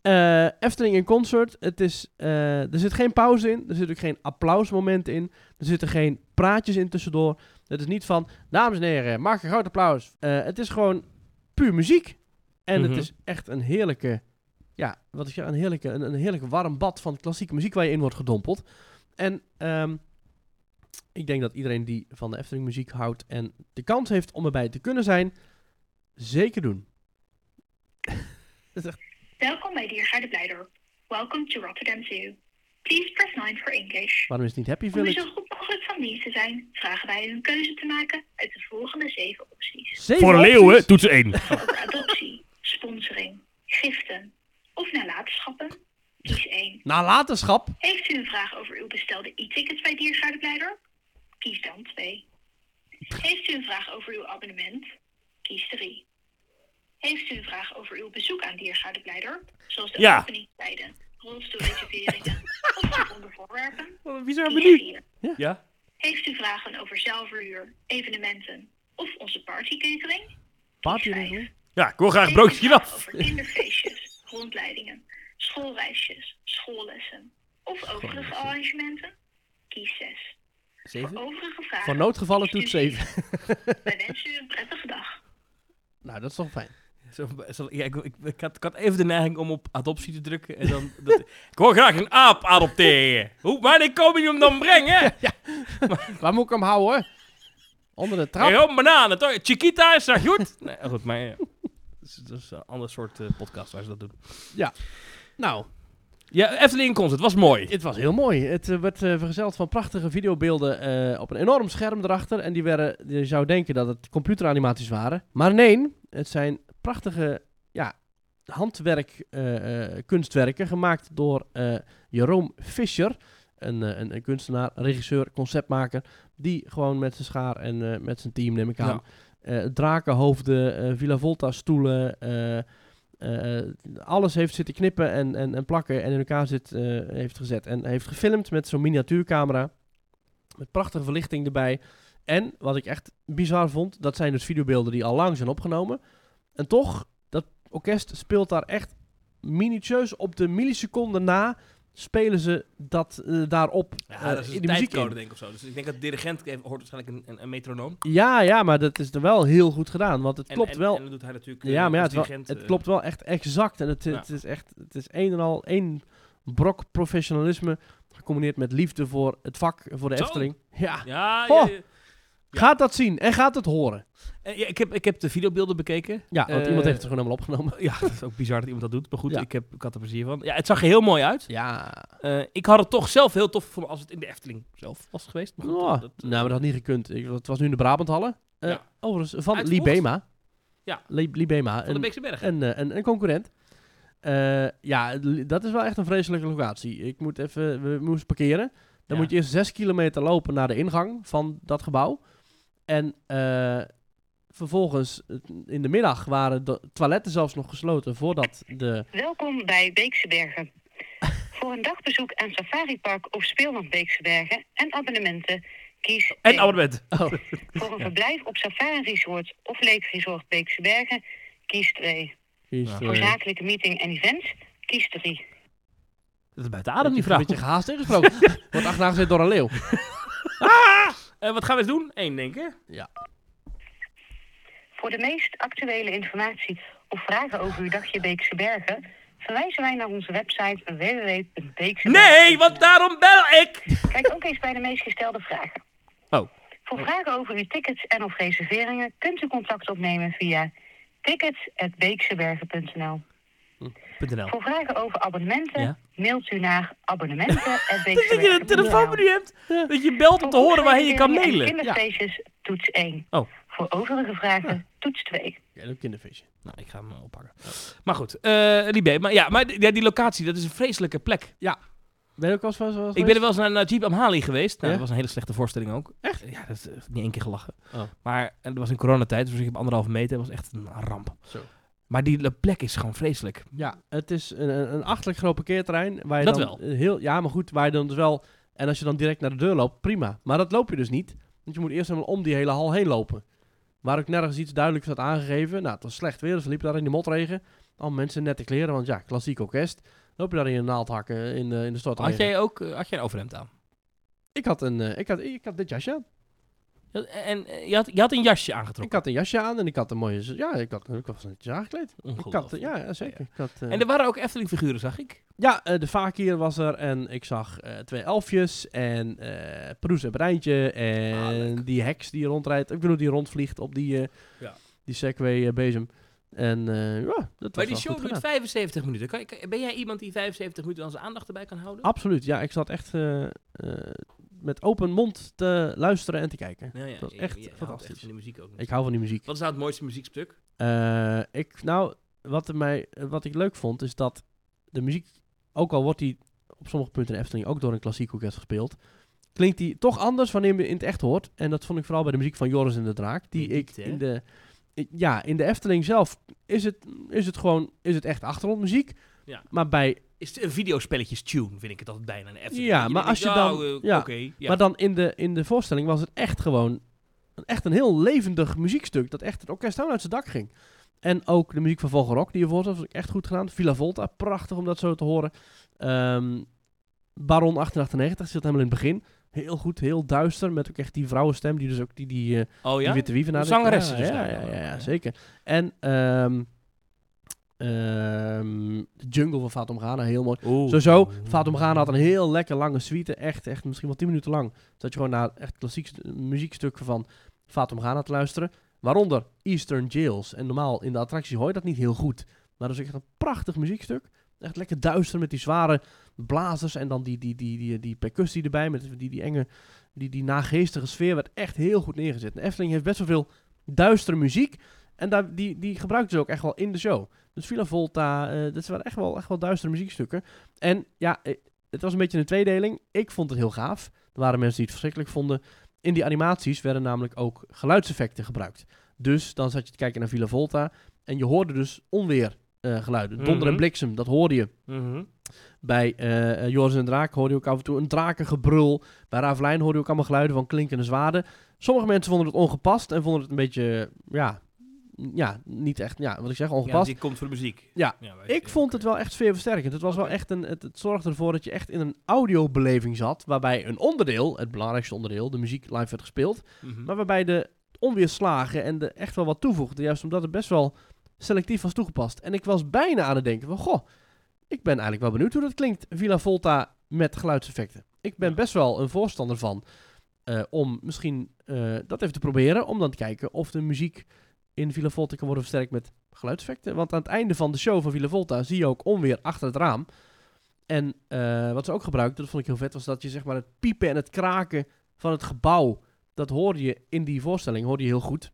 Speaker 1: Eh, Efteling in concert. Het is, eh, er zit geen pauze in. Er zit ook geen applausmoment in. Er zitten geen praatjes in tussendoor. Het is niet van, dames en heren, maak een groot applaus. Eh, het is gewoon puur muziek. En
Speaker 2: Mhm.
Speaker 1: het is echt een heerlijke, ja, wat ik zeg, een heerlijke, een, een heerlijk warm bad van klassieke muziek waar je in wordt gedompeld. En ehm, ik denk dat iedereen die van de Efteling muziek houdt en de kans heeft om erbij te kunnen zijn, zeker doen.
Speaker 6: Welkom bij Diergaarde Blijdorp. Welcome to Rotterdam Zoo. Please press 9 for English.
Speaker 1: Waarom is het niet Happy
Speaker 6: Om u
Speaker 1: Village?
Speaker 6: zo goed mogelijk van dienst te zijn, vragen wij u een keuze te maken uit de volgende zeven opties.
Speaker 1: Zeven
Speaker 2: Voor
Speaker 1: opties?
Speaker 2: leeuwen, toets 1.
Speaker 6: Over adoptie, sponsoring, giften of nalatenschappen. Kies 1.
Speaker 1: Nalatenschap?
Speaker 6: Heeft u een vraag over uw bestelde e-tickets bij Diergaarde Blijdorp? Kies dan 2. Heeft u een vraag over uw abonnement? Kies 3. Heeft u een vraag over uw bezoek aan Diergaarde Blijdorp? Zoals de
Speaker 2: Ja.
Speaker 6: openingstijden, rolstoelreserveringen of bijzondere voorwerpen?
Speaker 2: Wat een bizar
Speaker 6: Kies
Speaker 2: menu.
Speaker 6: 4.
Speaker 2: Ja?
Speaker 6: Heeft u vragen over zelfverhuur, evenementen of onze partycatering?
Speaker 1: Party
Speaker 6: Kies vijf.
Speaker 2: Ja, ik wil graag een
Speaker 6: Heeft u
Speaker 2: broodje
Speaker 6: vragen
Speaker 2: af.
Speaker 6: Over kinderfeestjes, rondleidingen, schoolreisjes, schoollessen of overige arrangementen? Kies 6. Voor overige vragen.
Speaker 1: Voor noodgevallen
Speaker 6: kiest u
Speaker 1: toets 7.
Speaker 6: vier. Wij wensen u een prettige dag.
Speaker 1: nou, dat is toch fijn.
Speaker 2: Zo, zo- ja, ik, ik, ik had, ik had even de neiging om op adoptie te drukken. En dan, dat, ik wil graag een aap adopteren. Hoe, wanneer kom je hem dan brengen?
Speaker 1: Waar moet ik hem houden? Onder de trap?
Speaker 2: Hey, oh, bananen, toch? Chiquita is dat goed? nee, goed, maar ja. Dat is, dat is een ander soort eh, podcast waar ze dat doen.
Speaker 1: Nou,
Speaker 2: Ja, Efteling in concert, was mooi.
Speaker 1: het was heel mooi. Het eh, werd eh, vergezeld van prachtige videobeelden eh, op een enorm scherm erachter. En die werden, je zou denken dat het computeranimaties waren. Maar nee, het zijn prachtige ja, handwerk, eh, eh, kunstwerken gemaakt door eh, Jeroen Fischer. Een, eh, een, een kunstenaar, regisseur, conceptmaker. Die gewoon met zijn schaar en eh, met zijn team, neem ik aan. eh, drakenhoofden, eh Villa Volta stoelen. eh, eh, alles heeft zitten knippen en, en, en plakken en in elkaar zit, eh, heeft gezet. En heeft gefilmd met zo'n miniatuurcamera. Met prachtige verlichting erbij. En wat ik echt bizar vond, dat zijn dus videobeelden die al lang zijn opgenomen. En toch, dat orkest speelt daar echt minutieus op de milliseconde na. Spelen ze dat eh, daarop eh, in de muziek in.
Speaker 2: denk ik of zo. Dus ik denk dat de dirigent heeft, hoort waarschijnlijk een, een, een metronoom.
Speaker 1: Ja, ja, maar dat is er wel heel goed gedaan. Want het
Speaker 2: En-
Speaker 1: klopt
Speaker 2: en-
Speaker 1: wel.
Speaker 2: En dat doet hij natuurlijk. eh,
Speaker 1: ja, maar ja,
Speaker 2: als
Speaker 1: het, wel-
Speaker 2: dirigent,
Speaker 1: het
Speaker 2: eh,
Speaker 1: klopt wel echt exact. En het, het is echt het is een en al één brok professionalisme gecombineerd met liefde voor het vak, voor de
Speaker 2: Zo.
Speaker 1: Efteling. Ja.
Speaker 2: Ja, ja,
Speaker 1: Oh.
Speaker 2: ja.
Speaker 1: Gaat dat zien en gaat het horen.
Speaker 2: Eh, ja, ik, heb, ik heb de videobeelden bekeken.
Speaker 1: Ja, want
Speaker 2: Eh,
Speaker 1: iemand heeft het gewoon helemaal opgenomen.
Speaker 2: Ja, dat is ook bizar dat iemand dat doet. Maar goed,
Speaker 1: Ja.
Speaker 2: ik, heb, ik had er plezier van. Ja, het zag er heel mooi uit.
Speaker 1: Ja.
Speaker 2: Eh, ik had het toch zelf heel tof gevonden als het in de Efteling zelf was geweest. Maar goed,
Speaker 1: Oh,
Speaker 2: dat- eh, dat-
Speaker 1: nou, maar dat had niet gekund. Ik, het was nu in de Brabanthallen. Eh
Speaker 2: Ja.
Speaker 1: Overigens, van
Speaker 2: Uitverkocht.
Speaker 1: Libema.
Speaker 2: Ja.
Speaker 1: Li- Libema.
Speaker 2: van de
Speaker 1: een-
Speaker 2: Beekse Bergen.
Speaker 1: een, eh, een, een concurrent. Eh, ja, li- dat is wel echt een vreselijke locatie. Ik moet even, we moesten parkeren.
Speaker 2: Ja.
Speaker 1: Dan moet je eerst zes kilometer lopen naar de ingang van dat gebouw. En eh, vervolgens, eh, in de middag, waren de toiletten zelfs nog gesloten voordat de...
Speaker 3: Welkom bij Beekse Bergen. Voor een dagbezoek aan Safari Park of Speelland Beekse Bergen en abonnementen kies
Speaker 2: En
Speaker 3: één.
Speaker 2: abonnement.
Speaker 3: Voor een verblijf op Safari Resort of Lake Resort Beekse Bergen kies 2.
Speaker 1: Is,
Speaker 3: Voor zakelijke meeting en events kies 3.
Speaker 2: Dat is buiten adem die
Speaker 1: Een
Speaker 2: vraag.
Speaker 1: beetje gehaast ingesproken. Wordt achterna gezet door een leeuw.
Speaker 2: Eh, wat gaan we eens doen? Eén, denk ik.
Speaker 3: Voor de meest actuele informatie of vragen over uw dagje Beekse Bergen verwijzen wij naar onze website www.beeksebergen.nl.
Speaker 2: Nee, want daarom bel ik!
Speaker 3: Kijk ook eens bij de meest gestelde vragen.
Speaker 2: Oh.
Speaker 3: Voor vragen over uw tickets en of reserveringen kunt u contact opnemen via tickets@beeksebergen.nl.
Speaker 2: .nl.
Speaker 3: Voor vragen over abonnementen
Speaker 2: Ja.
Speaker 3: mailt u naar abonnementen@beeksebergen.nl.
Speaker 2: Dat je een telefoonnummer hebt. Dat je belt om te horen waarheen je kan
Speaker 3: Voor
Speaker 2: mailen. Ja.
Speaker 3: Kinderfeestjes toets 1.
Speaker 2: Oh.
Speaker 3: Voor overige vragen toets 2.
Speaker 1: Ja, een kindervisje.
Speaker 2: Nou, ik ga hem eh, oppakken. Maar goed, eh Libé. Maar, ja, maar d- ja, die locatie, dat is een vreselijke plek.
Speaker 1: Ben je ook wel eens- wel eens
Speaker 2: Ik ben er wel eens naar Najib Amhali geweest. Nou,
Speaker 1: Ja?
Speaker 2: Dat was een hele slechte voorstelling ook. Echt? Ja, dat is eh, niet één keer gelachen.
Speaker 1: Oh.
Speaker 2: Maar en dat was in coronatijd, dus ik heb anderhalve meter. Dat was echt een ramp.
Speaker 1: Zo.
Speaker 2: Maar die le- plek is gewoon vreselijk.
Speaker 1: Ja, het is een, een, een achtelijk groot parkeerterrein. Waar je
Speaker 2: Dat
Speaker 1: dan
Speaker 2: wel.
Speaker 1: Heel, ja, maar goed, waar je dan dus wel... En als je dan direct naar de deur loopt, prima. Maar dat loop je dus niet. Want je moet eerst helemaal om die hele hal heen lopen. Waar ook nergens iets duidelijk staat aangegeven. Nou, het was slecht weer, dus we liepen daar in de motregen. Al mensen in nette kleren, want ja, klassiek orkest. Loop je daar in een naaldhakken in de, in de stort.
Speaker 2: Had jij ook eh, had jij een overhemd aan?
Speaker 1: Ik had, een, eh, ik, had, ik had dit jasje aan.
Speaker 2: Ja, En eh, je had, je had een jasje
Speaker 1: Ik
Speaker 2: aangetrokken.
Speaker 1: had een jasje aan en ik had een mooie... z- Ja, ik, had, ik was netjes aangekleed. Ik had,
Speaker 2: Ongelooflijk.
Speaker 1: ja, zeker. Ik had, eh,
Speaker 2: En er waren ook Efteling-figuren, zag ik.
Speaker 1: Ja, eh, de Fakir was er en ik zag eh, twee elfjes en eh Proes en Breintje
Speaker 2: Ah,
Speaker 1: en die heks die rondrijdt. Ik bedoel, die rondvliegt op die, eh
Speaker 2: Ja.
Speaker 1: die Segway-bezem. en eh, ja, dat was
Speaker 2: Maar die
Speaker 1: wel
Speaker 2: show
Speaker 1: goed
Speaker 2: duurt
Speaker 1: gedaan.
Speaker 2: 75 minuten. Kan, kan- ben jij iemand die 75 minuten aan zijn aandacht erbij kan houden?
Speaker 1: Absoluut, ja. Ik zat echt eh, eh, met open mond te luisteren en te kijken.
Speaker 2: Nou Ja, ja,
Speaker 1: Dat was
Speaker 2: je-
Speaker 1: echt
Speaker 2: je houdt
Speaker 1: fantastisch.
Speaker 2: van de muziek ook.
Speaker 1: Ik hou van die muziek.
Speaker 2: Wat is nou het mooiste muziekstuk?
Speaker 1: Eh, ik, nou, wat, er mij, wat ik leuk vond is dat de muziek, ook al wordt die op sommige punten in de Efteling ook door een klassiek orkest gespeeld, klinkt die toch anders wanneer je hem in het echt hoort. En dat vond ik vooral bij de muziek van Joris en de Draak, die
Speaker 2: Die
Speaker 1: ik
Speaker 2: diepte, hè?
Speaker 1: in de, i- ja, in de Efteling zelf is het, is het gewoon, is het echt achtergrondmuziek.
Speaker 2: Ja.
Speaker 1: Maar, bij,
Speaker 2: Is het een videospelletjes tune, vind ik het altijd bijna. Een Efteling.
Speaker 1: Ja,
Speaker 2: Je
Speaker 1: maar
Speaker 2: denkt,
Speaker 1: als je dan-
Speaker 2: nou, eh,
Speaker 1: ja.
Speaker 2: Oké, ja.
Speaker 1: maar dan in de, in de voorstelling was het echt gewoon, een- echt een heel levendig muziekstuk, dat echt het orkest helemaal uit zijn dak ging. En ook de muziek van Vogelrok, die ervoor zat, was echt goed gedaan. Villa Volta, prachtig om dat zo te horen. Ehm, Baron 1898 zit helemaal in het begin. Heel goed, heel duister, met ook echt die vrouwenstem, die dus ook die, die, eh,
Speaker 2: oh
Speaker 1: die
Speaker 2: ja?
Speaker 1: witte wieven nadenkt.
Speaker 2: zangeressen
Speaker 1: ja,
Speaker 2: dus
Speaker 1: ja,
Speaker 2: daar
Speaker 1: ja,
Speaker 2: dan,
Speaker 1: ja,
Speaker 2: ja.
Speaker 1: ja, zeker. En ehm, ehm, de jungle van Fatum Ghana, heel mooi.
Speaker 2: Oeh.
Speaker 1: Sowieso, Fatum Ghana had een heel lekker lange suite, echt, echt misschien wel 10 minuten lang. Dat je gewoon naar echt klassiek st- muziekstukken van Fatum Ghana te luisteren. Waaronder Eastern Jails. En normaal in de attractie hoor je dat niet heel goed. Maar dat is echt een prachtig muziekstuk. Echt lekker duister met die zware blazers en dan die, die, die, die, die percussie erbij. Met die, die enge, die, die nageestige sfeer werd echt heel goed neergezet. En Efteling heeft best wel veel duistere muziek. En daar, die, die gebruikten ze ook echt wel in de show. Dus Villa Volta, eh dat waren echt wel, echt wel duistere muziekstukken. En ja, eh, het was een beetje een tweedeling. Ik vond het heel gaaf. Er waren mensen die het verschrikkelijk vonden. In die animaties werden namelijk ook geluidseffecten gebruikt. Dus dan zat je te kijken naar Villa Volta. En je hoorde dus onweer eh, geluiden. Donder en
Speaker 2: Mhm.
Speaker 1: bliksem, dat hoorde je.
Speaker 2: Mhm.
Speaker 1: Bij eh eh, Joris en de Draak hoorde je ook af en toe een drakengebrul. Bij Ravelijn hoorde je ook allemaal geluiden van klinkende zwaarden. Sommige mensen vonden het ongepast en vonden het een beetje, ja, ja niet echt, ja, wat ik zeg,
Speaker 2: Ja,
Speaker 1: ongepast.
Speaker 2: die komt voor de muziek.
Speaker 1: Ja.
Speaker 2: weet
Speaker 1: ik vond het wel echt sfeerversterkend. Het, was wel echt een, het, het zorgde ervoor dat je echt in een audiobeleving zat, waarbij een onderdeel, het belangrijkste onderdeel, de muziek live werd gespeeld,
Speaker 2: Mhm.
Speaker 1: maar waarbij de onweerslagen en de echt wel wat toevoegde, juist omdat het best wel selectief was toegepast. En ik was bijna aan het denken van, goh, Ik ben eigenlijk wel benieuwd hoe dat klinkt, Villa Volta met geluidseffecten. Ik ben best wel een voorstander van eh, om misschien eh, dat even te proberen, om dan te kijken of de muziek in Villa Volta kan worden versterkt met geluidseffecten. Want aan het einde van de show van Villa Volta zie je ook onweer achter het raam. En eh, wat ze ook gebruikten, dat vond ik heel vet, was dat je zeg maar het piepen en het kraken van het gebouw, dat hoorde je in die voorstelling, hoorde je heel goed.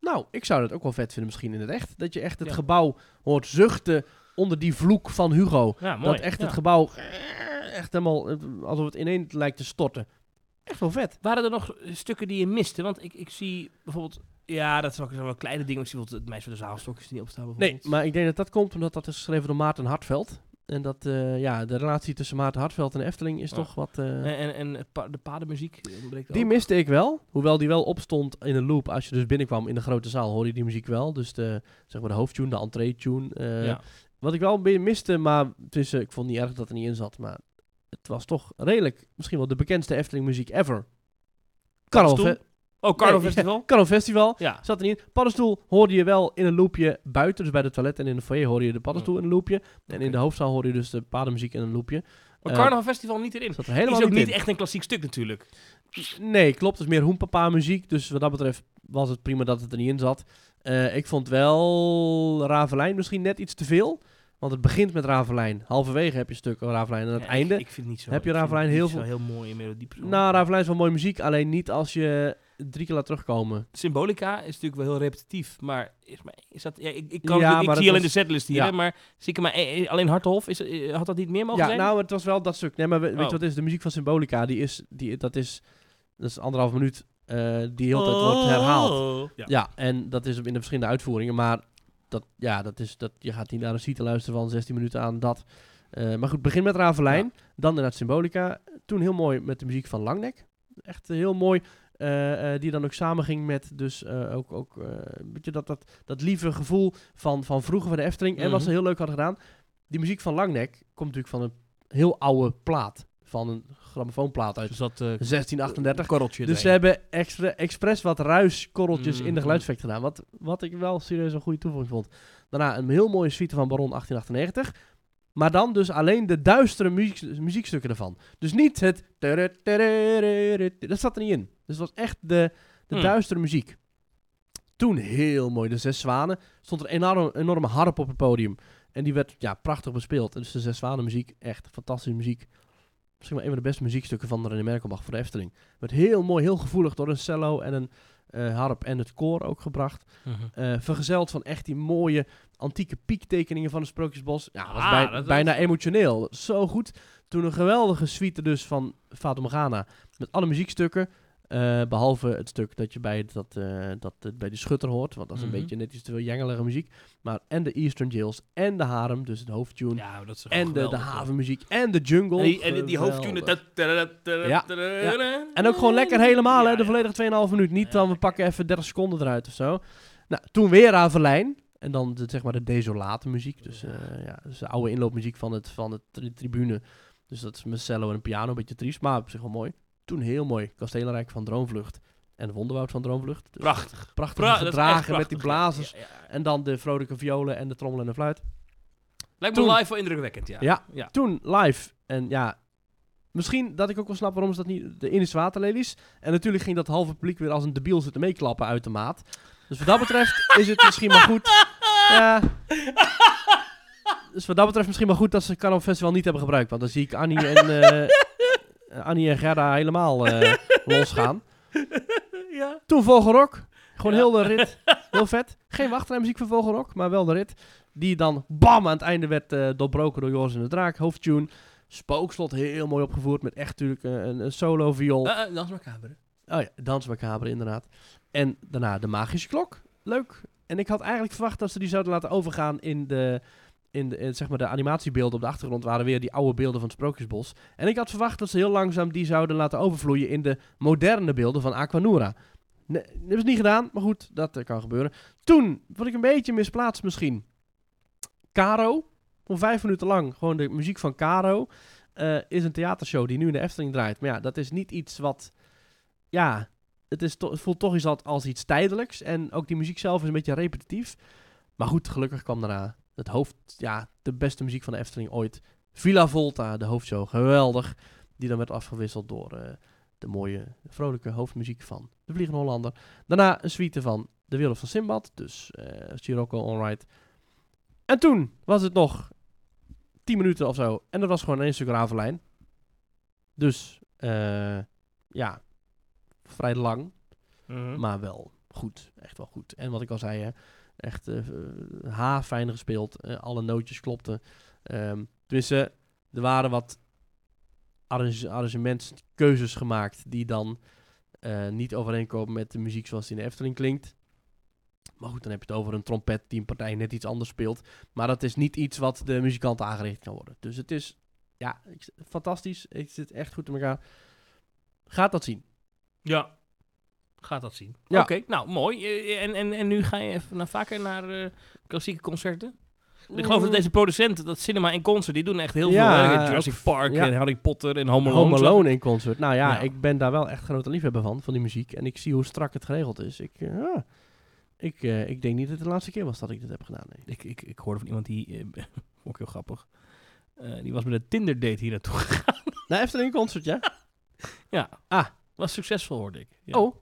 Speaker 1: Nou, ik zou dat ook wel vet vinden misschien in het echt. Dat je echt het
Speaker 2: Ja.
Speaker 1: gebouw hoort zuchten onder die vloek van Hugo.
Speaker 2: Ja, mooi.
Speaker 1: Dat echt
Speaker 2: Ja.
Speaker 1: het gebouw echt helemaal eh, alsof het ineen lijkt te storten. Echt wel vet.
Speaker 2: Waren er nog eh, stukken die je miste? Want ik, ik zie bijvoorbeeld... Ja, dat zijn ook wel kleine dingen. Ik zie bijvoorbeeld het meisje van de zaalstokjes die niet opstaan
Speaker 1: Nee,
Speaker 2: bijvoorbeeld.
Speaker 1: maar ik denk dat dat komt omdat dat is geschreven door Maarten Hartveld. En dat, eh, ja, de relatie tussen Maarten Hartveld en Efteling is
Speaker 2: Ja.
Speaker 1: toch wat... eh,
Speaker 2: En, en, en het pa- de padenmuziek eh, ontbreekt
Speaker 1: die
Speaker 2: ook.
Speaker 1: miste ik wel. Hoewel die wel opstond in een loop. Als je dus binnenkwam in de grote zaal, hoorde je die muziek wel. Dus de, zeg maar de hoofdtune, de entree-tune. eh,
Speaker 2: Ja.
Speaker 1: Wat ik wel een beetje miste, maar het is, eh, ik vond het niet erg dat het er niet in zat. Maar het was toch redelijk, misschien wel de bekendste Efteling-muziek ever. Carnaval,
Speaker 2: Paddenstoel?
Speaker 1: Fe-
Speaker 2: Oh, Carlo
Speaker 1: Nee,
Speaker 2: Festival?
Speaker 1: Carnaval Festival.
Speaker 2: Ja.
Speaker 1: Zat er niet in. Paddenstoel hoorde je wel in een loopje buiten. Dus bij de toilet en in de foyer hoorde je de
Speaker 2: Mm.
Speaker 1: paddenstoel in een loopje. En in de hoofdzaal hoorde je dus de padenmuziek in een loopje.
Speaker 2: Maar
Speaker 1: Eh,
Speaker 2: Carnaval Festival niet erin.
Speaker 1: Zat er helemaal
Speaker 2: is ook
Speaker 1: niet
Speaker 2: niet
Speaker 1: in.
Speaker 2: echt een klassiek stuk natuurlijk.
Speaker 1: Nee, klopt. Het is meer hoempapa muziek. Dus wat dat betreft was het prima dat het er niet in zat. Eh, ik vond wel Ravelijn misschien net iets te veel. Want het begint met Ravelijn. Halverwege heb je een stuk Ravelijn. En aan het
Speaker 2: Ja, ik-
Speaker 1: einde...
Speaker 2: Ik, vind het niet zo.
Speaker 1: heb je
Speaker 2: ik vind
Speaker 1: Ravelijn
Speaker 2: het
Speaker 1: heel
Speaker 2: niet zo heel mooie melodie. persoonlijk.
Speaker 1: Nou, Ravelijn is wel mooie muziek. Alleen niet als je drie keer laat terugkomen.
Speaker 2: Symbolica is natuurlijk wel heel repetitief, maar is, maar, is dat... Ja, ik, ik, kan,
Speaker 1: Ja,
Speaker 2: natuurlijk-
Speaker 1: maar
Speaker 2: ik
Speaker 1: dat
Speaker 2: zie alleen de
Speaker 1: was-
Speaker 2: setlist hier,
Speaker 1: ja.
Speaker 2: hè, maar zie ik er maar eh, eh, alleen Harthof, is, eh, had dat niet meer mogen
Speaker 1: ja,
Speaker 2: zijn?
Speaker 1: nou, het was wel dat stuk. Nee, maar we- weet
Speaker 2: Oh.
Speaker 1: je wat het is? De muziek van Symbolica, die is, die, dat, is, dat is anderhalf minuut eh, die heel de tijd wordt herhaald.
Speaker 2: Oh. Ja.
Speaker 1: Ja, en dat is in de verschillende uitvoeringen. Maar dat, ja, dat is, dat, je gaat niet naar een site luisteren van 16 minuten aan dat. Eh, maar goed, begin met Ravelijn. Dan inderdaad Symbolica. Toen heel mooi met de muziek van Langnek. Echt eh, heel mooi. eh, eh, die dan ook samenging met dus eh, ook, ook eh, een beetje dat, dat, dat lieve gevoel van, van vroeger van de Efteling. En wat ze
Speaker 2: Mhm.
Speaker 1: heel leuk hadden gedaan. Die muziek van Langnek komt natuurlijk van een heel oude plaat. Van een grammofoonplaat uit
Speaker 2: Dus dat eh
Speaker 1: 1638.
Speaker 2: korreltje
Speaker 1: Dus ze
Speaker 2: erin.
Speaker 1: hebben extra, expres wat ruiskorreltjes in
Speaker 2: Mhm.
Speaker 1: de geluidseffect gedaan. Wat, wat ik wel serieus een goede toevoeging vond. Daarna een heel mooie suite van Baron 1898. Maar dan dus alleen de duistere muziek, muziekstukken ervan. Dus niet het... Dat zat er niet in. Dus het was echt de, de
Speaker 2: Hmm.
Speaker 1: duistere muziek. Toen heel mooi, de Zes Zwanen. Stond er een enorme, enorme harp op het podium. En die werd ja, prachtig bespeeld. En Dus de Zes Zwanen muziek, echt fantastische muziek. Misschien wel een van de beste muziekstukken van René Merkelbach voor de Efteling. Werd heel mooi, heel gevoelig door een cello en een eh, harp en het koor ook gebracht.
Speaker 2: Mhm.
Speaker 1: Eh, vergezeld van echt die mooie antieke piektekeningen van het Sprookjesbos. Ja, dat was
Speaker 2: Ah,
Speaker 1: bij-
Speaker 2: dat- dat-
Speaker 1: bijna emotioneel. Zo goed. Toen een geweldige suite dus van Fata Morgana. Met alle muziekstukken. eh, behalve het stuk dat je bij, dat, eh, dat, eh, bij de schutter hoort. Want dat is een
Speaker 2: Mhm.
Speaker 1: beetje net iets te veel jengelige muziek. Maar en de Eastern Jails en de harem, dus de hoofdtune.
Speaker 2: Ja, maar dat is
Speaker 1: en de, de
Speaker 2: geweldig, hoor.
Speaker 1: havenmuziek en de jungle.
Speaker 2: En die, en die
Speaker 1: Geweldig.
Speaker 2: hoofdtune... ta- ta- ta- ta-
Speaker 1: Ja,
Speaker 2: ta-
Speaker 1: En ook gewoon lekker helemaal, hè?
Speaker 2: Ja,
Speaker 1: De
Speaker 2: ja.
Speaker 1: volledige 2,5 minuut. Niet
Speaker 2: Ja,
Speaker 1: dan we pakken even 30 seconden eruit of zo. Nou, toen weer Ravelijn. En dan de, zeg maar de desolate muziek. Dus, eh, ja, dus de oude inloopmuziek van, het, van de tri- tribune. Dus dat is met cello en piano. Een beetje triest, maar op zich wel mooi. Toen heel mooi. Kastelenrijk van Droomvlucht. En Wonderwoud van Droomvlucht. Dus
Speaker 2: Prachtig.
Speaker 1: Prachtig
Speaker 2: Pra- dat is echt
Speaker 1: gedragen met die
Speaker 2: prachtig, ja.
Speaker 1: blazers.
Speaker 2: Ja, ja.
Speaker 1: En dan de vrolijke violen en de trommel en de fluit.
Speaker 2: Lijkt me
Speaker 1: Toen-
Speaker 2: live wel indrukwekkend, ja.
Speaker 1: Ja.
Speaker 2: ja.
Speaker 1: Toen live. En ja, misschien dat ik ook wel snap waarom ze dat niet... De Indische waterlelies. En natuurlijk ging dat halve publiek weer als een debiel zitten meeklappen uit de maat. Dus wat dat betreft is het misschien maar goed... Ja. Dus wat dat betreft misschien maar goed dat ze Carnaval Festival niet hebben gebruikt. Want dan zie ik Annie en, eh, Annie en Gerda helemaal eh, losgaan.
Speaker 2: Ja.
Speaker 1: Toen Vogelrok. Gewoon
Speaker 2: Ja.
Speaker 1: heel de rit. Heel vet. Geen wachtrijmuziek van Vogelrok, maar wel de rit. Die dan bam aan het einde werd eh doorbroken door Joris en de Draak. Hoofdtune. Spookslot heel mooi opgevoerd met echt natuurlijk eh, een, een solo viool.
Speaker 2: Eh, eh, Dans maar kamer.
Speaker 1: Oh ja, Dans Macabre inderdaad. En daarna de Magische Klok. Leuk. En ik had eigenlijk verwacht dat ze die zouden laten overgaan in de... In de, in, zeg maar de animatiebeelden op de achtergrond waren weer die oude beelden van het Sprookjesbos. En ik had verwacht dat ze heel langzaam die zouden laten overvloeien in de moderne beelden van Aquanura. Nee, dat hebben ze niet gedaan, maar goed, dat eh, kan gebeuren. Toen, vond ik een beetje misplaatst misschien, Caro. Om vijf minuten lang, gewoon de muziek van Caro. eh, is een theatershow die nu in de Efteling draait. Maar ja, dat is niet iets wat... Ja, het, is to- het voelt toch iets als, als iets tijdelijks. En ook die muziek zelf is een beetje repetitief. Maar goed, gelukkig kwam daarna Het hoofd, ja, de beste muziek van de Efteling ooit. Villa Volta, de hoofdshow. Geweldig. Die dan werd afgewisseld door eh, de mooie, vrolijke hoofdmuziek van De Vliegende Hollander. Daarna een suite van De Wereld van Simbad. Dus eh Sirocco Onright. En toen was het nog 10 minuten of zo. En dat was gewoon één stuk Ravelijn. Dus eh, ja, vrij lang.
Speaker 2: Maar
Speaker 1: Maar wel goed. Echt wel goed. En wat ik al zei, hè, echt eh ha, fijn gespeeld. Eh, alle nootjes klopten. Ehm tenminste, er waren wat arrange- arrangementskeuzes gemaakt die dan eh, niet overeenkomen met de muziek zoals die in de Efteling klinkt. Maar goed, dan heb je het over een trompet die een partij net iets anders speelt. Maar dat is niet iets wat de muzikant aangericht kan worden. Dus het is, ja, ik- fantastisch. Het zit echt goed in elkaar. Gaat dat zien.
Speaker 2: ja, gaat dat zien.
Speaker 1: Ja.
Speaker 2: Oké, nou mooi. Eh, En, en, en nu ga je even naar, vaker naar eh, klassieke concerten. Ik geloof dat
Speaker 1: Mm.
Speaker 2: deze producenten, dat Cinema en Concert, die doen echt heel
Speaker 1: Ja,
Speaker 2: veel. Hè? Jurassic
Speaker 1: ook-
Speaker 2: Park
Speaker 1: ja.
Speaker 2: en Harry Potter en Home Alone.
Speaker 1: Home Alone in concert. Nou ja,
Speaker 2: Ja.
Speaker 1: ik ben daar wel echt grote liefhebber van, van die muziek. En ik zie hoe strak het geregeld is. Ik, eh, ah. ik, eh, ik denk niet dat het de laatste keer was dat ik dit heb gedaan. nee.
Speaker 2: Ik, ik, ik hoorde van iemand die, eh, vond ik heel grappig, Eh, die was met een Tinder date hier naartoe gegaan.
Speaker 1: Nou, Efteling concert, ja?
Speaker 2: Ja.
Speaker 1: Ah.
Speaker 2: Was succesvol, hoorde ik. Ja.
Speaker 1: Oh,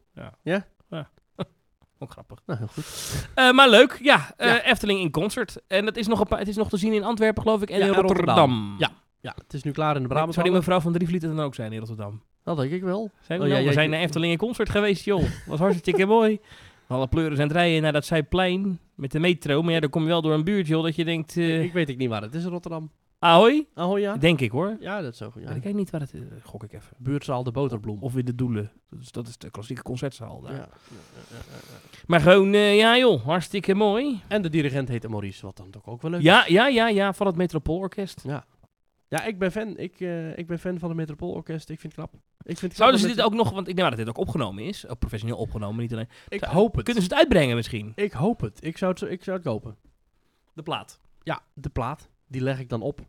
Speaker 2: Ook grappig.
Speaker 1: nou heel goed.
Speaker 2: Eh, maar leuk, ja. eh,
Speaker 1: Ja.
Speaker 2: Efteling in concert. En dat is nog een paar, het is nog te zien in Antwerpen, geloof ik, en
Speaker 1: Ja,
Speaker 2: in
Speaker 1: en
Speaker 2: Rotterdam.
Speaker 1: Rotterdam. Ja, het is nu klaar in de Brabant.
Speaker 2: Zou die mevrouw van Drievliet er dan ook zijn in Rotterdam?
Speaker 1: Dat denk ik wel.
Speaker 2: Zijn we,
Speaker 1: Oh, ja,
Speaker 2: nou? we
Speaker 1: ja,
Speaker 2: zijn
Speaker 1: ik-
Speaker 2: naar Efteling in concert geweest, joh. Was hartstikke mooi. Alle pleuren zijn het rijden naar dat zijplein met de metro. Maar ja, dan kom je wel door een buurt, joh, dat je denkt... eh
Speaker 1: Ik weet ik niet waar het is in Rotterdam.
Speaker 2: Ahoy?
Speaker 1: Ahoy, ja?
Speaker 2: Denk ik, hoor.
Speaker 1: Ja, dat is zo. Ja.
Speaker 2: Maar ik weet niet waar het... eh, gok ik even.
Speaker 1: Buurtzaal de Boterbloem.
Speaker 2: Of weer de Doelen. Dat is, dat is de klassieke concertzaal
Speaker 1: Ja.
Speaker 2: daar.
Speaker 1: Ja.
Speaker 2: Maar gewoon, eh, ja joh, hartstikke mooi.
Speaker 1: En de dirigent heette Maurice, wat dan toch ook wel leuk
Speaker 2: Ja, ja, ja, ja, van het Metropoolorkest.
Speaker 1: Ja, ik ben fan. Ik, eh, ik ben fan van het Metropoolorkest. Ik vind het knap. Ik vind het knap
Speaker 2: Zouden ze
Speaker 1: dat
Speaker 2: dit ook nog, want ik denk maar dat dit ook opgenomen is, ook professioneel opgenomen, niet alleen.
Speaker 1: mensen- Ik hoop het.
Speaker 2: Kunnen ze het uitbrengen misschien?
Speaker 1: Ik hoop het. Ik zou het, zo- ik zou het kopen.
Speaker 2: De plaat.
Speaker 1: Ja, de plaat. Die leg ik dan op.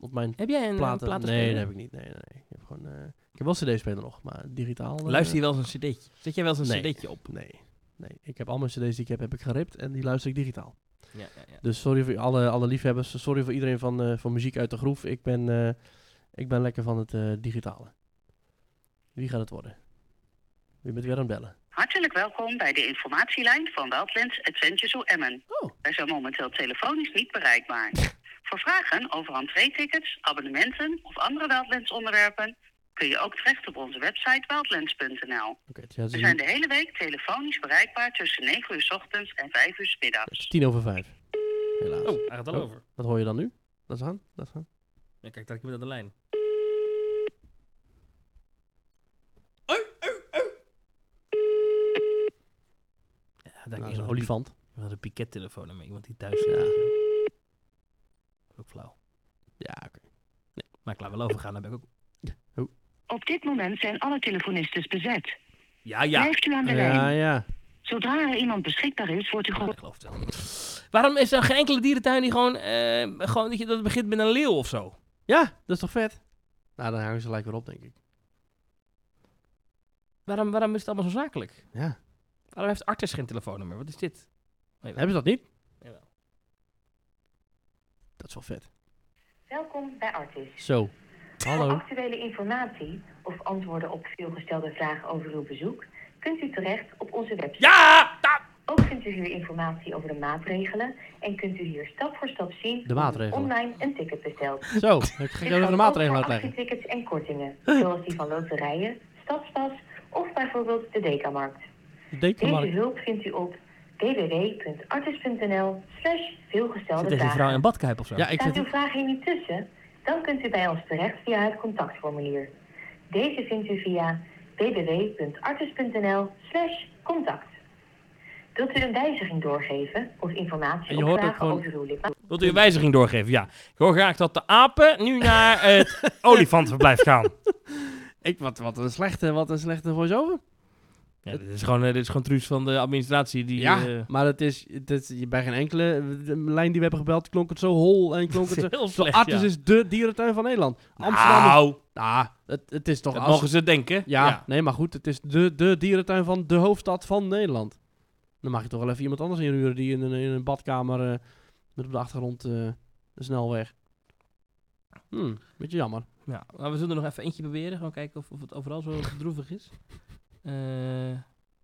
Speaker 1: Op mijn
Speaker 2: Heb jij een plaat?
Speaker 1: platen. nee, dat heb ik niet. Nee, nee, nee. Ik heb gewoon... eh, ik heb wel cd-speler nog, maar digitaal... eh,
Speaker 2: Luister je wel eens een cd'tje? Zet jij wel eens een
Speaker 1: Nee.
Speaker 2: cd'tje op?
Speaker 1: Nee. Nee. Ik heb al mijn cd's die ik heb, heb ik geript en die luister ik digitaal.
Speaker 2: Ja, ja, ja.
Speaker 1: Dus sorry voor alle, alle liefhebbers. Sorry voor iedereen van, eh, van muziek uit de groef. Ik ben, eh, ik ben lekker van het eh, digitale. Wie gaat het worden? Wie bent weer aan het bellen?
Speaker 3: Hartelijk welkom bij de informatielijn van Wildlands Adventure Zoo Emmen.
Speaker 1: Oh.
Speaker 3: Wij zijn momenteel telefonisch niet bereikbaar. Voor vragen over entreetickets, abonnementen of andere Wildlands onderwerpen... kun je ook terecht op onze website wildlands.nl.
Speaker 1: Oké, het is-
Speaker 3: We zijn de hele week telefonisch bereikbaar tussen 9 uur 's ochtends en 5 uur 's
Speaker 1: het is
Speaker 3: middags.
Speaker 1: tien over vijf. Helaas.
Speaker 2: Oh, hij gaat al
Speaker 1: Oh.
Speaker 2: over.
Speaker 1: Wat hoor je dan nu? Dat is aan. Dat is aan.
Speaker 2: Ja, kijk, daar heb ik met aan de lijn. Oh, Ja, daar
Speaker 1: Nou,
Speaker 2: is
Speaker 1: dat is een
Speaker 2: een
Speaker 1: olifant.
Speaker 2: We hadden een piquettelefoon aan met iemand die thuis
Speaker 1: Ja.
Speaker 2: zit. Ook flauw.
Speaker 1: Ja, oké.
Speaker 2: Maar ik laat wel overgaan, dan ben ik ook...
Speaker 3: Op dit moment zijn alle telefonistes bezet.
Speaker 2: Ja, ja.
Speaker 3: Blijft u aan de
Speaker 1: Ja,
Speaker 3: lijn.
Speaker 1: ja.
Speaker 3: Zodra er iemand beschikbaar is, wordt u
Speaker 2: Ik
Speaker 3: gehoord.
Speaker 2: Oh, geloof het wel. Waarom is er geen enkele dierentuin die gewoon, eh, gewoon dat, je, dat het begint met een leeuw of zo?
Speaker 1: Ja, dat is toch vet? Nou, dan hangen ze gelijk weer op, denk ik.
Speaker 2: Waarom, waarom is het allemaal zo zakelijk?
Speaker 1: Ja.
Speaker 2: Waarom heeft Artis geen telefoonnummer? Wat is dit?
Speaker 1: Hebben ze dat niet?
Speaker 2: Jawel.
Speaker 1: Dat is wel vet.
Speaker 7: Welkom bij Artis.
Speaker 1: Zo.
Speaker 7: Voor
Speaker 1: Hallo.
Speaker 7: actuele informatie of antwoorden op veelgestelde vragen over uw bezoek, kunt u terecht op onze website.
Speaker 2: Ja! da-
Speaker 7: Ook vindt u hier informatie over de maatregelen en kunt u hier stap voor stap zien
Speaker 1: De
Speaker 7: hoe u
Speaker 1: maatregelen.
Speaker 7: online een ticket bestelt.
Speaker 1: Zo, ik ga
Speaker 7: Dit
Speaker 1: even de
Speaker 7: geldt
Speaker 1: maatregelen
Speaker 7: ook voor
Speaker 1: uitleggen.
Speaker 7: actietickets en kortingen, zoals die van loterijen, stadspas of bijvoorbeeld de Dekamarkt. Deze
Speaker 1: Dekenmarkt.
Speaker 7: hulp vindt u op www.artis.nl slash
Speaker 2: Zit
Speaker 7: veelgestelde
Speaker 2: deze vrouw in een
Speaker 7: vragen.
Speaker 2: badkuip of zo?
Speaker 1: Ja, ik
Speaker 7: Staat uw
Speaker 1: zit...
Speaker 7: vraag hier niet tussen? Dan kunt u bij ons terecht via het contactformulier. Deze vindt u via www.artis.nl slash contact. Wilt u een wijziging doorgeven of
Speaker 1: En
Speaker 7: informatie
Speaker 1: je
Speaker 7: of
Speaker 1: hoort
Speaker 7: vragen
Speaker 1: ook gewoon-
Speaker 7: over uw lidmaat?
Speaker 2: Wilt u een wijziging doorgeven? Ja. Ik hoor graag dat de apen nu naar het olifantenverblijf gaan.
Speaker 1: Ik, wat, wat een slechte, wat een slechte voice-over.
Speaker 2: Ja, dit, is gewoon, eh, dit is gewoon truus van de administratie die... eh,
Speaker 1: Maar het is, het is, bij geen enkele eh, de lijn die we hebben gebeld klonk het zo hol en klonk het zo...
Speaker 2: heel slecht,
Speaker 1: Artis
Speaker 2: ja.
Speaker 1: is dé dierentuin van Nederland. Amsterdam is...
Speaker 2: Nou,
Speaker 1: Ah, het, het is toch...
Speaker 2: dat
Speaker 1: als-
Speaker 2: mogen ze denken.
Speaker 1: ja, nee, maar goed, het is de, de dierentuin van de hoofdstad van Nederland. Dan mag je toch wel even iemand anders inhuren die in een, in een badkamer eh, Met op de achtergrond eh, de snelweg. Hmm, beetje jammer.
Speaker 2: Ja, maar we zullen er nog even eentje proberen. Gewoon kijken of, of het overal zo droevig is. Eh,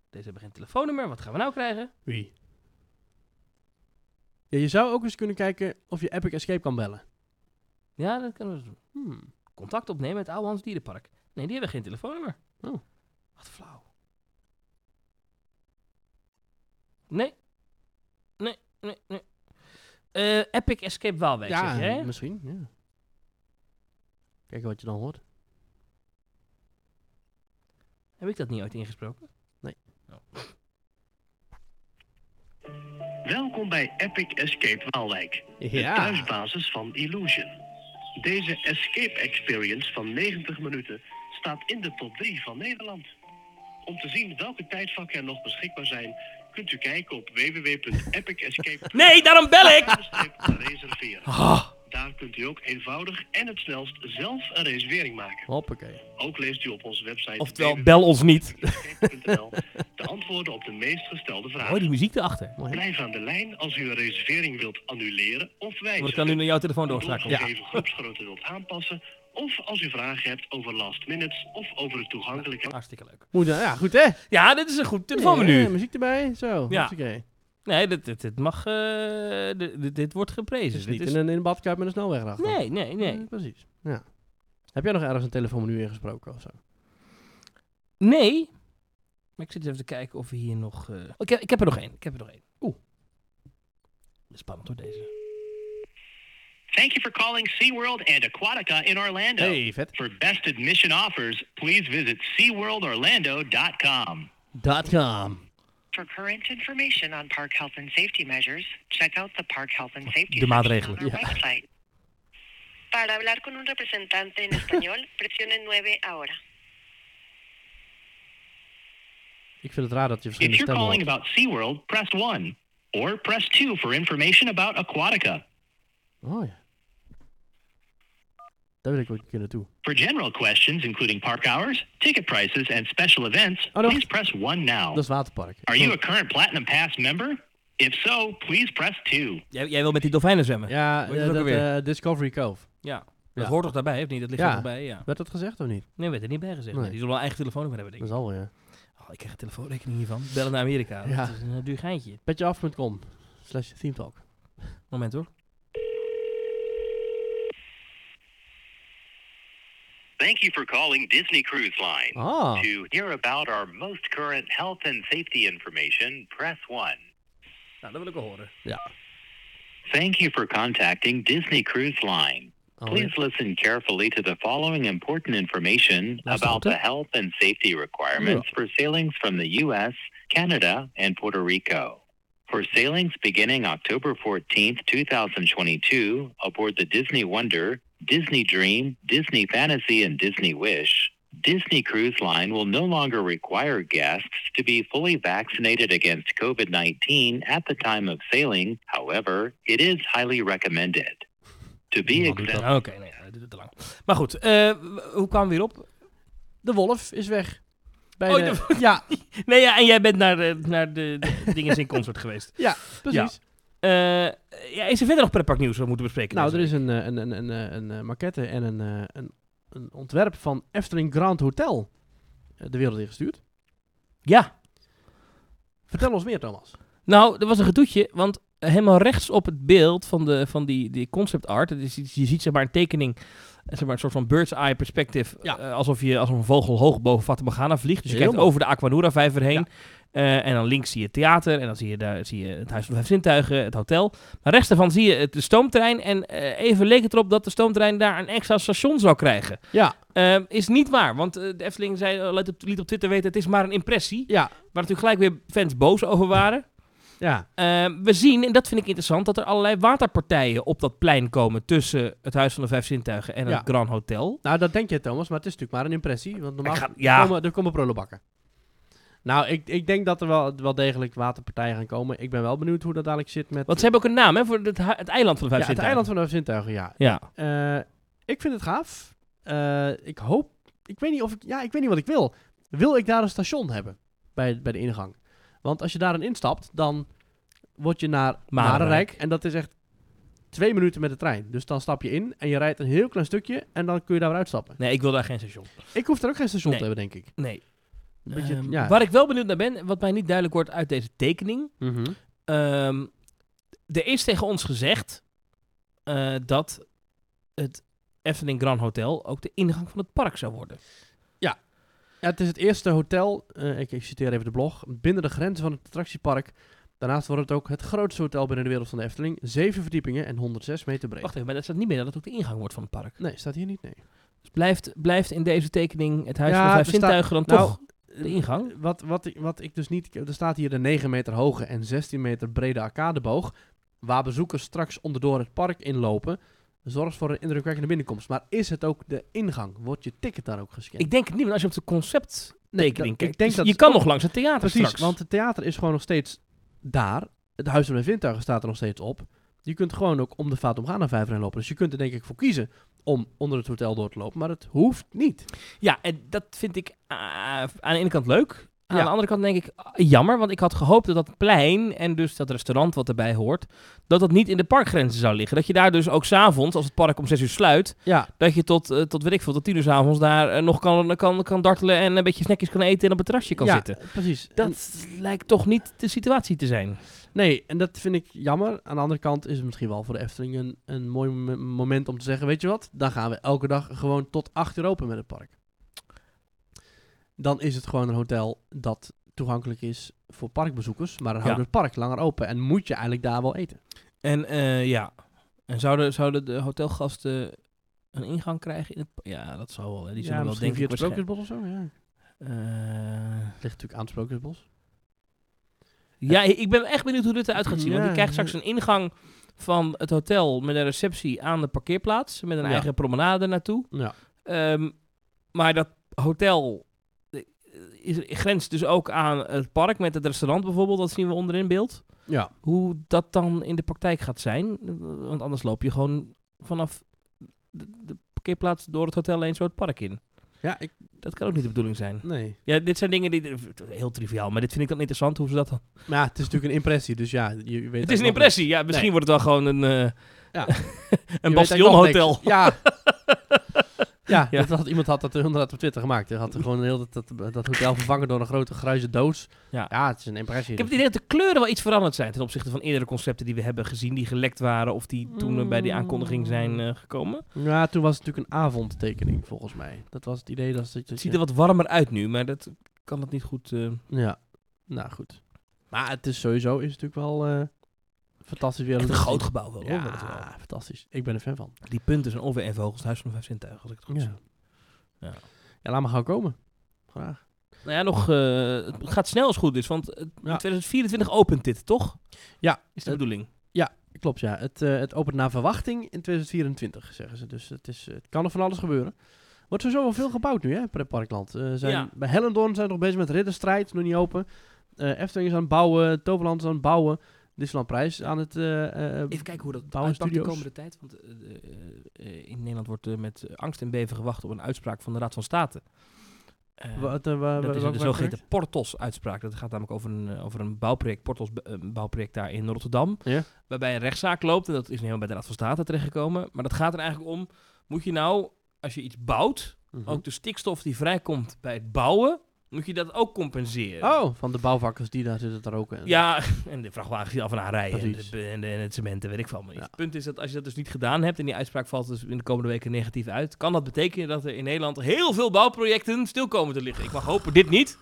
Speaker 2: deze hebben geen telefoonnummer. Wat gaan we nou krijgen?
Speaker 1: Wie? Ja, je zou ook eens kunnen kijken of je Epic Escape kan bellen.
Speaker 2: Ja, dat kunnen we doen.
Speaker 1: Hmm.
Speaker 2: Contact opnemen met Oude Hans Dierenpark. Nee, die hebben geen telefoonnummer.
Speaker 1: Oh.
Speaker 2: Wat flauw. Nee. Nee, nee, nee. Eh, Epic Escape Waalwijk,
Speaker 1: ja,
Speaker 2: zeg jij?
Speaker 1: misschien. Ja. Kijken wat je dan hoort.
Speaker 2: Heb ik dat niet ooit ingesproken?
Speaker 4: Welkom bij Epic Escape Waalwijk, de
Speaker 5: Ah.
Speaker 4: thuisbasis van Illusion. Deze escape experience van 90 minuten staat in de top 3 van Nederland. Om te zien welke tijdvakken er nog beschikbaar zijn, kunt u kijken op www.epicescape.nl.
Speaker 2: Nee, daarom bel ik! Oh.
Speaker 4: reserveren.
Speaker 2: Ah,
Speaker 4: Daar kunt u ook eenvoudig en het snelst zelf een reservering maken.
Speaker 1: Hoppakee.
Speaker 4: Ook leest u op onze website
Speaker 2: Oftewel, bel ons niet.
Speaker 4: www.escape.nl de antwoorden op de meest gestelde
Speaker 1: Nou.
Speaker 2: Hoor
Speaker 4: vragen.
Speaker 2: die muziek erachter. Mooi.
Speaker 4: Blijf aan de lijn als u een reservering wilt annuleren of wijzigen.
Speaker 2: Ik kan nu naar jouw telefoon doorschakelen.
Speaker 4: doorgegeven groepsgrootte wilt aanpassen. Of als u vragen hebt over last minutes of over de toegankelijkheid.
Speaker 2: Hartstikke leuk.
Speaker 1: Moet dan- ja, goed hè?
Speaker 2: Ja, dit is een goed
Speaker 1: Ja,
Speaker 2: telefoonmenu.
Speaker 1: muziek erbij, zo.
Speaker 2: Ja.
Speaker 1: Hoppakee.
Speaker 2: Nee, dit, dit, dit mag... eh, dit, dit- dit wordt geprezen.
Speaker 1: Het is Dus niet
Speaker 2: Dit is-
Speaker 1: in een, in een badkuip met een snelweg erachter.
Speaker 2: Nee, nee, nee.
Speaker 1: Eh, precies. Ja. Heb jij nog ergens een telefoonmenu ingesproken of zo?
Speaker 2: Nee. Maar ik zit even te kijken of we hier nog... eh, oh, ik, heb, ik heb er nog één. Ik heb er nog één. Oeh. Spannend hoor, deze.
Speaker 4: Thank you for calling SeaWorld and Aquatica in Orlando.
Speaker 1: vet.
Speaker 4: For best admission offers, please visit SeaWorldOrlando.com.
Speaker 1: .com.
Speaker 3: For current information on park health and safety measures, check out the park health and safety
Speaker 2: De
Speaker 3: section
Speaker 2: maatregelen,
Speaker 3: on our
Speaker 2: ja.
Speaker 3: website. Para hablar con un representante en español, presione 9 ahora.
Speaker 1: Ik vind het raar dat je
Speaker 4: If
Speaker 1: verschillende
Speaker 4: you're
Speaker 1: stemmen
Speaker 4: calling
Speaker 1: hoort.
Speaker 4: about SeaWorld, press 1. Or press 2 for information about Aquatica.
Speaker 1: Oh ja. Daar wil ik ook een keer naartoe.
Speaker 4: For general questions, including park hours, ticket prices, and special events,
Speaker 1: Oh, no.
Speaker 4: please press 1 now.
Speaker 1: Dat is waterpark.
Speaker 4: Are you a current Platinum Pass member? If so, please press 2.
Speaker 2: Jij, jij wil met die dolfijnen zwemmen?
Speaker 1: Ja,
Speaker 2: Hoe heet
Speaker 1: eh,
Speaker 2: dat ook
Speaker 1: dat,
Speaker 2: alweer?
Speaker 1: eh, Discovery Cove.
Speaker 2: Ja. Dat
Speaker 1: Ja.
Speaker 2: hoort toch daarbij, of niet? Dat ligt
Speaker 1: Ja.
Speaker 2: er toch bij, ja.
Speaker 1: Werd dat gezegd of niet?
Speaker 2: Nee, werd er niet bij gezegd.
Speaker 1: Nee.
Speaker 2: Nee, Die zullen wel een eigen telefoonnummer hebben, denk
Speaker 1: Dat
Speaker 2: ik.
Speaker 1: zal wel, ja.
Speaker 2: Oh, ik krijg een telefoonrekening hiervan. Bellen naar Amerika.
Speaker 1: Ja.
Speaker 2: Dat is een eh, duur geintje.
Speaker 1: Petjeaf.com slash themetalk.
Speaker 2: Moment hoor.
Speaker 4: Thank you for calling Disney Cruise Line.
Speaker 1: Ah,
Speaker 4: To hear about our most current health and safety information, press 1.
Speaker 2: Nou, dat wil ik wel horen.
Speaker 1: ja.
Speaker 4: Thank you for contacting Disney Cruise Line. Please
Speaker 1: Alweer.
Speaker 4: listen carefully to the following important information
Speaker 1: That's
Speaker 4: about
Speaker 1: all.
Speaker 4: the health and safety requirements for sailings from the U.S., Canada, and Puerto Rico. For sailings beginning October 14th, 2022, aboard the Disney Wonder, Disney Dream, Disney Fantasy, and Disney Wish, Disney Cruise Line will no longer require guests to be fully vaccinated against COVID 19 at the time of sailing. However, it is highly recommended. To be
Speaker 2: Niemand doet
Speaker 4: exempt
Speaker 2: dat. Ah, Oké, nee, dat duurt te lang. Maar goed, eh, w- hoe kwamen we hierop?
Speaker 1: De wolf is weg. Bij
Speaker 2: Oh,
Speaker 1: de... Ja,
Speaker 2: Nee, ja, en jij bent naar, de- naar de, de dingen in concert geweest.
Speaker 1: ja, precies.
Speaker 2: Eh, ja, is er verder nog pretpark nieuws wat we moeten bespreken?
Speaker 1: Nou,
Speaker 2: deze
Speaker 1: er is een, eh, een, een, een, eh, een eh, maquette en een, eh, een, een ontwerp van Efteling Grand Hotel eh, de wereld ingestuurd.
Speaker 2: week? Ja,
Speaker 1: Vertel ons meer, Thomas.
Speaker 2: nou, er was een gedoetje, want helemaal rechts op het beeld van, de, van die, die concept art, het is iets- je ziet zeg maar een tekening, eh, zeg maar een soort van bird's eye perspectief,
Speaker 1: Ja.
Speaker 2: eh, alsof je als een vogel hoog boven Fatima vliegt. Dus je
Speaker 1: Heel
Speaker 2: kijkt
Speaker 1: mooi.
Speaker 2: over de Aquanura vijver heen. Eh, en dan links zie je het theater en dan zie je, daar, zie je het Huis van de Vijf Zintuigen, het hotel. Maar rechts daarvan zie je het, de stoomtrein. En eh, even leek het erop dat de stoomtrein daar een extra station zou krijgen.
Speaker 1: Ja,
Speaker 2: Ehm, is niet waar, want eh, de Efteling zei, eh, liet, op, liet op Twitter weten, het is maar een impressie.
Speaker 1: ja,
Speaker 2: Waar natuurlijk gelijk weer fans boos over waren.
Speaker 1: ja.
Speaker 2: Ehm, we zien, en dat vind ik interessant, dat er allerlei waterpartijen op dat plein komen tussen het Huis van de Vijf Zintuigen en
Speaker 1: Ja.
Speaker 2: het Grand Hotel.
Speaker 1: Nou, dat denk je, Thomas, maar het is natuurlijk maar een impressie. Want normaal
Speaker 2: Ik ga- ja.
Speaker 1: komen, er komen prullenbakken. Nou, ik, ik denk dat er wel, wel degelijk waterpartijen gaan komen. Ik ben wel benieuwd hoe dat dadelijk zit met
Speaker 2: Want ze hebben ook een naam, hè, voor het, hu- het eiland van de Vijf
Speaker 1: ja, het
Speaker 2: Zintuigen.
Speaker 1: eiland van de zintuigen, ja.
Speaker 2: Ja,
Speaker 1: Eh, ik vind het gaaf. Eh, ik hoop. Ik weet niet of ik. Ja, ik weet niet wat ik wil. Wil ik daar een station hebben bij, bij de ingang? Want als je daarin instapt, dan word je naar
Speaker 2: Marenrijk.
Speaker 1: Marenrijk. En dat is echt twee minuten met de trein. Dus dan stap je in en je rijdt een heel klein stukje en dan kun je daar weer uitstappen.
Speaker 2: Nee, ik wil daar geen station.
Speaker 1: Ik hoef er ook geen station
Speaker 2: Nee.
Speaker 1: te hebben, denk ik.
Speaker 2: Nee.
Speaker 1: Een beetje,
Speaker 2: Ehm,
Speaker 1: ja.
Speaker 2: Waar ik wel benieuwd naar ben, wat mij niet duidelijk wordt uit deze tekening.
Speaker 1: Mhm.
Speaker 2: ehm, er is tegen ons gezegd eh, dat het Efteling Grand Hotel ook de ingang van het park zou worden.
Speaker 1: Ja, het is het eerste hotel, eh, ik, ik citeer even de blog, binnen de grenzen van het attractiepark. Daarnaast wordt het ook het grootste hotel binnen de wereld van de Efteling. Zeven verdiepingen en 106 meter breed.
Speaker 2: Wacht even, maar dat staat niet meer dat het ook de ingang wordt van het park.
Speaker 1: Nee, staat hier niet, nee.
Speaker 2: Dus blijft, blijft in deze tekening het huis
Speaker 1: Ja,
Speaker 2: van vijf
Speaker 1: er staat-
Speaker 2: zintuigen dan
Speaker 1: nou,
Speaker 2: toch de ingang?
Speaker 1: Wat, wat, ik- wat ik dus niet... Er staat hier de 9 meter hoge en 16 meter brede arcadeboog... waar bezoekers straks onderdoor het park inlopen... zorgt voor een indrukwekkende binnenkomst. Maar is het ook de ingang? Wordt je ticket daar ook gescand?
Speaker 2: Ik denk het niet, want als je op de concepttekening
Speaker 1: Nee, dat-
Speaker 2: kijkt,
Speaker 1: ik denk
Speaker 2: dus
Speaker 1: dat
Speaker 2: je
Speaker 1: het
Speaker 2: kan
Speaker 1: ook-
Speaker 2: nog langs het theater
Speaker 1: Precies,
Speaker 2: straks.
Speaker 1: want het theater is gewoon nog steeds daar. Het Huis van de Vintuigen staat er nog steeds op. Je kunt gewoon ook om de Vaat omgaan naar Vijver heen lopen. Dus je kunt er denk ik voor kiezen om onder het hotel door te lopen. Maar het hoeft niet.
Speaker 2: Ja, en dat vind ik ah, aan de ene kant leuk. Aan
Speaker 1: Ja.
Speaker 2: de andere kant denk ik ah, jammer, want ik had gehoopt dat dat plein en dus dat restaurant wat erbij hoort, dat dat niet in de parkgrenzen zou liggen. Dat je daar dus ook s'avonds, als het park om 6 uur sluit,
Speaker 1: Ja,
Speaker 2: dat je tot, eh, tot weet ik veel, tot 10 uur s'avonds daar eh, nog kan, kan, kan dartelen en een beetje snackjes kan eten en op het terrasje kan
Speaker 1: ja,
Speaker 2: zitten.
Speaker 1: precies. En-
Speaker 2: Dat lijkt toch niet de situatie te zijn.
Speaker 1: nee, en dat vind ik jammer. Aan de andere kant is het misschien wel voor de Efteling een, een mooi mom- moment om te zeggen... weet je wat, dan gaan we elke dag gewoon tot 8 uur open met het park. Dan is het gewoon een hotel dat toegankelijk is voor parkbezoekers. Maar dan houdt
Speaker 2: Ja.
Speaker 1: het park langer open en moet je eigenlijk daar wel eten.
Speaker 2: En eh, ja, en zouden, zouden de hotelgasten een ingang krijgen in het... pa- Ja, dat zou wel. hè. Die zullen wel
Speaker 1: misschien
Speaker 2: denken...
Speaker 1: via het Sprookjesbos of zo, ja.
Speaker 2: waarschijn-
Speaker 1: Ligt natuurlijk aan het Sprookjesbos.
Speaker 2: Eh, ja, ik ben echt benieuwd hoe dit eruit gaat zien. Want
Speaker 1: Ja.
Speaker 2: je krijgt straks een ingang van het hotel met een receptie aan de parkeerplaats. Met een
Speaker 1: Ja.
Speaker 2: eigen promenade naartoe.
Speaker 1: Ja.
Speaker 2: Ehm, maar dat hotel eh, is, grenst dus ook aan het park met het restaurant bijvoorbeeld. Dat zien we onderin beeld.
Speaker 1: Ja.
Speaker 2: hoe dat dan in de praktijk gaat zijn. Want anders loop je gewoon vanaf de, de parkeerplaats door het hotel heen zo het park in.
Speaker 1: Ja, ik...
Speaker 2: Dat kan ook niet de bedoeling zijn.
Speaker 1: Nee.
Speaker 2: Ja, dit zijn dingen die... Heel triviaal, maar dit vind ik dan interessant hoe ze dat... dan-
Speaker 1: Maar ja, het is natuurlijk een impressie, dus ja, je weet...
Speaker 2: Het
Speaker 1: ook
Speaker 2: is een
Speaker 1: nog
Speaker 2: impressie. Ja, misschien wordt het wel gewoon een, eh
Speaker 1: Ja.
Speaker 2: een
Speaker 1: niks. Je weet eigenlijk nog
Speaker 2: bastionhotel.
Speaker 1: niks. Ja. ja,
Speaker 2: Ja.
Speaker 1: Dat had, iemand had dat inderdaad op Twitter gemaakt. Hij had gewoon heel dat, dat, dat hotel vervangen door een grote gruize doos.
Speaker 2: Ja.
Speaker 1: het is een impressie.
Speaker 2: Ik heb het
Speaker 1: dus-
Speaker 2: idee dat de kleuren wel iets veranderd zijn ten opzichte van eerdere concepten die we hebben gezien, die gelekt waren of die toen eh, bij die aankondiging zijn eh, gekomen.
Speaker 1: Ja, toen was het natuurlijk een avondtekening, volgens mij. Dat was het idee. Dat, dat,
Speaker 2: Het
Speaker 1: dat
Speaker 2: ziet
Speaker 1: je-
Speaker 2: er wat warmer uit nu, maar dat kan dat niet goed... eh,
Speaker 1: Ja. Nou, goed. Maar het is sowieso is het natuurlijk wel eh, fantastisch weer. om
Speaker 2: echt een
Speaker 1: te
Speaker 2: groot
Speaker 1: zien.
Speaker 2: gebouw wel, hoor, wordt het wel.
Speaker 1: Ja, fantastisch. Ik ben er fan van.
Speaker 2: Die punten zijn over en vogels, huis van de vijf zintuigen, als ik het goed zie.
Speaker 1: Ja.
Speaker 2: Ja.
Speaker 1: ja, laat maar gaan komen. Graag.
Speaker 2: Nou ja, nog, eh, het gaat snel als het goed is, want eh, in
Speaker 1: Ja.
Speaker 2: 2024 opent dit, toch?
Speaker 1: Ja.
Speaker 2: Is de
Speaker 1: Het-
Speaker 2: bedoeling.
Speaker 1: Klopt, ja. Het, eh, het opent naar verwachting in 2024, zeggen ze. Dus het, is, eh, het kan er van alles gebeuren. Wordt sowieso wel veel gebouwd nu, hè, per parkland. Eh, zijn,
Speaker 2: Ja.
Speaker 1: Bij Hellendoorn zijn we nog bezig met Ridderstrijd, nog niet open. Eh Efteling is aan het bouwen, Toverland is aan het bouwen. Disneyland Prijs aan het... eh, eh,
Speaker 2: Even kijken hoe dat
Speaker 1: Bouwen
Speaker 2: uitpakt de
Speaker 1: studio's.
Speaker 2: komende tijd. Want eh, eh, eh, in Nederland wordt eh, met eh, angst en beven gewacht op een uitspraak van de Raad van State. Eh,
Speaker 1: wat, eh, wa-
Speaker 2: dat is
Speaker 1: wa- welk
Speaker 2: de
Speaker 1: werkproject?
Speaker 2: zogeheten Portos-uitspraak. Dat gaat namelijk over een, eh, over een bouwproject, Portos eh, een bouwproject daar in Rotterdam.
Speaker 1: Ja.
Speaker 2: Waarbij een rechtszaak loopt. En dat is niet helemaal bij de Raad van State terechtgekomen. Maar dat gaat er eigenlijk om, moet je nou, als je iets bouwt,
Speaker 1: Mhm.
Speaker 2: ook de stikstof die vrijkomt bij het bouwen, moet je dat ook compenseren.
Speaker 1: Oh, van de bouwvakkers die daar zitten te roken.
Speaker 2: Ja, en de vrachtwagens die af en aan rijden. En,
Speaker 1: Precies.
Speaker 2: de- en, de- en het cement, en weet ik van. Maar
Speaker 1: Ja.
Speaker 2: Het punt is dat als je dat dus niet gedaan hebt en die uitspraak valt dus in de komende weken negatief uit, kan dat betekenen dat er in Nederland heel veel bouwprojecten stil komen te liggen. Ik mag hopen dit niet.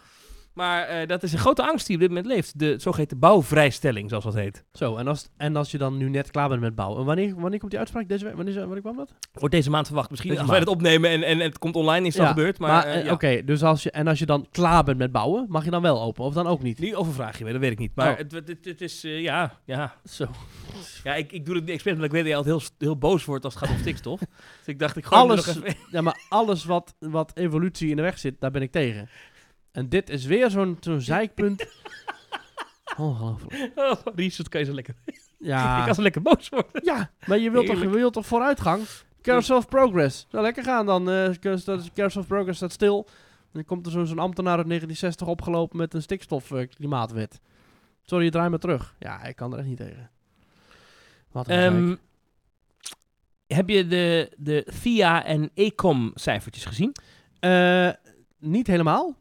Speaker 2: Maar eh, dat is een grote angst die op dit moment leeft. De zogeheten bouwvrijstelling, zoals dat heet.
Speaker 1: Zo, en als, en als je dan nu net klaar bent met bouwen. En wanneer, wanneer komt die uitspraak? Deze, week? wanneer, is- wanneer kwam dat?
Speaker 2: Wordt deze maand verwacht. Misschien
Speaker 1: Deze
Speaker 2: als wij
Speaker 1: maand.
Speaker 2: dat opnemen en, en het komt online, is dat
Speaker 1: Ja,
Speaker 2: gebeurd. Maar, eh,
Speaker 1: eh,
Speaker 2: ja.
Speaker 1: oké, dus als je, en als je dan klaar bent met bouwen, mag je dan wel open of dan ook niet?
Speaker 2: Nu overvraag je me, dat weet ik niet. Maar
Speaker 1: Oh.
Speaker 2: het, het, het- het is, eh, ja, ja.
Speaker 1: Zo.
Speaker 2: Ja, ik, ik doe het niet expres, omdat ik weet dat je altijd heel, st- heel boos wordt als het gaat om stikstof. dus ik dacht, ik gooi
Speaker 1: Alles-
Speaker 2: Alles... nog even...
Speaker 1: Ja, maar alles wat, wat evolutie in de weg zit, daar ben ik tegen. En dit is weer zo'n zo'n zeikpunt. Ongelooflijk.
Speaker 2: Oh, Richard, kan je zo lekker... Ik
Speaker 1: Ja.
Speaker 2: kan zo lekker boos worden.
Speaker 1: ja, maar je wilt, toch, je
Speaker 2: Heerlijk.
Speaker 1: wilt toch vooruitgang? Carousel of Progress. Nou, lekker gaan dan. eh, cars- dat is- Carousel of Progress staat stil. En dan komt er zo'n zo'n ambtenaar uit 1960 opgelopen met een eh, stikstofklimaatwet.
Speaker 2: Ehm,
Speaker 1: Sorry, draai maar terug. Ja, ik kan er echt niet tegen. Wat een gezeik.
Speaker 2: Heb je de, de THEA en E ECOM cijfertjes gezien?
Speaker 1: Eh, niet helemaal.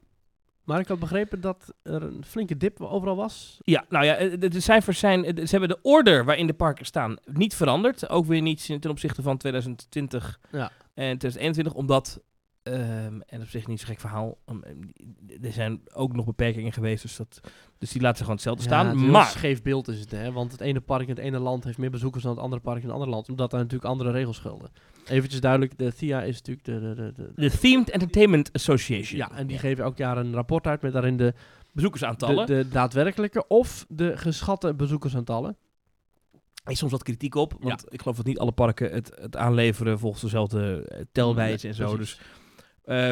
Speaker 1: Maar ik had begrepen dat er een flinke dip overal was.
Speaker 2: Ja, nou ja, eh, de, de cijfers zijn... eh, Ze hebben de order waarin de parken staan niet veranderd. Ook weer niet ten opzichte van 2020
Speaker 1: Ja.
Speaker 2: en 2021. Omdat, ehm, en op zich niet zo gek verhaal... om, eh, er zijn ook nog beperkingen geweest. Dus, dat, dus die laten ze gewoon hetzelfde
Speaker 1: Ja, het is
Speaker 2: staan.
Speaker 1: een
Speaker 2: Maar
Speaker 1: heel scheef beeld is het, hè? Want het ene park in het ene land heeft meer bezoekers dan het andere park in het andere land. Omdat daar natuurlijk andere regels gelden. Eventjes duidelijk, de TIA is natuurlijk de... de, de, de-
Speaker 2: de Themed Entertainment Association.
Speaker 1: ja, en die geven elk jaar een rapport uit met daarin de, de,
Speaker 2: bezoekersaantallen.
Speaker 1: de daadwerkelijke of de geschatte bezoekersaantallen.
Speaker 2: Er is soms wat kritiek op, want ik geloof dat niet alle parken het, het aanleveren volgens dezelfde eh, telwijze en zo.
Speaker 1: Mm, precies.
Speaker 2: Dus, eh,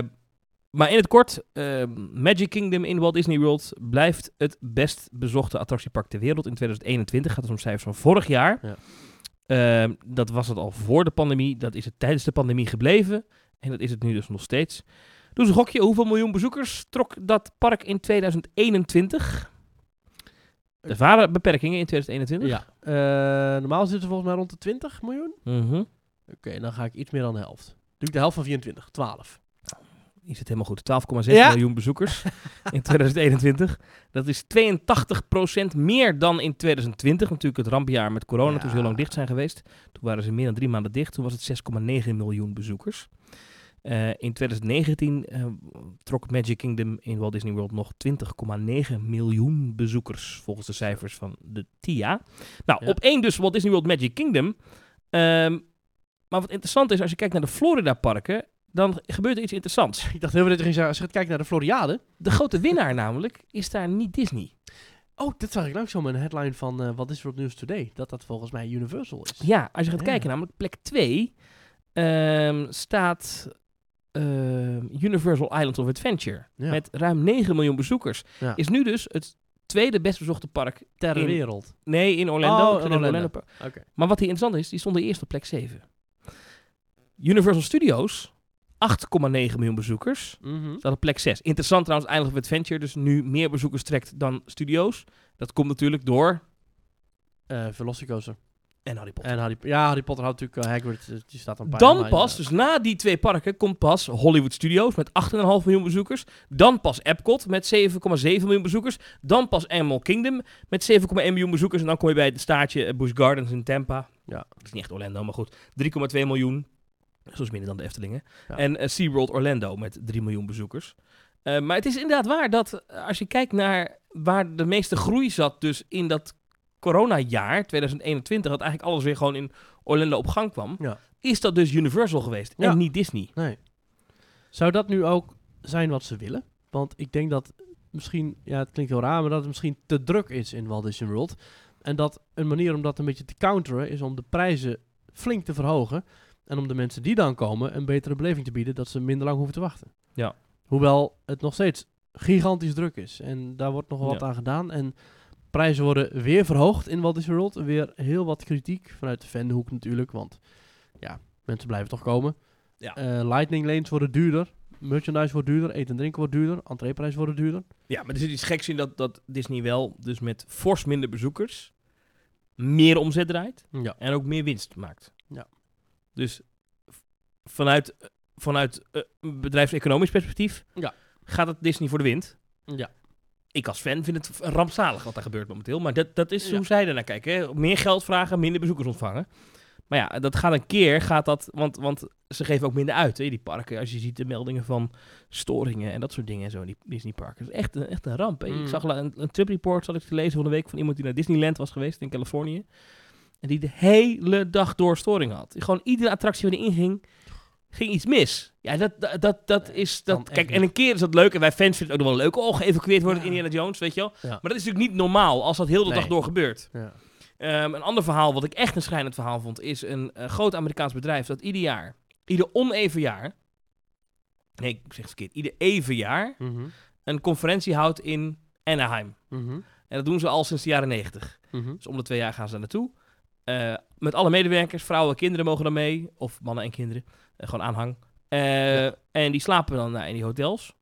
Speaker 2: maar in het kort, eh, Magic Kingdom in Walt Disney World blijft het best bezochte attractiepark ter wereld in 2021. Gaat het om cijfers van vorig jaar.
Speaker 1: Ja.
Speaker 2: Ehm, dat was het al voor de pandemie, dat is het tijdens de pandemie gebleven en dat is het nu dus nog steeds. Doe eens een gokje, hoeveel miljoen bezoekers trok dat park in 2021? Er waren beperkingen in 2021.
Speaker 1: Eh. Ja. Eh, normaal zitten ze volgens mij rond de 20 miljoen.
Speaker 2: Mhm.
Speaker 1: Oké, dan ga ik iets meer dan de helft. Doe ik de helft van 24, 12.
Speaker 2: Is het helemaal goed? 12,6
Speaker 1: Ja.
Speaker 2: miljoen bezoekers in 2021. Dat is 82% meer dan in 2020. Natuurlijk het rampjaar met corona, toen ze heel lang
Speaker 1: Ja.
Speaker 2: dicht zijn geweest. Toen waren ze meer dan drie maanden dicht. Toen was het 6,9 miljoen bezoekers. Eh, in 2019 eh, trok Magic Kingdom in Walt Disney World nog 20,9 miljoen bezoekers. Volgens de cijfers van de TIA. Nou,
Speaker 1: Ja.
Speaker 2: op één dus Walt Disney World Magic Kingdom. Ehm, maar wat interessant is, als je kijkt naar de Florida-parken, dan gebeurt er iets interessants.
Speaker 1: Ik dacht heel veel dat je ging zeggen, als je gaat kijken naar de Floriade.
Speaker 2: De grote winnaar namelijk is daar niet Disney.
Speaker 1: Oh, dit zag ik langzaam een headline van eh Wat is er op News Today? Dat dat volgens mij Universal is.
Speaker 2: Ja, als je gaat
Speaker 1: Ja.
Speaker 2: kijken, namelijk plek 2 staat ehm, Universal Islands of Adventure.
Speaker 1: Ja.
Speaker 2: Met ruim 9 miljoen bezoekers.
Speaker 1: Ja.
Speaker 2: Is nu dus het tweede best bezochte park
Speaker 1: ter
Speaker 2: in-
Speaker 1: wereld.
Speaker 2: Nee, in Orlando.
Speaker 1: Oh,
Speaker 2: Ik zit
Speaker 1: in
Speaker 2: in
Speaker 1: Orlando.
Speaker 2: park.
Speaker 1: Oké.
Speaker 2: Maar wat hier interessant is, die stond eerst op plek 7. Universal Studios, 8,9 miljoen bezoekers.
Speaker 1: Mhm.
Speaker 2: Staat op plek 6. Interessant trouwens, Island of Adventure dus nu meer bezoekers trekt dan studio's. Dat komt natuurlijk door...
Speaker 1: Eh, Velocicoaster.
Speaker 2: En Harry Potter.
Speaker 1: En Harry, ja, Harry Potter houdt natuurlijk eh, Hagrid, eh, die staat een paar
Speaker 2: Dan
Speaker 1: jaar na-
Speaker 2: pas, dus na die twee parken, komt pas Hollywood Studios met 8,5 miljoen bezoekers. Dan pas Epcot met 7,7 miljoen bezoekers. Dan pas Animal Kingdom met 7,1 miljoen bezoekers. En dan kom je bij het staartje eh, Busch Gardens in Tampa.
Speaker 1: Ja.
Speaker 2: Dat is niet echt Orlando, maar goed. 3,2 miljoen. Dat is dus minder dan de Eftelingen.
Speaker 1: Ja.
Speaker 2: En eh, SeaWorld Orlando met 3 miljoen bezoekers. Eh, maar het is inderdaad waar dat eh, als je kijkt naar waar de meeste groei zat, dus in dat coronajaar 2021, dat eigenlijk alles weer gewoon in Orlando op gang kwam,
Speaker 1: Ja.
Speaker 2: is dat dus Universal geweest
Speaker 1: Ja.
Speaker 2: en niet Disney.
Speaker 1: Nee. Zou dat nu ook zijn wat ze willen? Want ik denk dat misschien, ja, het klinkt heel raar, maar dat het misschien te druk is in Walt Disney World. En dat een manier om dat een beetje te counteren is om de prijzen flink te verhogen. En om de mensen die dan komen een betere beleving te bieden, dat ze minder lang hoeven te wachten.
Speaker 2: Ja.
Speaker 1: Hoewel het nog steeds gigantisch druk is. En daar wordt nog wel wat
Speaker 2: Ja.
Speaker 1: aan gedaan. En prijzen worden weer verhoogd in Walt Disney World. Weer heel wat kritiek vanuit de fanhoek natuurlijk. Want ja, mensen blijven toch komen.
Speaker 2: Ja.
Speaker 1: Eh, lightning lanes worden duurder. Merchandise wordt duurder. Eten en drinken wordt duurder. Entreeprijs worden duurder.
Speaker 2: Ja, maar er zit iets geks in dat, dat Disney wel dus met fors minder bezoekers meer omzet draait
Speaker 1: Ja.
Speaker 2: en ook meer winst maakt.
Speaker 1: Ja.
Speaker 2: Dus v- vanuit, vanuit eh, een bedrijfseconomisch perspectief
Speaker 1: Ja.
Speaker 2: gaat het Disney voor de wind.
Speaker 1: Ja.
Speaker 2: Ik als fan vind het rampzalig wat daar gebeurt momenteel, maar dat, dat is
Speaker 1: Ja.
Speaker 2: hoe zij ernaar kijken. Hè? Meer geld vragen, minder bezoekers ontvangen. Maar ja, dat gaat een keer, gaat dat, want, want ze geven ook minder uit, hè, die parken. Als je ziet de meldingen van storingen en dat soort dingen en zo in die Disneyparken. Het is echt een, echt een ramp. hè.
Speaker 1: Mm.
Speaker 2: Ik zag la- een, een tripreport, zat ik te lezen van de week, van iemand die naar Disneyland was geweest in Californië. En die de hele dag door storing had. Gewoon iedere attractie waar die inging, ging iets mis. Ja, dat, dat, dat, dat is...
Speaker 1: kan
Speaker 2: Dat,
Speaker 1: echt
Speaker 2: kijk,
Speaker 1: niet.
Speaker 2: en een keer is dat leuk. En wij fans vinden het ook nog wel leuk. Oh, geëvacueerd worden
Speaker 1: Ja.
Speaker 2: in Indiana Jones, weet je wel.
Speaker 1: Ja.
Speaker 2: Maar dat is natuurlijk niet normaal als dat heel de dag
Speaker 1: Nee.
Speaker 2: door gebeurt.
Speaker 1: Ja.
Speaker 2: Ehm, een ander verhaal, wat ik echt een schrijnend verhaal vond, is een eh, groot Amerikaans bedrijf dat ieder jaar, ieder oneven jaar, nee, ik zeg het verkeerd, ieder even jaar
Speaker 1: Mhm.
Speaker 2: een conferentie houdt in Anaheim.
Speaker 1: Mhm.
Speaker 2: En dat doen ze al sinds de jaren negentig.
Speaker 1: Mhm.
Speaker 2: Dus om de twee jaar gaan ze daar naartoe. Eh, met alle medewerkers, vrouwen en kinderen mogen dan mee, of mannen en kinderen, Eh, gewoon aanhang. Eh, En die slapen dan eh, in die hotels.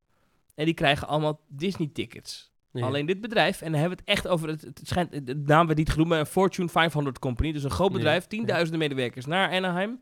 Speaker 2: En die krijgen allemaal Disney-tickets.
Speaker 1: Ja.
Speaker 2: Alleen dit bedrijf, en dan hebben we het echt over, het, het schijnt, de naam werd niet genoemd, maar een Fortune 500 company, dus een groot
Speaker 1: Ja,
Speaker 2: bedrijf, tienduizenden medewerkers naar Anaheim.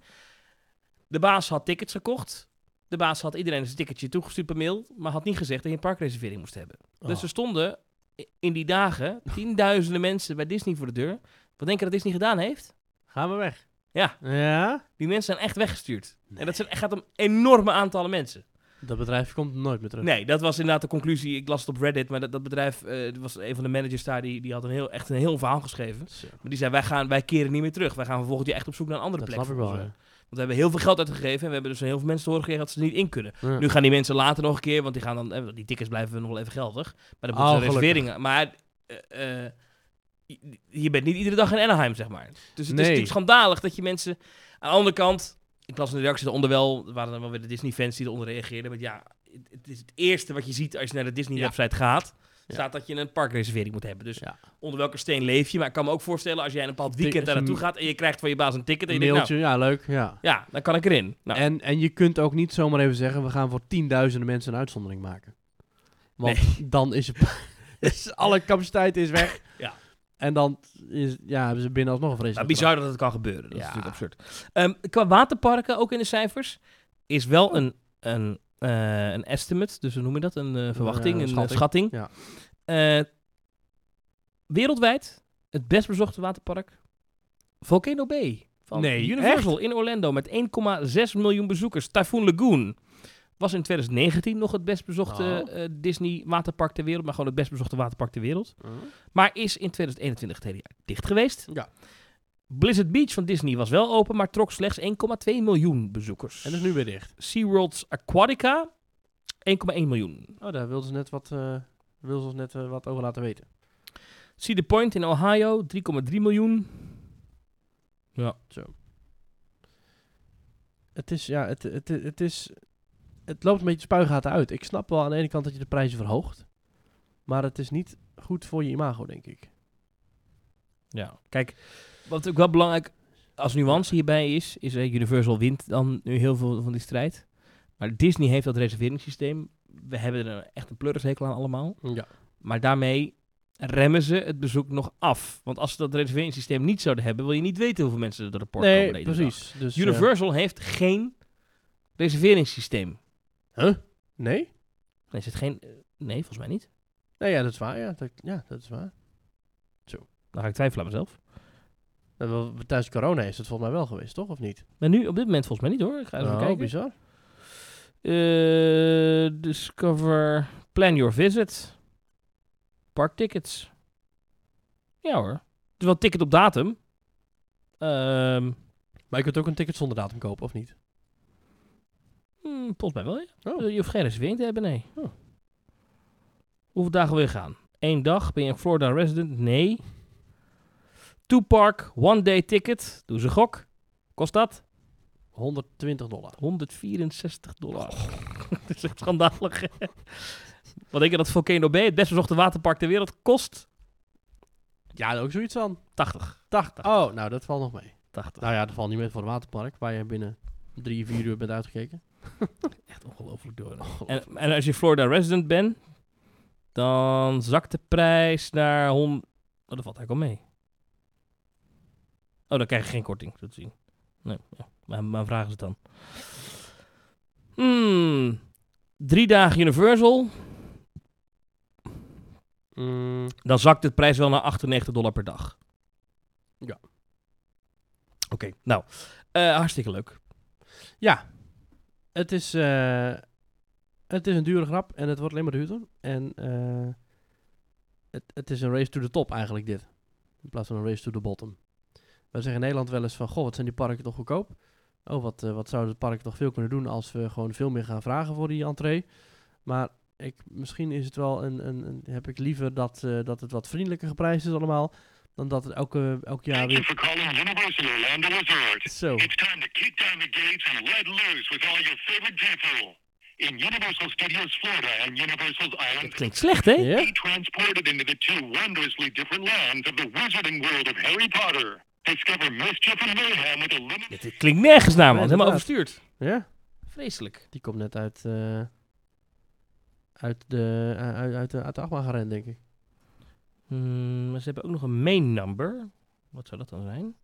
Speaker 2: De baas had tickets gekocht. De baas had iedereen zijn ticketje toegestuurd per mail, maar had niet gezegd dat je een parkreservering moest hebben. Dus
Speaker 1: Oh.
Speaker 2: er stonden i- in die dagen tienduizenden mensen bij Disney voor de deur. Wat denk je dat Disney gedaan heeft?
Speaker 1: Gaan we weg.
Speaker 2: Ja.
Speaker 1: Ja?
Speaker 2: Die mensen zijn echt weggestuurd. En dat zijn, gaat om enorme aantallen mensen.
Speaker 1: Dat bedrijf komt nooit meer terug.
Speaker 2: Nee, dat was inderdaad de conclusie. Ik las het op Reddit, maar dat, dat bedrijf, eh, er was een van de managers daar, die, die had een heel, echt een heel verhaal geschreven.
Speaker 1: Zo,
Speaker 2: Maar die zei, wij, gaan, wij keren niet meer terug. Wij gaan vervolgens je echt op zoek naar een andere
Speaker 1: dat
Speaker 2: plek.
Speaker 1: snap ik
Speaker 2: voor
Speaker 1: wel.
Speaker 2: ons,
Speaker 1: ja.
Speaker 2: eh. Want we hebben heel veel geld uitgegeven en we hebben dus heel veel mensen te horen gekregen dat ze er niet in kunnen.
Speaker 1: Ja.
Speaker 2: Nu gaan die mensen later nog een keer, want die, gaan dan, eh, die tickets blijven nog wel even geldig. Maar dan
Speaker 1: Oh,
Speaker 2: moeten ze
Speaker 1: gelukkig.
Speaker 2: reserveringen. Maar eh, eh, je- je bent niet iedere dag in Anaheim, zeg maar. Dus het
Speaker 1: Nee.
Speaker 2: is natuurlijk schandalig dat je mensen... Aan de andere kant, ik las in de reacties eronder wel, er waren dan wel weer de Disney-fans die eronder reageerden. Want ja, het, het is het eerste wat je ziet als je naar de
Speaker 1: Ja.
Speaker 2: Disney-website gaat.
Speaker 1: Ja.
Speaker 2: Staat dat je een parkreservering moet hebben. Dus
Speaker 1: Ja.
Speaker 2: onder welke steen leef je? Maar ik kan me ook voorstellen als jij een bepaald weekend daar
Speaker 1: is een-
Speaker 2: naartoe gaat en je krijgt van je baas een ticket. En je
Speaker 1: Een
Speaker 2: denkt, nou,
Speaker 1: mailtje, ja, leuk. Ja.
Speaker 2: ja, dan kan ik erin. Nou,
Speaker 1: En, en je kunt ook niet zomaar even zeggen, we gaan voor tienduizenden mensen een uitzondering maken. Want dan is het... is alle capaciteit is weg.
Speaker 2: Ja.
Speaker 1: En dan is, ja, hebben ze binnen alsnog een
Speaker 2: maar
Speaker 1: vreselijk
Speaker 2: Nou, bizar dat het kan gebeuren. Dat
Speaker 1: Ja.
Speaker 2: is natuurlijk absurd. Ehm, qua waterparken, ook in de cijfers, is
Speaker 1: Oh.
Speaker 2: wel een, een, eh, een estimate. Dus hoe noem je dat? Een eh, verwachting,
Speaker 1: eh,
Speaker 2: een
Speaker 1: schatting.
Speaker 2: schatting. schatting.
Speaker 1: Ja.
Speaker 2: Eh, wereldwijd het best bezochte waterpark, Volcano Bay. Van
Speaker 1: Nee,
Speaker 2: Universal in Orlando met 1,6 miljoen bezoekers. Typhoon Lagoon was in 2019 nog het best bezochte
Speaker 1: Oh.
Speaker 2: eh, Disney waterpark ter wereld. Maar gewoon het best bezochte waterpark ter wereld.
Speaker 1: bizar.
Speaker 2: Maar is in 2021 het hele jaar dicht geweest.
Speaker 1: Ja.
Speaker 2: Blizzard Beach van Disney was wel open, maar trok slechts 1,2 miljoen bezoekers.
Speaker 1: En dat is nu weer dicht.
Speaker 2: SeaWorld's Aquatica 1,1 miljoen.
Speaker 1: Oh, daar wilden ze net wat, eh wilden ze ons net eh, wat over laten weten.
Speaker 2: Cedar Point in Ohio 3,3 miljoen.
Speaker 1: Het is, ja, het, het, het is... Het loopt een beetje spuigaten uit. Ik snap wel aan de ene kant dat je de prijzen verhoogt. Maar het is niet goed voor je imago, denk ik.
Speaker 2: Ja. Kijk, wat ook wel belangrijk als nuance hierbij is, is eh, Universal wint dan nu heel veel van die strijd. Maar Disney heeft dat reserveringssysteem. We hebben er echt een pleurishekel aan allemaal.
Speaker 1: Ja.
Speaker 2: Maar daarmee remmen ze het bezoek nog af. Want als ze dat reserveringssysteem niet zouden hebben, wil je niet weten hoeveel mensen er de rapport
Speaker 1: Nee,
Speaker 2: komen. de ene
Speaker 1: precies. Dus,
Speaker 2: dag.
Speaker 1: eh,
Speaker 2: Universal heeft geen reserveringssysteem.
Speaker 1: huh? Nee?
Speaker 2: Nee, is het geen. eh, Nee, volgens mij niet.
Speaker 1: Nee, ja, dat is waar. Ja, dat, ja, dat is waar.
Speaker 2: Dan ga ik twijfelen aan mezelf.
Speaker 1: Eh, wel, Tijdens corona is het volgens mij wel geweest, toch? Of niet?
Speaker 2: Maar nu, op dit moment volgens mij niet hoor. Ik ga even
Speaker 1: Oh,
Speaker 2: kijken.
Speaker 1: bizar.
Speaker 2: Eh, discover. Plan your visit. Parktickets. Ja hoor. Het is wel een ticket op datum. Ehm
Speaker 1: Maar je kunt ook een ticket zonder datum kopen, of niet?
Speaker 2: Hmm, volgens mij wel, ja.
Speaker 1: Oh.
Speaker 2: Je hoeft geen reservering te hebben, nee.
Speaker 1: Oh.
Speaker 2: Hoeveel dagen wil je gaan? Eén dag? Ben je een Florida resident? Nee. Two park, one day ticket. Doe ze gok. Kost dat?
Speaker 1: 120 dollar.
Speaker 2: 164 dollar.
Speaker 1: Oh.
Speaker 2: dat is echt schandalig. Wat denk je dat Volcano Bay, het best bezochte waterpark ter wereld, kost?
Speaker 1: Ja, ook zoiets van.
Speaker 2: 80.
Speaker 1: 80. Oh, nou, dat valt nog mee.
Speaker 2: 80.
Speaker 1: Nou ja, dat valt niet mee voor het waterpark, waar je binnen drie, vier uur bent uitgekeken.
Speaker 2: Echt ongelooflijk door. En, en als je Florida resident bent, dan zakt de prijs naar 100. Oh, dat valt eigenlijk al mee. Oh, dan krijg je geen korting, zo te zien. Nee, ja. maar, maar vraag is het dan. Hmm. Drie dagen Universal,
Speaker 1: Mm,
Speaker 2: dan zakt de prijs wel naar 98 dollar per dag.
Speaker 1: Ja.
Speaker 2: Oké, nou, eh, hartstikke leuk.
Speaker 1: ja, het is, eh, het is een dure grap en het wordt alleen maar duurder. En eh, het, het is een race to the top eigenlijk dit. In plaats van een race to the bottom. Wij zeggen in Nederland wel eens van, goh, wat zijn die parken toch goedkoop? Oh, wat, eh, wat zouden de parken toch veel kunnen doen als we gewoon veel meer gaan vragen voor die entree? Maar ik, misschien is het wel een, een, een- heb ik liever dat, eh, dat het wat vriendelijker geprijsd is allemaal, dan dat het elke, elk jaar
Speaker 5: Thank you
Speaker 1: weer...
Speaker 5: for calling Universal Orlando Resort.
Speaker 1: Zo.
Speaker 5: It's time to kick down the gates and let loose with all your favorite people. In Universal Studios Florida and Universal's Island
Speaker 2: Dat klinkt slecht, hè?
Speaker 1: Ja?
Speaker 5: be transported into the two wondrously different lands of the wizarding world of Harry Potter. Discover mischief and mayhem with a limited...
Speaker 2: Dit klinkt nergens naar, man.
Speaker 1: Nee,
Speaker 2: Helemaal
Speaker 1: inderdaad.
Speaker 2: overstuurd.
Speaker 1: Ja?
Speaker 2: Vreselijk.
Speaker 1: Die komt net uit, eh, uit, de, eh, uit, uit de, uit de achtbaan gerend, denk ik.
Speaker 2: Hmm, maar ze hebben ook nog een main number. Wat zou dat dan zijn?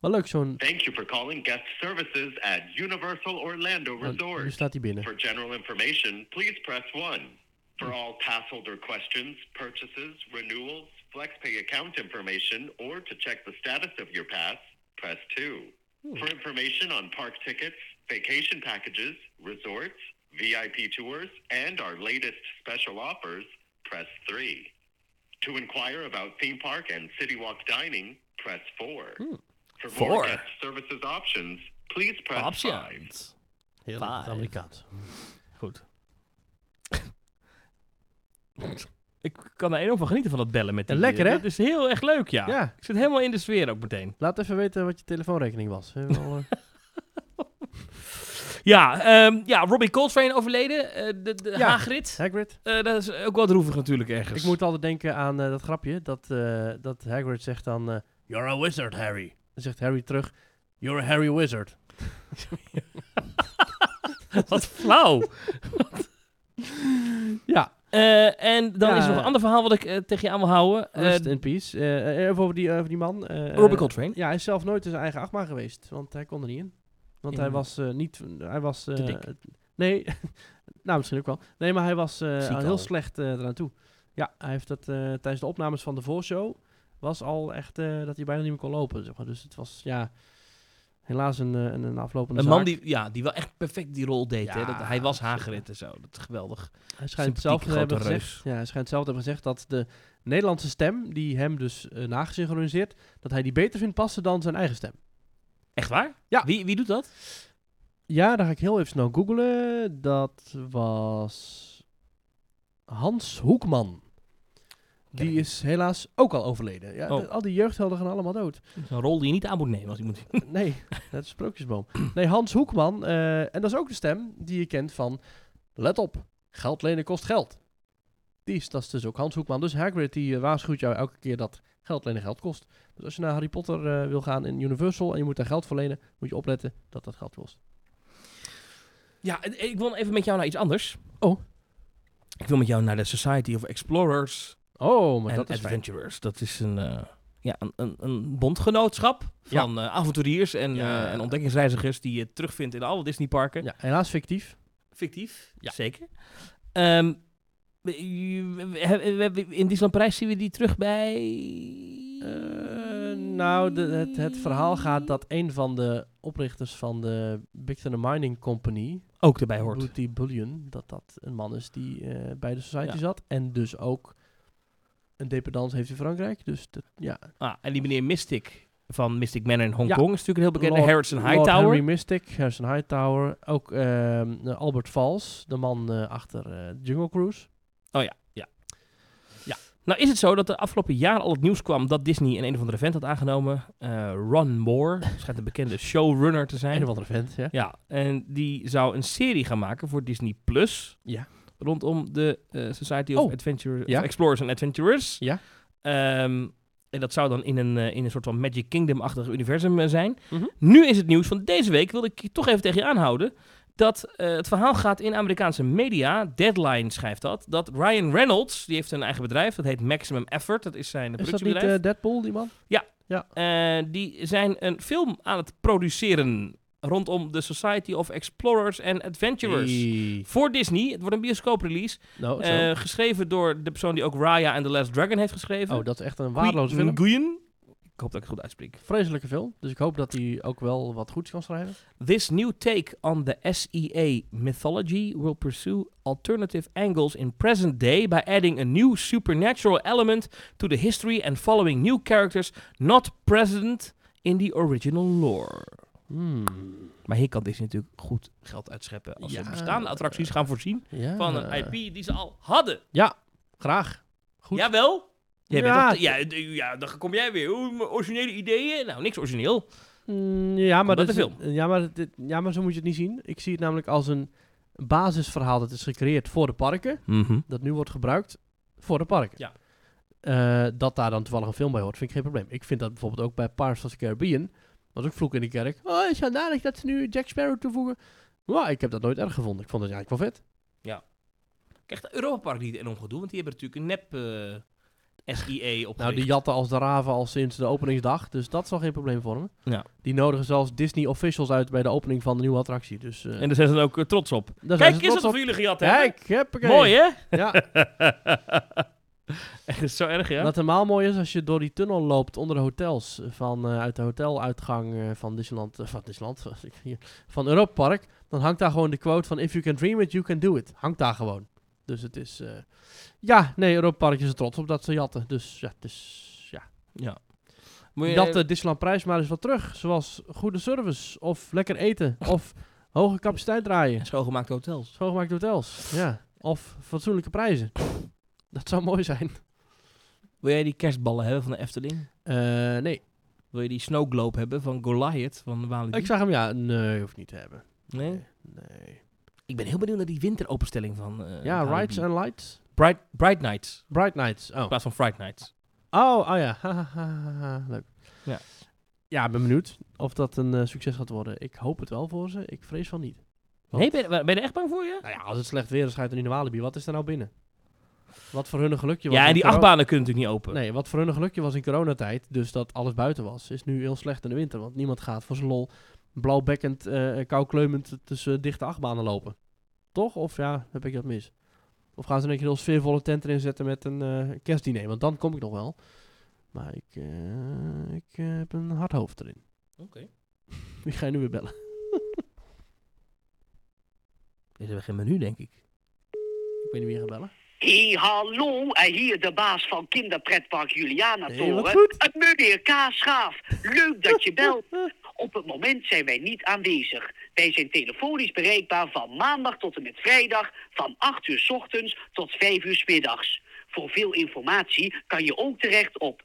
Speaker 1: Wel leuk zo'n...
Speaker 4: Thank you for calling guest services at Universal Orlando
Speaker 1: Nou, nu
Speaker 4: Resort.
Speaker 1: staat hij binnen.
Speaker 4: For general information, please press 1. For all pass holder questions, purchases, renewals, FlexPay account information, or to check the status of your pass, press 2. For information on park tickets, vacation packages, resorts, VIP tours, and our latest special offers, press 3. To inquire about theme park and city walk dining, press 4. For
Speaker 2: Four.
Speaker 4: more guest services options, please press 5.
Speaker 2: Options.
Speaker 1: Heel
Speaker 2: Five.
Speaker 1: Amerikaans.
Speaker 2: Goed. ik kan er enorm van genieten van dat bellen met die...
Speaker 1: Lekker, hè?
Speaker 2: Dat is heel erg leuk, ja.
Speaker 1: Ja.
Speaker 2: Ik zit helemaal in de sfeer ook meteen.
Speaker 1: Laat even weten wat je telefoonrekening was. Hebben we al, eh,
Speaker 2: Ja, ehm, ja Robbie Coltrane overleden. eh, de de
Speaker 1: Ja.
Speaker 2: Hagrid.
Speaker 1: Hagrid?
Speaker 2: Eh, dat is ook wel droevig natuurlijk ergens.
Speaker 1: Ik moet altijd denken aan eh, dat grapje dat, eh, dat Hagrid zegt dan... eh, You're a wizard, Harry. Dan zegt Harry terug... You're a Harry Wizard.
Speaker 2: Wat flauw.
Speaker 1: Ja,
Speaker 2: Eh, en dan
Speaker 1: Ja.
Speaker 2: is er nog een ander verhaal wat ik eh, tegen je aan wil houden. Eh,
Speaker 1: rest in peace. Eh, eh, even over die, over die man. eh,
Speaker 2: Robbie Coltrane.
Speaker 1: Ja, hij is zelf nooit in zijn eigen achtbaan geweest, want hij kon er niet in. Want
Speaker 2: In-
Speaker 1: hij was eh, niet... Hij was... eh,
Speaker 2: dik.
Speaker 1: Nee, nou misschien ook wel. Nee, maar hij was eh,
Speaker 2: Ziek
Speaker 1: al heel
Speaker 2: al.
Speaker 1: slecht eh, eraan toe. Ja, hij heeft dat eh, tijdens de opnames van de voorshow... was al echt eh, dat hij bijna niet meer kon lopen, zeg maar. Dus het was, ja... Helaas een, eh, een, een aflopende
Speaker 2: Een man
Speaker 1: zaak.
Speaker 2: die, ja, die wel echt perfect die rol deed. Hè?
Speaker 1: Ja,
Speaker 2: Dat, hij was Hagrid en zo. Dat is geweldig.
Speaker 1: Hij schijnt
Speaker 2: Sympathieke
Speaker 1: zelf te
Speaker 2: grote
Speaker 1: hebben
Speaker 2: reus.
Speaker 1: gezegd. Ja, hij schijnt zelf te hebben gezegd dat de Nederlandse stem, die hem dus eh, nagesynchroniseerd, dat hij die beter vindt passen dan zijn eigen stem.
Speaker 2: Echt waar?
Speaker 1: Ja.
Speaker 2: Wie, wie doet dat?
Speaker 1: Ja, daar ga ik heel even snel googlen. Dat was Hans Hoekman.
Speaker 2: Ken ik
Speaker 1: Die is helaas ook al overleden. Ja,
Speaker 2: Oh.
Speaker 1: de- Al die jeugdhelden gaan allemaal dood.
Speaker 2: Dat is Een rol die je niet aan moet nemen als iemand.
Speaker 1: Nee, dat is sprookjesboom. Nee, Hans Hoekman. eh, en dat is ook de stem die je kent van... Let op, geld lenen kost geld. Die is, dat is dus ook Hans Hoekman. Dus Hagrid die eh, waarschuwt jou elke keer dat geld lenen geld kost. Dus als je naar Harry Potter eh, wil gaan in Universal... en je moet daar geld voor lenen, moet je opletten dat dat geld kost.
Speaker 2: Ja, en- en ik wil even met jou naar iets anders.
Speaker 1: Oh.
Speaker 2: Ik wil met jou naar de Society of Explorers
Speaker 1: Oh, maar
Speaker 2: en
Speaker 1: dat is fijn.
Speaker 2: Adventurers. Dat is een, eh, ja, een, een, een bondgenootschap van eh, avonturiers en,
Speaker 1: Ja.
Speaker 2: eh, en ontdekkingsreizigers die je terugvindt in alle Disneyparken.
Speaker 1: Ja, helaas fictief.
Speaker 2: Fictief,
Speaker 1: Ja.
Speaker 2: zeker. Ehm, we- we- we- we- we- in Disneyland Parijs zien we die terug bij...
Speaker 1: Eh, nou, de- het, het verhaal gaat dat een van de oprichters van de Big Thunder Mining Company,
Speaker 2: Ook erbij hoort.
Speaker 1: Booty Bullion, dat dat een man is die eh, bij de Society
Speaker 2: Ja.
Speaker 1: zat. En dus ook een dependance heeft in Frankrijk. Dus dat, ja.
Speaker 2: Ah, en die meneer Mystic van Mystic Manor in Hongkong
Speaker 1: Ja.
Speaker 2: is natuurlijk een heel bekende.
Speaker 1: Lord-
Speaker 2: Harrison
Speaker 1: Lord
Speaker 2: Hightower.
Speaker 1: Henry Mystic, Harrison Hightower. Ook ehm, eh, Albert Vals, de man eh, achter eh, Jungle Cruise.
Speaker 2: Oh ja, ja. Ja. Nou is het zo dat de afgelopen jaar al het nieuws kwam dat Disney een een of andere vent had aangenomen. Eh, Ron Moore, schijnt een bekende showrunner te
Speaker 1: Een
Speaker 2: zijn.
Speaker 1: of andere vent, ja.
Speaker 2: Ja, en die zou een serie gaan maken voor Disney Plus.
Speaker 1: Ja.
Speaker 2: Rondom de eh, Society of
Speaker 1: Oh,
Speaker 2: Adventure, of
Speaker 1: ja.
Speaker 2: Explorers and Adventurers.
Speaker 1: Ja.
Speaker 2: Ehm, en dat zou dan in een, eh, in een soort van Magic Kingdom-achtig universum eh, zijn.
Speaker 1: Mhm.
Speaker 2: Nu is het nieuws van deze week, wilde ik je toch even tegen je aanhouden. Dat eh, het verhaal gaat in Amerikaanse media, Deadline schrijft dat, dat Ryan Reynolds, die heeft een eigen bedrijf, dat heet Maximum Effort, dat is zijn
Speaker 1: Is dat
Speaker 2: productiebedrijf.
Speaker 1: niet eh, Deadpool, die man?
Speaker 2: Eh, die zijn een film aan het produceren rondom de Society of Explorers and Adventurers.
Speaker 1: Nee.
Speaker 2: Voor Disney. Het wordt een bioscooprelease.
Speaker 1: Nou, zo.
Speaker 2: release geschreven door de persoon die ook Raya and the Last Dragon heeft geschreven.
Speaker 1: oh, dat is echt een waardeloze film.
Speaker 2: Nguyen. Ik hoop dat ik het goed uitspreek.
Speaker 1: vreselijke film. Dus ik hoop dat hij ook wel wat goeds kan schrijven.
Speaker 2: This new take on the SEA mythology will pursue alternative angles in present day by adding a new supernatural element to the history and following new characters not present in the original lore.
Speaker 1: Hmm,
Speaker 2: Maar hier kan Disney natuurlijk goed geld uitscheppen als
Speaker 1: Ja.
Speaker 2: ze bestaande attracties gaan voorzien
Speaker 1: Ja.
Speaker 2: van een IP die ze al hadden.
Speaker 1: Ja, graag. Goed.
Speaker 2: Jawel. Jij bent
Speaker 1: Ja.
Speaker 2: toch- ja, d- ja, dan kom jij weer. Oeh, mijn originele ideeën. Nou, niks origineel.
Speaker 1: Mm, ja, maar
Speaker 2: Omdat
Speaker 1: dat
Speaker 2: de
Speaker 1: is, Ja, maar dit, ja, maar zo moet je het niet zien. Ik zie het namelijk als een basisverhaal dat is gecreëerd voor de parken.
Speaker 2: Mhm.
Speaker 1: Dat nu wordt gebruikt voor de parken.
Speaker 2: Ja.
Speaker 1: Eh, dat daar dan toevallig een film bij hoort, vind ik geen probleem. Ik vind dat bijvoorbeeld ook bij Pirates of the Caribbean. Was ook vloek in de kerk. Oh, is het aardig dat ze nu Jack Sparrow toevoegen? Maar ik heb dat nooit erg gevonden. Ik vond het eigenlijk wel vet.
Speaker 2: Krijgt Europa Park niet enorm gedoe, want die hebben natuurlijk een nep... eh, SIE op.
Speaker 1: Nou, die jatten als de raven al sinds de openingsdag. Dus dat zal geen probleem vormen.
Speaker 2: Ja.
Speaker 1: Die nodigen zelfs Disney officials uit bij de opening van de nieuwe attractie. Dus, eh,
Speaker 2: En daar zijn ze dan ook eh, trots op.
Speaker 1: daar
Speaker 2: Kijk
Speaker 1: zijn ze
Speaker 2: eens wat
Speaker 1: trots
Speaker 2: we voor jullie gejat
Speaker 1: op.
Speaker 2: hebben.
Speaker 1: Kijk, huppakee.
Speaker 2: Mooi, hè?
Speaker 1: Ja,
Speaker 2: Echt, is zo erg, ja?
Speaker 1: Wat helemaal mooi is, als je door die tunnel loopt onder de hotels, van, eh, uit de hoteluitgang eh, van Disneyland, eh, van Disneyland, hier, van Europa Park, dan hangt daar gewoon de quote van If you can dream it, you can do it. Hangt daar gewoon. Dus het is, eh, ja, nee, Europa Park is er trots op dat ze jatten. Dus ja, het is, ja.
Speaker 2: ja. Moet je,
Speaker 1: Dat de Disneyland prijs maar eens wat terug, zoals goede service, of lekker eten, of hoge capaciteit draaien,
Speaker 2: schoongemaakte hotels.
Speaker 1: schoongemaakte hotels, ja. Of fatsoenlijke prijzen. Dat zou mooi zijn.
Speaker 2: Wil jij die kerstballen hebben van de Efteling?
Speaker 1: Eh, nee,
Speaker 2: Wil je die snow globe hebben van Goliath van de Walibi?
Speaker 1: ik zag hem, ja, nee, hoeft niet te hebben.
Speaker 2: Nee? Eh,
Speaker 1: Nee.
Speaker 2: Ik ben heel benieuwd naar die winteropenstelling van eh,
Speaker 1: ja,
Speaker 2: Walibi.
Speaker 1: Rights and Lights.
Speaker 2: Bright, Bright Nights.
Speaker 1: Bright Nights. Oh,
Speaker 2: In plaats van Fright Nights.
Speaker 1: oh, oh ja. Hahaha. Leuk.
Speaker 2: Ja.
Speaker 1: ja, ik ben benieuwd of dat een eh, succes gaat worden. Ik hoop het wel voor ze. Ik vrees van niet. Wat?
Speaker 2: Nee, ben, je- ben je er echt bang voor, ja?
Speaker 1: Nou ja, als het slecht weer is, ga je toch niet naar Walibi. Wat is er nou binnen? Wat voor hun een gelukje was.
Speaker 2: Ja, en
Speaker 1: in
Speaker 2: die
Speaker 1: coro-
Speaker 2: achtbanen kunnen natuurlijk niet open.
Speaker 1: Nee, wat voor hun een gelukje was in coronatijd, dus dat alles buiten was, is nu heel slecht in de winter. Want niemand gaat voor zijn lol blauwbekkend, eh koukleumend tussen dichte achtbanen lopen. Toch? Of ja, heb ik dat mis? Of gaan ze een keer heel sfeervolle tent erin zetten met een eh, kerstdiner? Want dan kom ik nog wel. Maar ik, eh, ik eh, heb een hard hoofd erin.
Speaker 2: Oké.
Speaker 1: Wie ga je nu weer bellen?
Speaker 2: Dit hebben we geen menu, denk ik.
Speaker 1: Ik weet niet wie je gaat bellen.
Speaker 8: Hé, hallo, en hier de baas van kinderpretpark Juliana
Speaker 1: Hé,
Speaker 8: Toren.
Speaker 1: wat goed.
Speaker 8: Het meneer Kaaschaaf, leuk dat je belt. Op het moment zijn wij niet aanwezig. Wij zijn telefonisch bereikbaar van maandag tot en met vrijdag... van 8 uur 's ochtends tot 5 uur 's middags. Voor veel informatie kan je ook terecht op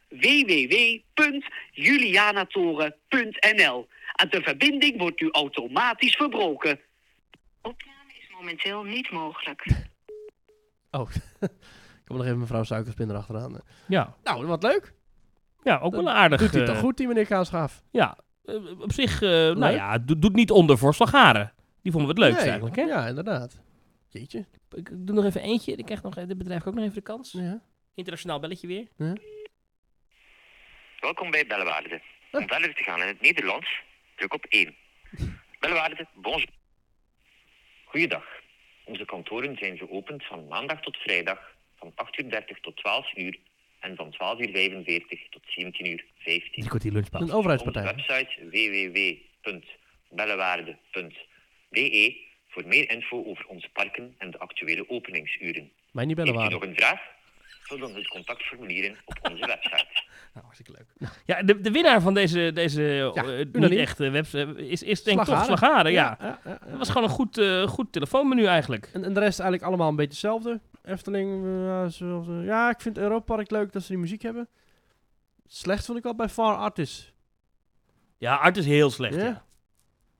Speaker 8: www.julianatoren.nl. En de verbinding wordt nu automatisch verbroken.
Speaker 3: Opname is momenteel niet mogelijk.
Speaker 1: Oh, ik kom nog even mevrouw Suikerspin erachteraan.
Speaker 2: Ja.
Speaker 1: Nou, wat leuk.
Speaker 2: Ja, ook wel
Speaker 1: Dat
Speaker 2: aardig.
Speaker 1: Doet hij
Speaker 2: eh,
Speaker 1: toch goed, die meneer Kaasgaaf?
Speaker 2: Ja. Eh, op zich, eh, nou
Speaker 1: Leuk.
Speaker 2: ja, do- doet niet onder voor Slagharen. Die vonden we het leukst
Speaker 1: Nee,
Speaker 2: eigenlijk, hè?
Speaker 1: Ja, inderdaad. Jeetje.
Speaker 2: Ik doe nog even eentje. Dan krijgt nog, eh, dit bedrijf ook nog even de kans.
Speaker 1: Ja.
Speaker 2: Internationaal belletje weer.
Speaker 4: Welkom bij Bellewaarde. Om verder te gaan in het Nederlands, druk op 1. Bellewaarde, bonjour. Goeiedag. Onze kantoren zijn geopend van maandag tot vrijdag van 8.30 tot 12 uur en van 12.45 tot 17.15 uur.
Speaker 2: Die kort die lunchpauze.
Speaker 1: Een
Speaker 4: Onze
Speaker 1: overheidspartij.
Speaker 4: website www.bellewaarde.be voor meer info over onze parken en de actuele openingsuren.
Speaker 1: Mij niet bellen
Speaker 4: Heeft u
Speaker 1: waren.
Speaker 4: nog een vraag? Vul dan het contactformulieren op onze website.
Speaker 2: Nou, hartstikke leuk. Ja, de, de winnaar van deze, deze
Speaker 1: Ja,
Speaker 2: eh, niet
Speaker 1: unaniem.
Speaker 2: echte website is, is denk ik toch
Speaker 1: Slagharen.
Speaker 2: Slagharen, ja.
Speaker 1: ja, ja, ja.
Speaker 2: Dat was gewoon een goed, eh, goed telefoonmenu eigenlijk.
Speaker 1: En, en de rest eigenlijk allemaal een beetje hetzelfde. Efteling, eh, ja, zoals, eh, ja, ik vind Europa Park leuk dat ze die muziek hebben. Slecht vond ik wel bij Far Artis.
Speaker 2: Ja, Art is heel slecht, ja.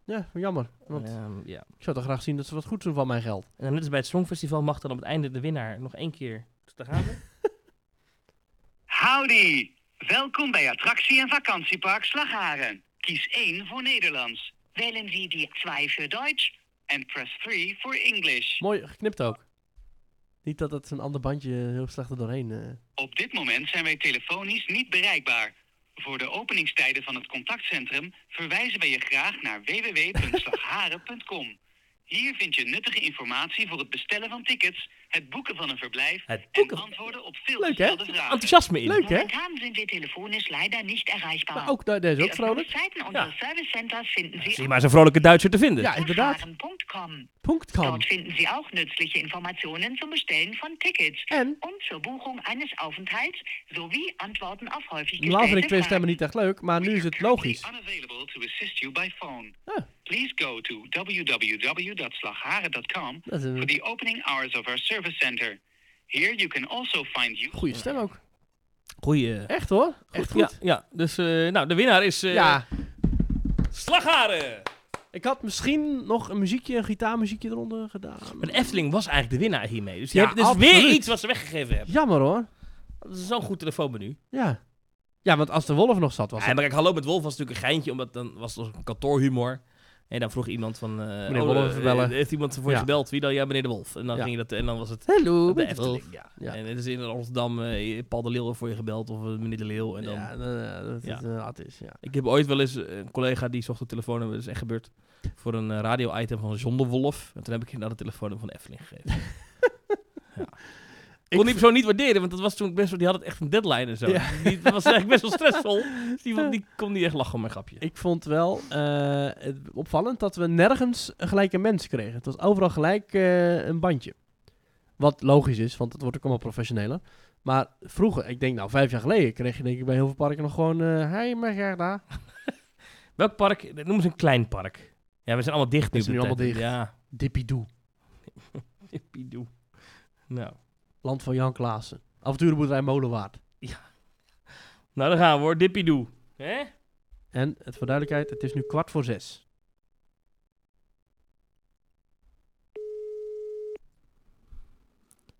Speaker 1: Ja, jammer. Want
Speaker 2: Ehm, ja.
Speaker 1: ik zou toch graag zien dat ze wat goed doen van mijn geld.
Speaker 2: En dan net als bij het Songfestival mag dan op het einde de winnaar nog één keer... Dus daar gaan we.
Speaker 8: Howdy! Welkom bij attractie- en vakantiepark Slagharen. Kies 1 voor Nederlands. Wählen Sie die 2 voor Duits en press 3 voor English.
Speaker 1: Mooi geknipt ook. Niet dat het een ander bandje heel slecht er doorheen. eh.
Speaker 8: Op dit moment zijn wij telefonisch niet bereikbaar. Voor de openingstijden van het contactcentrum verwijzen wij je graag naar www.slagharen.com. Hier vind je nuttige informatie voor het bestellen van tickets, het boeken van een verblijf
Speaker 2: Het
Speaker 8: en
Speaker 2: boeken van-
Speaker 8: antwoorden op veel
Speaker 1: Leuk, hè?
Speaker 8: gestelde vragen.
Speaker 2: Enthousiasme in.
Speaker 1: Leuk hè?
Speaker 3: Momentan sind wir telefonisch leider nicht erreichbar.
Speaker 1: Maar ook da- deze
Speaker 3: Die
Speaker 1: is ook vrolijk.
Speaker 3: Öffnungszeiten unseres Service Centers finden Sie
Speaker 2: Zie je maar zo'n vrolijke Duitser te vinden.
Speaker 1: Ja, inderdaad.
Speaker 3: Nachfahren.com.
Speaker 1: Punkt kan.
Speaker 3: Dort finden Sie auch nützliche Informationen zum Bestellen von Tickets
Speaker 1: En?
Speaker 3: und zur Buchung eines Aufenthalts sowie Antworten auf
Speaker 1: Normaal
Speaker 3: häufig
Speaker 1: vind ik
Speaker 3: gestellte
Speaker 1: twee stemmen
Speaker 3: Fragen.
Speaker 1: niet echt leuk, maar nu is het logisch.
Speaker 8: Unavailable to assist you by phone.
Speaker 1: Ja.
Speaker 8: Please go to www.slagharen.com
Speaker 1: Dat is een-
Speaker 8: for the opening hours of our service center. Here you can also find you.
Speaker 1: Goeie stem ook.
Speaker 2: Goeie...
Speaker 1: Echt hoor. Echt
Speaker 2: Ja,
Speaker 1: goed.
Speaker 2: ja. dus eh, nou, de winnaar is eh
Speaker 1: Ja.
Speaker 2: Slagharen.
Speaker 1: Ik had misschien nog een muziekje, een gitaarmuziekje eronder gedaan.
Speaker 2: Maar de Efteling was eigenlijk de winnaar hiermee. Dus die
Speaker 1: Ja,
Speaker 2: hebben dus
Speaker 1: absoluut.
Speaker 2: weer iets wat ze weggegeven hebben.
Speaker 1: Jammer hoor.
Speaker 2: Dat is zo'n goed telefoonmenu.
Speaker 1: Ja. Ja, want als de wolf nog zat was.
Speaker 2: Ja,
Speaker 1: het-
Speaker 2: maar kijk, Hallo met Wolf was natuurlijk een geintje, omdat dan was het een kantoorhumor. En dan vroeg iemand van... eh,
Speaker 1: Meneer Wolf
Speaker 2: eh,
Speaker 1: bellen.
Speaker 2: Heeft iemand voor je
Speaker 1: Ja.
Speaker 2: gebeld? Wie dan? Ja, meneer De Wolf. En dan,
Speaker 1: Ja.
Speaker 2: ging dat, en dan was het
Speaker 1: Hallo,
Speaker 2: de
Speaker 1: met
Speaker 2: Efteling.
Speaker 1: Wolf.
Speaker 2: Ja.
Speaker 1: Ja.
Speaker 2: En het is in Rotterdam eh, Paul de Leeuw heeft voor je gebeld of eh, meneer De Leeuw. En dan,
Speaker 1: Ja, dan, eh, dat
Speaker 2: Ja.
Speaker 1: het inderdaad is, ja.
Speaker 2: Ik heb ooit wel eens eh, een collega die zocht de telefoon hebben, dat is echt gebeurd, voor een eh, radio-item van Zonder Wolf. En toen heb ik inderdaad de telefoon van de Efteling gegeven. ja. Ik kon die persoon niet waarderen, want dat was toen best wel, die had het echt een deadline en zo.
Speaker 1: Ja.
Speaker 2: Die, dat was eigenlijk best wel stressvol. Dus die, die kon niet echt lachen om mijn grapje.
Speaker 1: Ik vond wel eh, het opvallend dat we nergens gelijk een mens kregen. Het was overal gelijk eh, een bandje. Wat logisch is, want het wordt ook allemaal professioneler. Maar vroeger, ik denk nou vijf jaar geleden, kreeg je denk ik bij heel veel parken nog gewoon... eh hey, maar Gerda.
Speaker 2: Welk park? eh, Noem eens een klein park. Ja, we zijn allemaal dicht nu.
Speaker 1: We zijn nu
Speaker 2: op dit
Speaker 1: allemaal
Speaker 2: moment.
Speaker 1: Dippidoe.
Speaker 2: Ja, Hippiedoe. Nou.
Speaker 1: Land van Jan Klaassen. Avonturenboerderij Molenwaard.
Speaker 2: nou, daar gaan we hoor. Dippiedoe. Hè?
Speaker 1: En het voor duidelijkheid, het is nu kwart voor zes.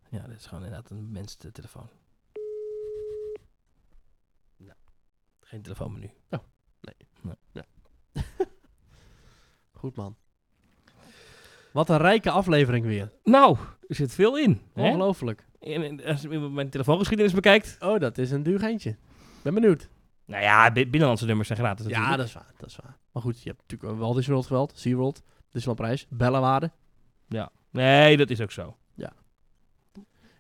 Speaker 2: Ja, dat is gewoon inderdaad een mens de telefoon. Nou, geen telefoonmenu.
Speaker 1: Goed man. Wat een rijke aflevering weer.
Speaker 2: Nou, er zit veel in. hè?
Speaker 1: Ongelooflijk.
Speaker 2: En, en als je mijn telefoongeschiedenis bekijkt.
Speaker 1: Oh, dat is een duur geintje. Ben benieuwd.
Speaker 2: Nou ja, bi- binnenlandse nummers zijn gratis.
Speaker 1: Ja, dat is waar. Dat is waar. Maar goed, je hebt natuurlijk ook wel Disney World geweld. SeaWorld. Disneylandprijs. Bellenwaarde.
Speaker 2: Nee, dat is ook zo.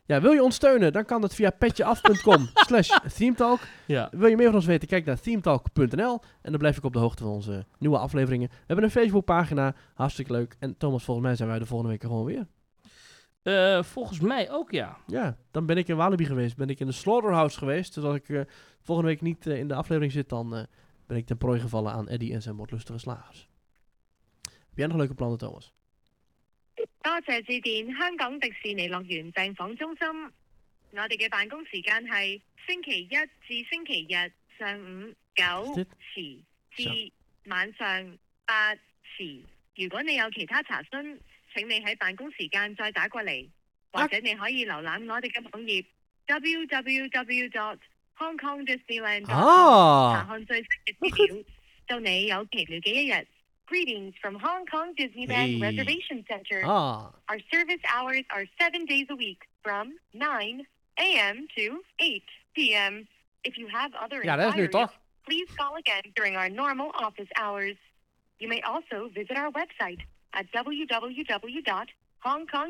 Speaker 1: Ja, wil je ons steunen? Dan kan dat via petjeaf.com slash themetalk.
Speaker 2: Ja.
Speaker 1: Wil je meer van ons weten? Kijk naar themetalk.nl. En dan blijf ik op de hoogte van onze nieuwe afleveringen. We hebben een Facebookpagina. Hartstikke leuk. En Thomas, volgens mij zijn wij de volgende week er gewoon weer.
Speaker 2: Eh, volgens mij ook, ja.
Speaker 1: Ja, dan ben ik in Walibi geweest. Ben ik in de Slaughterhouse geweest. Dus als ik eh, volgende week niet eh, in de aflevering zit, dan eh, ben ik ten prooi gevallen aan Eddie en zijn moordlustige slagers. Heb jij nog leuke plannen, Thomas?
Speaker 9: 多謝致電香港迪士尼樂園訂房中心。我哋嘅辦公時間係星期一至星期日上午九時至晚上八時。如果你有其他查詢，請你喺辦公時間再打過嚟，
Speaker 1: 啊
Speaker 9: 或者你可以瀏覽我哋嘅網頁 www.hongkongdisneyland.com
Speaker 1: Ah!
Speaker 9: 查
Speaker 1: 啊，
Speaker 9: 看最新嘅資 料，到你有期了嘅一日。Greetings from Hong Kong Disneyland
Speaker 1: Hey.
Speaker 9: Reservation Center.
Speaker 1: ah,
Speaker 9: Our service hours are seven days a week from 9 a.m. to 8 p.m. If you have other
Speaker 1: Ja, dat is nu
Speaker 9: inquiries,
Speaker 1: toch?
Speaker 9: please call again during our normal office hours. You may also visit our website at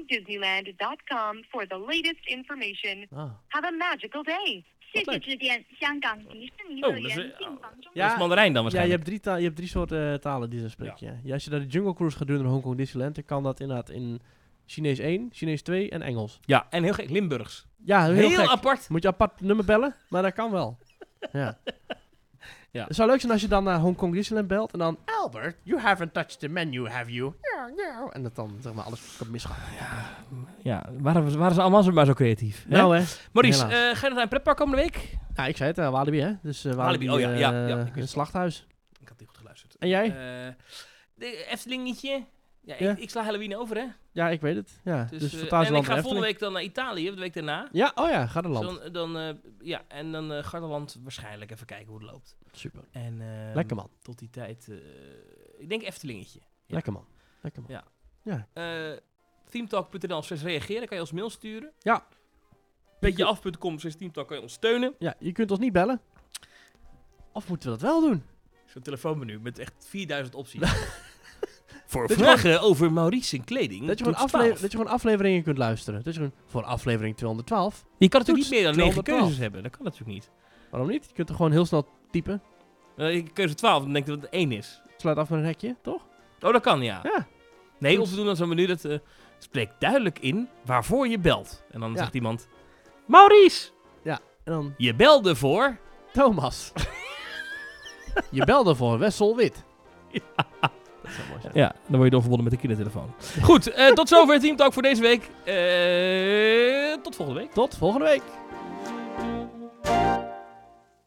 Speaker 9: www.hongkongdisneyland.com for the latest information.
Speaker 1: ah.
Speaker 9: Have a magical day.
Speaker 6: 谢
Speaker 1: 好嘞
Speaker 6: 谢致电香港迪士尼
Speaker 2: Oh,
Speaker 6: 乐
Speaker 2: dat is,
Speaker 6: 园
Speaker 2: eh,
Speaker 6: 订房中心。
Speaker 2: Dat is Mandarijn dan
Speaker 1: Ja, je
Speaker 2: waarschijnlijk.
Speaker 1: hebt drie, taal, je hebt drie soorten eh, talen die ze spreken. Ja. Ja, als je naar de Jungle Cruise gaat doen in Hongkong Disneyland, dan kan dat inderdaad in Chinees 1, Chinees 2 en Engels.
Speaker 2: Ja, en heel gek, Limburgs.
Speaker 1: Ja, heel,
Speaker 2: Heel,
Speaker 1: gek.
Speaker 2: apart.
Speaker 1: Moet je apart nummer bellen, maar dat kan wel. Ja.
Speaker 2: Ja.
Speaker 1: Het zou leuk zijn als je dan naar Hongkong Disneyland belt en dan... Albert, you haven't touched the menu, have you? Ja, ja. En dat dan zeg maar alles kan misgaan.
Speaker 2: Ja, waren, waren ze allemaal zo, maar zo creatief. hè?
Speaker 1: Nou hè.
Speaker 2: Maurice, eh,
Speaker 1: helaas.
Speaker 2: ga je nog naar een pretpark komende week?
Speaker 1: Ja, ik zei het, eh, Walibi hè. Dus eh Walibi,
Speaker 2: Walibi, oh ja,
Speaker 1: eh,
Speaker 2: ja, ja, ik wist
Speaker 1: een
Speaker 2: het.
Speaker 1: slachthuis.
Speaker 2: Ik had niet goed geluisterd.
Speaker 1: En jij?
Speaker 2: Eh de Eftelingetje. Ja,
Speaker 1: Ja.
Speaker 2: Ik, ik sla Halloween over, hè?
Speaker 1: ja, ik weet het. Ja, dus,
Speaker 2: Dus, eh,
Speaker 1: Fantasieland
Speaker 2: en ik ga volgende
Speaker 1: en Efteling.
Speaker 2: week dan naar Italië, de week daarna.
Speaker 1: Ja, oh ja, ga naar land.
Speaker 2: Dan, dan, eh, ja, en dan eh Gardaland waarschijnlijk even kijken hoe het loopt.
Speaker 1: Super.
Speaker 2: En, ehm,
Speaker 1: Lekker man.
Speaker 2: Tot die tijd, eh, ik denk Eftelingetje. Ja.
Speaker 1: Lekker man. Lekker man.
Speaker 2: Eh teamtalk.nl slash reageren, kan je ons mail sturen.
Speaker 1: Ja.
Speaker 2: Petjeaf.com slash teamtalk kan je ons steunen.
Speaker 1: Ja, je kunt ons niet bellen. Of moeten we dat wel doen?
Speaker 2: Zo'n telefoonmenu met echt 4000 opties. Voor vragen over Maurice en kleding.
Speaker 1: Dat je, gewoon
Speaker 2: toets
Speaker 1: afle-
Speaker 2: 12.
Speaker 1: dat je gewoon afleveringen kunt luisteren. Dat je gewoon voor aflevering 212.
Speaker 2: Je kan natuurlijk
Speaker 1: toets
Speaker 2: niet meer dan 9
Speaker 1: 212.
Speaker 2: keuzes hebben, dat kan natuurlijk niet.
Speaker 1: Waarom niet? Je kunt er gewoon heel snel typen.
Speaker 2: Eh, Keuze 12, dan denk ik dat het 1 is.
Speaker 1: Sluit af met een hekje, toch?
Speaker 2: Oh, dat kan, ja.
Speaker 1: Ja.
Speaker 2: Nee, of we doen dan zo'n menu dat... eh spreek duidelijk in waarvoor je belt. En dan
Speaker 1: Ja.
Speaker 2: zegt iemand... Maurice,
Speaker 1: En dan
Speaker 2: je belde voor...
Speaker 1: Thomas. je belde voor Wessel Wit. Dat zou mooi zijn.
Speaker 2: Ja, dan word je doorverbonden met de kindertelefoon. Goed, eh, tot zover Team Talk voor deze week. Eh, tot volgende week.
Speaker 1: Tot volgende week.